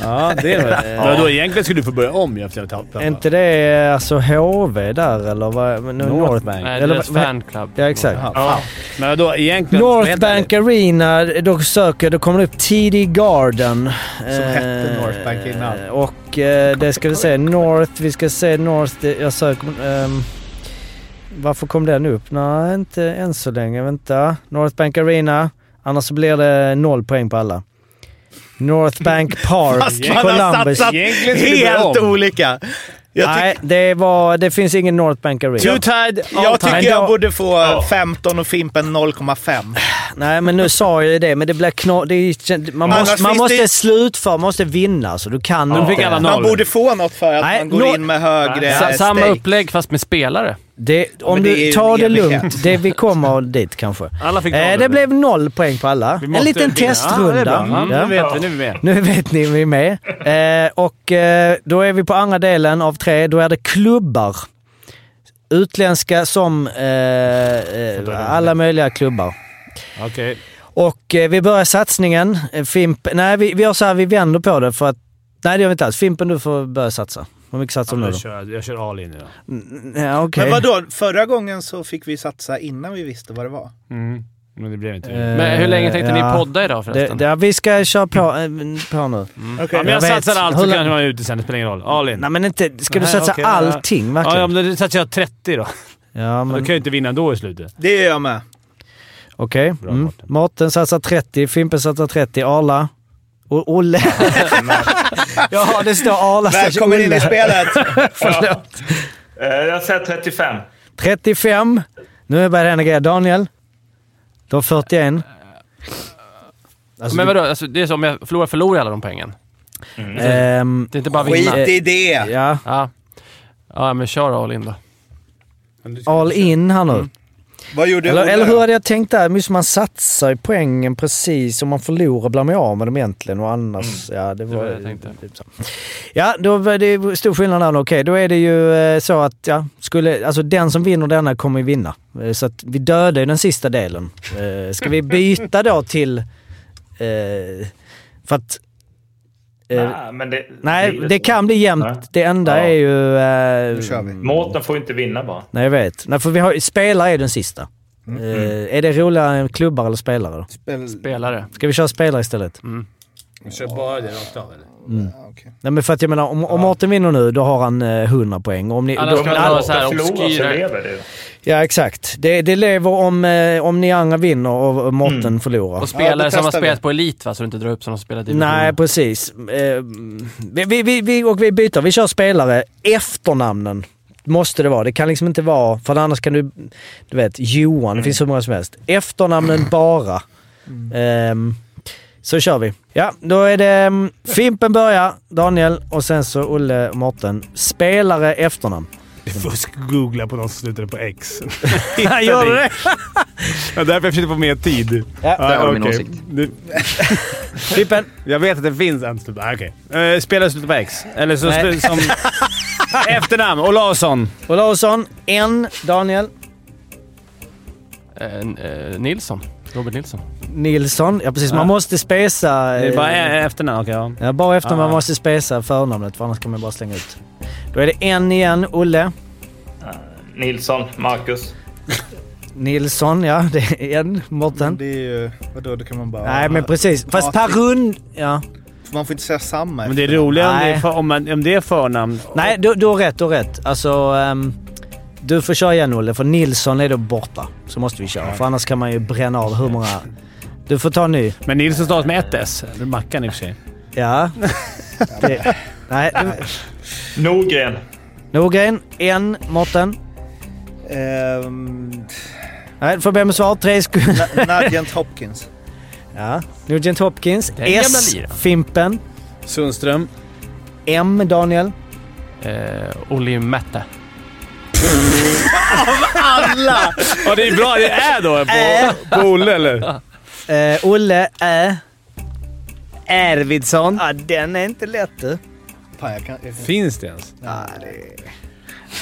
Speaker 2: Ja, det är det. ja. då Egentligen skulle du få börja om ju efter att jag
Speaker 8: Är inte det eh, alltså HV där eller? Vad, men nu-
Speaker 2: North
Speaker 8: North-
Speaker 2: Bank.
Speaker 10: Nej,
Speaker 8: eller
Speaker 10: deras
Speaker 8: vad-
Speaker 10: fanclub.
Speaker 8: Ja, exakt.
Speaker 2: Ja. Men då egentligen... vad
Speaker 8: North
Speaker 2: heter det?
Speaker 8: Bank Arena, då söker då kommer det upp TD Garden. Som
Speaker 1: hette North Bank innan.
Speaker 8: Och eh, det ska vi se. North, vi ska se North. det- Jag söker... ehm, varför kom den upp? Nej, inte än så länge. Vänta. North Bank Arena. Annars så blir det noll poäng på alla. North Bank Park,
Speaker 1: Fast man har
Speaker 8: Columbus.
Speaker 1: satsat
Speaker 2: Egentligen skulle det
Speaker 1: helt
Speaker 2: bli om.
Speaker 1: olika. Jag,
Speaker 8: Nej, det, var, det finns ingen North Bank Arena.
Speaker 2: Two Tide
Speaker 1: ty- jag tycker
Speaker 8: Men
Speaker 1: jag
Speaker 8: då-
Speaker 1: borde få 15 och Fimpen 0,5.
Speaker 8: Nej, men nu sa jag ju det, men det blir kno- det är, ju- Man
Speaker 1: Annars
Speaker 8: måste, man
Speaker 1: finns
Speaker 8: måste
Speaker 1: det-
Speaker 8: slutföra, man måste vinna. Så du kan
Speaker 2: Nu
Speaker 8: inte...
Speaker 2: fick alla
Speaker 1: Man
Speaker 2: noll.
Speaker 1: borde få något för att
Speaker 8: Nej,
Speaker 1: man går
Speaker 8: nå-
Speaker 1: in med högre
Speaker 10: Sa-
Speaker 1: eh,
Speaker 10: Samma
Speaker 1: stake.
Speaker 10: upplägg fast med spelare.
Speaker 8: Det, om
Speaker 1: men det är
Speaker 8: du
Speaker 1: ju
Speaker 8: tar det
Speaker 1: en evighet.
Speaker 8: lugnt. Det, vi kommer dit kanske.
Speaker 10: Alla fick noll,
Speaker 8: eh,
Speaker 10: eller?
Speaker 8: det blev noll poäng på alla.
Speaker 2: Vi
Speaker 8: En
Speaker 2: måste
Speaker 8: liten
Speaker 2: vinna. Ja, det är
Speaker 8: testrunda.
Speaker 2: bra. Mm,
Speaker 8: Ja.
Speaker 2: Nu vet vi. Nu är vi med.
Speaker 8: Nu vet ni, vi är med. Eh, och eh, då är vi på andra delen av tre. Då är det klubbar. Utländska som eh, eh, alla möjliga klubbar.
Speaker 2: Okej.
Speaker 8: Och eh, vi börjar satsningen. Eh, Fimp, nej, vi, vi gör så här, vi vänder på det för att... Nej, det gör vi inte alls. Fimpen, du får börja satsa. Hur mycket satsar du
Speaker 2: Ja,
Speaker 8: nu då?
Speaker 2: jag, kör, jag kör all in idag.
Speaker 8: Mm, Ja, okej.
Speaker 1: Men vadå, förra gången så fick vi satsa innan vi visste vad det var.
Speaker 2: Mm. Men det blev inte
Speaker 8: Eh,
Speaker 2: det.
Speaker 10: Men hur länge tänkte
Speaker 8: ja.
Speaker 10: ni podda idag förresten?
Speaker 8: Det, det, vi ska köra på, eh, på
Speaker 1: Mm.
Speaker 8: nu.
Speaker 2: Okej. Ja, men jag,
Speaker 8: vet-
Speaker 2: satsar allt
Speaker 8: hur
Speaker 2: så
Speaker 8: lång-
Speaker 2: kanske man är ute sen. Det spelar ingen roll. All in.
Speaker 8: Nej men inte... Ska du
Speaker 2: Nej,
Speaker 8: satsa
Speaker 2: okej, Mm. ja.
Speaker 8: allting verkligen?
Speaker 2: Ja, ja, men då satsar jag 30 då.
Speaker 8: Ja,
Speaker 2: Då
Speaker 8: men-
Speaker 2: kan jag inte vinna ändå i slutet.
Speaker 1: Det gör jag med.
Speaker 8: Okej. Mm. Mårten satsar 30, Fimpen satsar 30, Arla... O- Olle. ja, det står Arla slash
Speaker 1: Välkommen in
Speaker 8: Olle.
Speaker 1: i spelet!
Speaker 8: Förlåt.
Speaker 9: Eh, Jag säger 35.
Speaker 8: 35. Nu är jag börjat renagera. Daniel? Du har 41.
Speaker 10: men vadå, alltså, det är så om jag förlorar, förlorar jag alla de pengen.
Speaker 8: Ehm,
Speaker 10: det är inte bara vinna.
Speaker 8: skit i
Speaker 1: det!
Speaker 8: Ja.
Speaker 10: ja. Ja, men kör all in då.
Speaker 8: Eh, All in här nu.
Speaker 1: Vad gjorde
Speaker 8: eller,
Speaker 1: Olle
Speaker 8: eller
Speaker 1: då?
Speaker 8: hur hade jag tänkt där? Måste man satsa i poängen precis? Om man förlorar blir man av med dem egentligen och annars... Ja, det var...
Speaker 10: var det jag tänkte.
Speaker 8: Ja, då var det stor skillnad där. Okej, då är det ju eh, så att ja, skulle, alltså den som vinner denna kommer ju vinna. Eh, Så att vi dödar ju den sista delen. Eh, Ska vi byta då till... eh, För att... eh,
Speaker 9: Nej, men det,
Speaker 8: Nej, det kan bli jämnt. Det enda är ju... eh,
Speaker 9: Mårten får inte vinna bara.
Speaker 8: Nej, jag vet. Nej, för vi har, spelare är den sista. Eh, är det roligare än klubbar eller spelare? då?
Speaker 10: Spelare.
Speaker 8: Ska vi köra spelare istället?
Speaker 15: Kör bara det rakt av eller?
Speaker 8: Mm. Nej, men för att jag menar, om, om Mårten vinner nu, då har han eh, 100 poäng. Om ni,
Speaker 10: Annars
Speaker 8: då,
Speaker 10: kan det vara så här
Speaker 9: Förlorar så
Speaker 10: obskyra...
Speaker 9: lever det.
Speaker 8: Ja, exakt. Det, det lever om, eh, om ni andra vinner och och Mårten förlorar.
Speaker 10: Och spelare som har spelat på Elit va, så du inte drar upp som de spelat i
Speaker 8: Nej, precis. Eh, vi- vi, vi, vi, och vi byter. Vi kör spelare. Efternamnen måste det vara. Det kan liksom inte vara... För annars kan du... Du vet, Johan. Det finns hur många som helst. Efternamnen bara. Ehm, så kör vi. Ja, då är det mm, Fimpen börjar, Daniel och sen så Olle och Mårten. Spelare, efternamn.
Speaker 15: Fusk-googla på någon som slutade på X.
Speaker 8: Gör du det?
Speaker 15: Ja, därför jag försökte få mer tid.
Speaker 8: Ja. Där har du min
Speaker 15: okej.
Speaker 8: åsikt.
Speaker 15: Du-
Speaker 8: Flippen.
Speaker 15: Jag vet att det finns en slut... Ah, okej. Eh, Spelare slutar på X. Eller så
Speaker 8: Nej.
Speaker 15: slut som... Efternamn. Olausson.
Speaker 8: Olausson, en. Daniel.
Speaker 10: Eh, Nilsson. Robert Nilsson.
Speaker 8: Nilsson. Ja, precis.
Speaker 10: Ja.
Speaker 8: Man måste spesa...
Speaker 10: Det är bara
Speaker 8: eh,
Speaker 10: e-
Speaker 15: efternamn, okej.
Speaker 8: Ja, bara efter man
Speaker 10: Ah.
Speaker 8: måste spesa förnamnet för annars kan man bara slänga ut. Då är det en igen, Olle.
Speaker 9: Nilsson, Marcus.
Speaker 8: Nilsson, ja. Det är en. Mårten.
Speaker 1: Det är ju... Vadå, då kan man bara...
Speaker 8: Nej, men precis. Fast per rund... Ja.
Speaker 1: Man får inte säga samma.
Speaker 2: Men det är
Speaker 1: efternamn.
Speaker 2: roligare om det är,
Speaker 8: Nej.
Speaker 2: för, om, man, om det är förnamn.
Speaker 8: Nej, du, du har rätt. Du har rätt. Alltså... ehm, du får köra igen Olle, för Nilsson är då borta. Så måste vi köra, för annars kan man ju bränna av hur många... Du får ta en ny.
Speaker 2: Men Nilsson stavas med ett S. Det är Mackan i och för sig.
Speaker 8: Ja. Det, nej. du-
Speaker 9: Norgren.
Speaker 8: Norgren, en. Mårten.
Speaker 1: Ehm,
Speaker 8: Nej, du får be om svar. Tre sekunder.
Speaker 1: Na- Nugent Hopkins.
Speaker 8: Ja. Nugent Hopkins.
Speaker 1: är en
Speaker 8: S.
Speaker 1: jävla lirare.
Speaker 8: Fimpen.
Speaker 15: Sundström.
Speaker 8: M. Daniel.
Speaker 10: Eh, Olli Mätte.
Speaker 2: Alla! Och det är bra. Det är då på,
Speaker 8: Äh.
Speaker 15: på Olle, eller?
Speaker 8: Eh, Olle. Ä. Ervidsson. Ja, den är inte lätt du.
Speaker 1: Fan, jag kan... Jag kan.
Speaker 15: Finns det ens?
Speaker 1: Nej, det...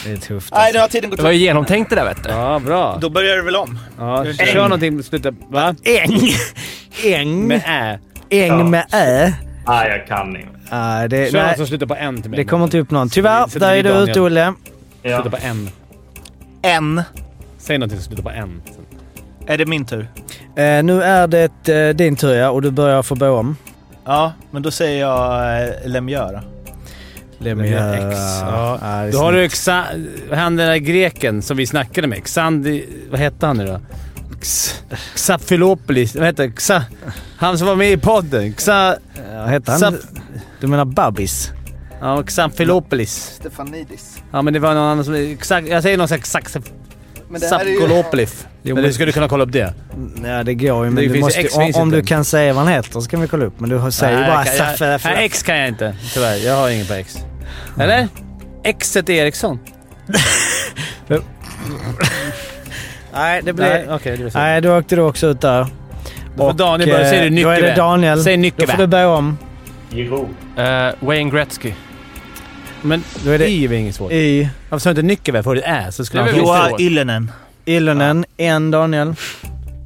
Speaker 8: Det är tufft.
Speaker 1: Nej, nu har tiden gått ut.
Speaker 10: genomtänkt det där vet du.
Speaker 15: Ja, bra.
Speaker 1: Då börjar det väl om?
Speaker 15: Ja,
Speaker 1: Äng.
Speaker 8: Äh.
Speaker 15: kör någonting med slutet... Va?
Speaker 8: Äng. Äng.
Speaker 15: Med
Speaker 2: Äh.
Speaker 15: ä.
Speaker 8: Äng
Speaker 15: Ja.
Speaker 8: med ä.
Speaker 9: Nej, jag kan inte.
Speaker 8: Ja, det,
Speaker 15: Kör något
Speaker 8: nej,
Speaker 15: som slutar på n till mig.
Speaker 8: det kommer typ- inte upp någon. Tyvärr,
Speaker 15: Så det
Speaker 8: där
Speaker 15: blir
Speaker 8: är du
Speaker 15: Daniel.
Speaker 8: ute Olle.
Speaker 15: Slutar på n.
Speaker 1: En.
Speaker 15: Säg någonting som slutar på n.
Speaker 1: Är det min tur?
Speaker 8: Eh, nu är det eh, din tur ja, och du börjar få bo om.
Speaker 1: Ja, men då säger jag eh, Lemieux då.
Speaker 8: Lemieux X.
Speaker 2: Ja.
Speaker 8: Ja, det är
Speaker 2: Då har du
Speaker 8: snyggt.
Speaker 2: Xa- vad han den där greken som vi snackade med. Xandi... Vad hette han nu då? X, Xafilopoulis. Vad hette Xa, Han som var med i podden. Xa...
Speaker 8: Ja, hette han- Du menar Babis?
Speaker 2: Ja, Xafilopoulis.
Speaker 1: Stefanidis.
Speaker 2: Ja, men det var någon annan som... Xa- jag säger någon sån här Xax-
Speaker 1: Men det här är ju-
Speaker 2: Sapkolopoulis.
Speaker 8: Jo,
Speaker 2: Men
Speaker 8: men-
Speaker 2: du skulle kunna kolla upp det.
Speaker 8: Nej, det går ju. Men
Speaker 2: Det
Speaker 8: du
Speaker 2: finns ju
Speaker 8: måste,
Speaker 2: X
Speaker 8: om,
Speaker 2: finns
Speaker 8: om
Speaker 2: inte.
Speaker 8: du kan säga vad han heter så kan vi kolla upp. Men du har- säger ju
Speaker 2: Nej,
Speaker 8: bara
Speaker 2: jag kan- jag-
Speaker 8: Saffe...
Speaker 2: Nej, X kan jag inte. Tyvärr. Jag har ingen på X. Eller? Xet Eriksson.
Speaker 8: Nej, det blir...
Speaker 2: Nej, okej, det blir så.
Speaker 8: Nej, då åkte du också ut där.
Speaker 2: Då får Daniel börja. Säger du
Speaker 8: eh, Då är det
Speaker 2: Nyckelberg?
Speaker 8: Daniel.
Speaker 2: Säg
Speaker 8: Då
Speaker 2: Nyckelberg.
Speaker 8: får du börja om.
Speaker 9: Giro.
Speaker 10: Eh, Wayne Gretzky.
Speaker 2: Men
Speaker 8: då är det
Speaker 2: I är väl inget svårt?
Speaker 8: I.
Speaker 2: Varför sa du inte Nyckelberg för det är? Så skulle
Speaker 10: Det är
Speaker 2: han
Speaker 10: väl
Speaker 2: få-
Speaker 10: visst det.
Speaker 1: Illenen.
Speaker 8: Illenen. En Daniel.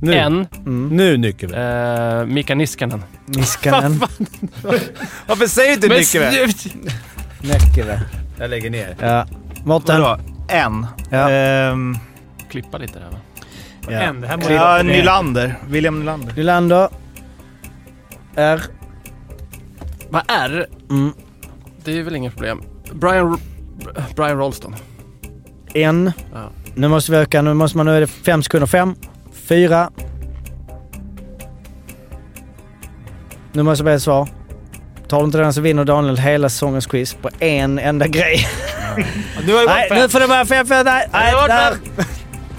Speaker 2: Nu.
Speaker 10: En.
Speaker 2: Nu Nyckelberg.
Speaker 10: Eh, Mika Niskanen.
Speaker 8: Niskanen.
Speaker 2: Varför säger du inte
Speaker 10: Men
Speaker 2: Nyckelberg?
Speaker 10: slut!
Speaker 8: Nyckelberg.
Speaker 16: Jag lägger ner.
Speaker 8: Ja. Mårten?
Speaker 1: Vadå? En?
Speaker 8: Ja.
Speaker 1: Ehm,
Speaker 10: Klippa lite där va?
Speaker 1: ja.
Speaker 2: En, det här måste-
Speaker 1: ja, Nylander. William Nylander.
Speaker 8: Nylander. R.
Speaker 10: Vad är
Speaker 8: Mm.
Speaker 10: Det är väl inget problem. Brian, R- Brian Rolston.
Speaker 8: N.
Speaker 10: Ja.
Speaker 8: Nu måste vi öka. Nu måste man... Nu är det fem sekunder. Fem. Fyra. Nu måste jag be ett svar. Tar du inte den så vinner Daniel hela säsongens quiz på en enda grej. Nej, nu får det vara fem, fem, nej, nej, där.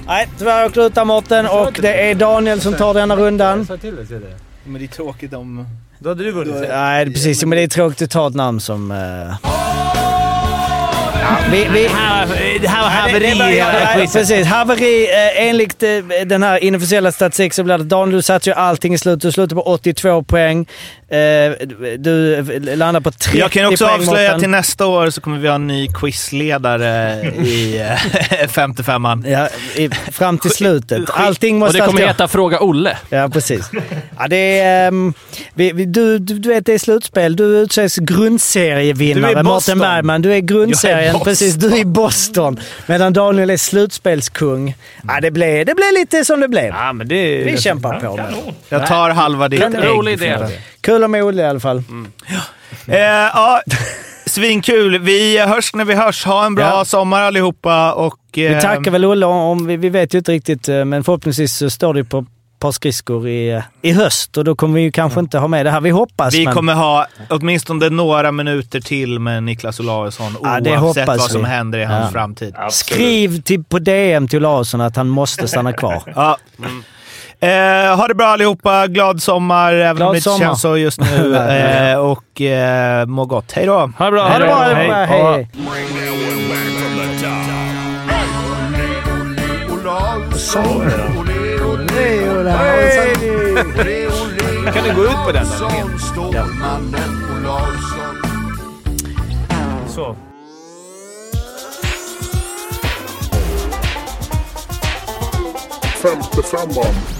Speaker 8: Nej, tyvärr åkte du utan Mårten och det är Daniel som tar denna rundan.
Speaker 1: Men det är tråkigt om...
Speaker 2: Då hade du vunnit.
Speaker 8: Nej, det är precis. Men det är tråkigt att ta ett namn som... eh, Ja, vi, vi...
Speaker 2: Det här var haveri i
Speaker 8: Ja,
Speaker 2: hela
Speaker 8: nej,
Speaker 2: quizet.
Speaker 8: Precis. Haveri. eh, Enligt eh, den här inofficiella statistiken så blir det Daniel, du satte ju allting i slutet. Du slutade på 82 poäng. Eh, Du landar på 30
Speaker 1: Jag kan också
Speaker 8: poäng,
Speaker 1: avslöja
Speaker 8: Mårten.
Speaker 1: att till nästa år så kommer vi ha en ny quizledare i eh, 55an.
Speaker 8: Ja, i, fram till slutet. Allting måste
Speaker 10: Och det kommer
Speaker 8: alltid-
Speaker 10: heta Fråga Olle.
Speaker 8: Ja, precis. Ja, det är, ehm, vi, vi, du, du, du vet, det är slutspel. Du utses grundserievinnare,
Speaker 1: Du är Boston.
Speaker 8: Mårten Bergman. Du är
Speaker 1: Jag är
Speaker 8: grundserien.
Speaker 1: Boston.
Speaker 8: precis, du är i Boston. Medan Daniel är slutspelskung. Ja, det blev det blev lite som det blev.
Speaker 2: Ja, men det...
Speaker 8: Vi kämpar på med det.
Speaker 1: Jag tar halva ditt
Speaker 8: Kan-
Speaker 1: ägg.
Speaker 8: rolig idé.
Speaker 1: ifrån dig.
Speaker 8: Kul om Olle i alla fall.
Speaker 1: Eh, ja, svinkul. Vi eh, hörs när vi hörs. Ha en bra
Speaker 8: Ja.
Speaker 1: sommar allihopa. Och,
Speaker 8: Vi
Speaker 1: eh,
Speaker 8: tackar väl Olle, om, vi, vi vet ju inte riktigt, eh, men förhoppningsvis så står det ju på ett par skridskor i, eh, i höst och då kommer vi ju kanske inte ha med det här. Vi hoppas,
Speaker 1: vi
Speaker 8: men...
Speaker 1: kommer ha åtminstone några minuter till med Niklas Olausson
Speaker 8: Ja, det
Speaker 1: oavsett
Speaker 8: hoppas
Speaker 1: vad som
Speaker 8: vi.
Speaker 1: händer i hans
Speaker 8: Ja.
Speaker 1: framtid.
Speaker 8: Skriv till, på DM till Larsson att han måste stanna kvar.
Speaker 1: Ja. Eh, ha det bra allihopa. Glad sommar, även
Speaker 8: Glad
Speaker 1: om det inte
Speaker 8: sommar.
Speaker 1: känns så just nu. Eh, och eh, må gott. Hej då!
Speaker 10: Ha det bra.
Speaker 8: Ha det bra allihopa. Hej, hej.
Speaker 2: Kan du gå ut på den då? Så.
Speaker 4: Femte femman.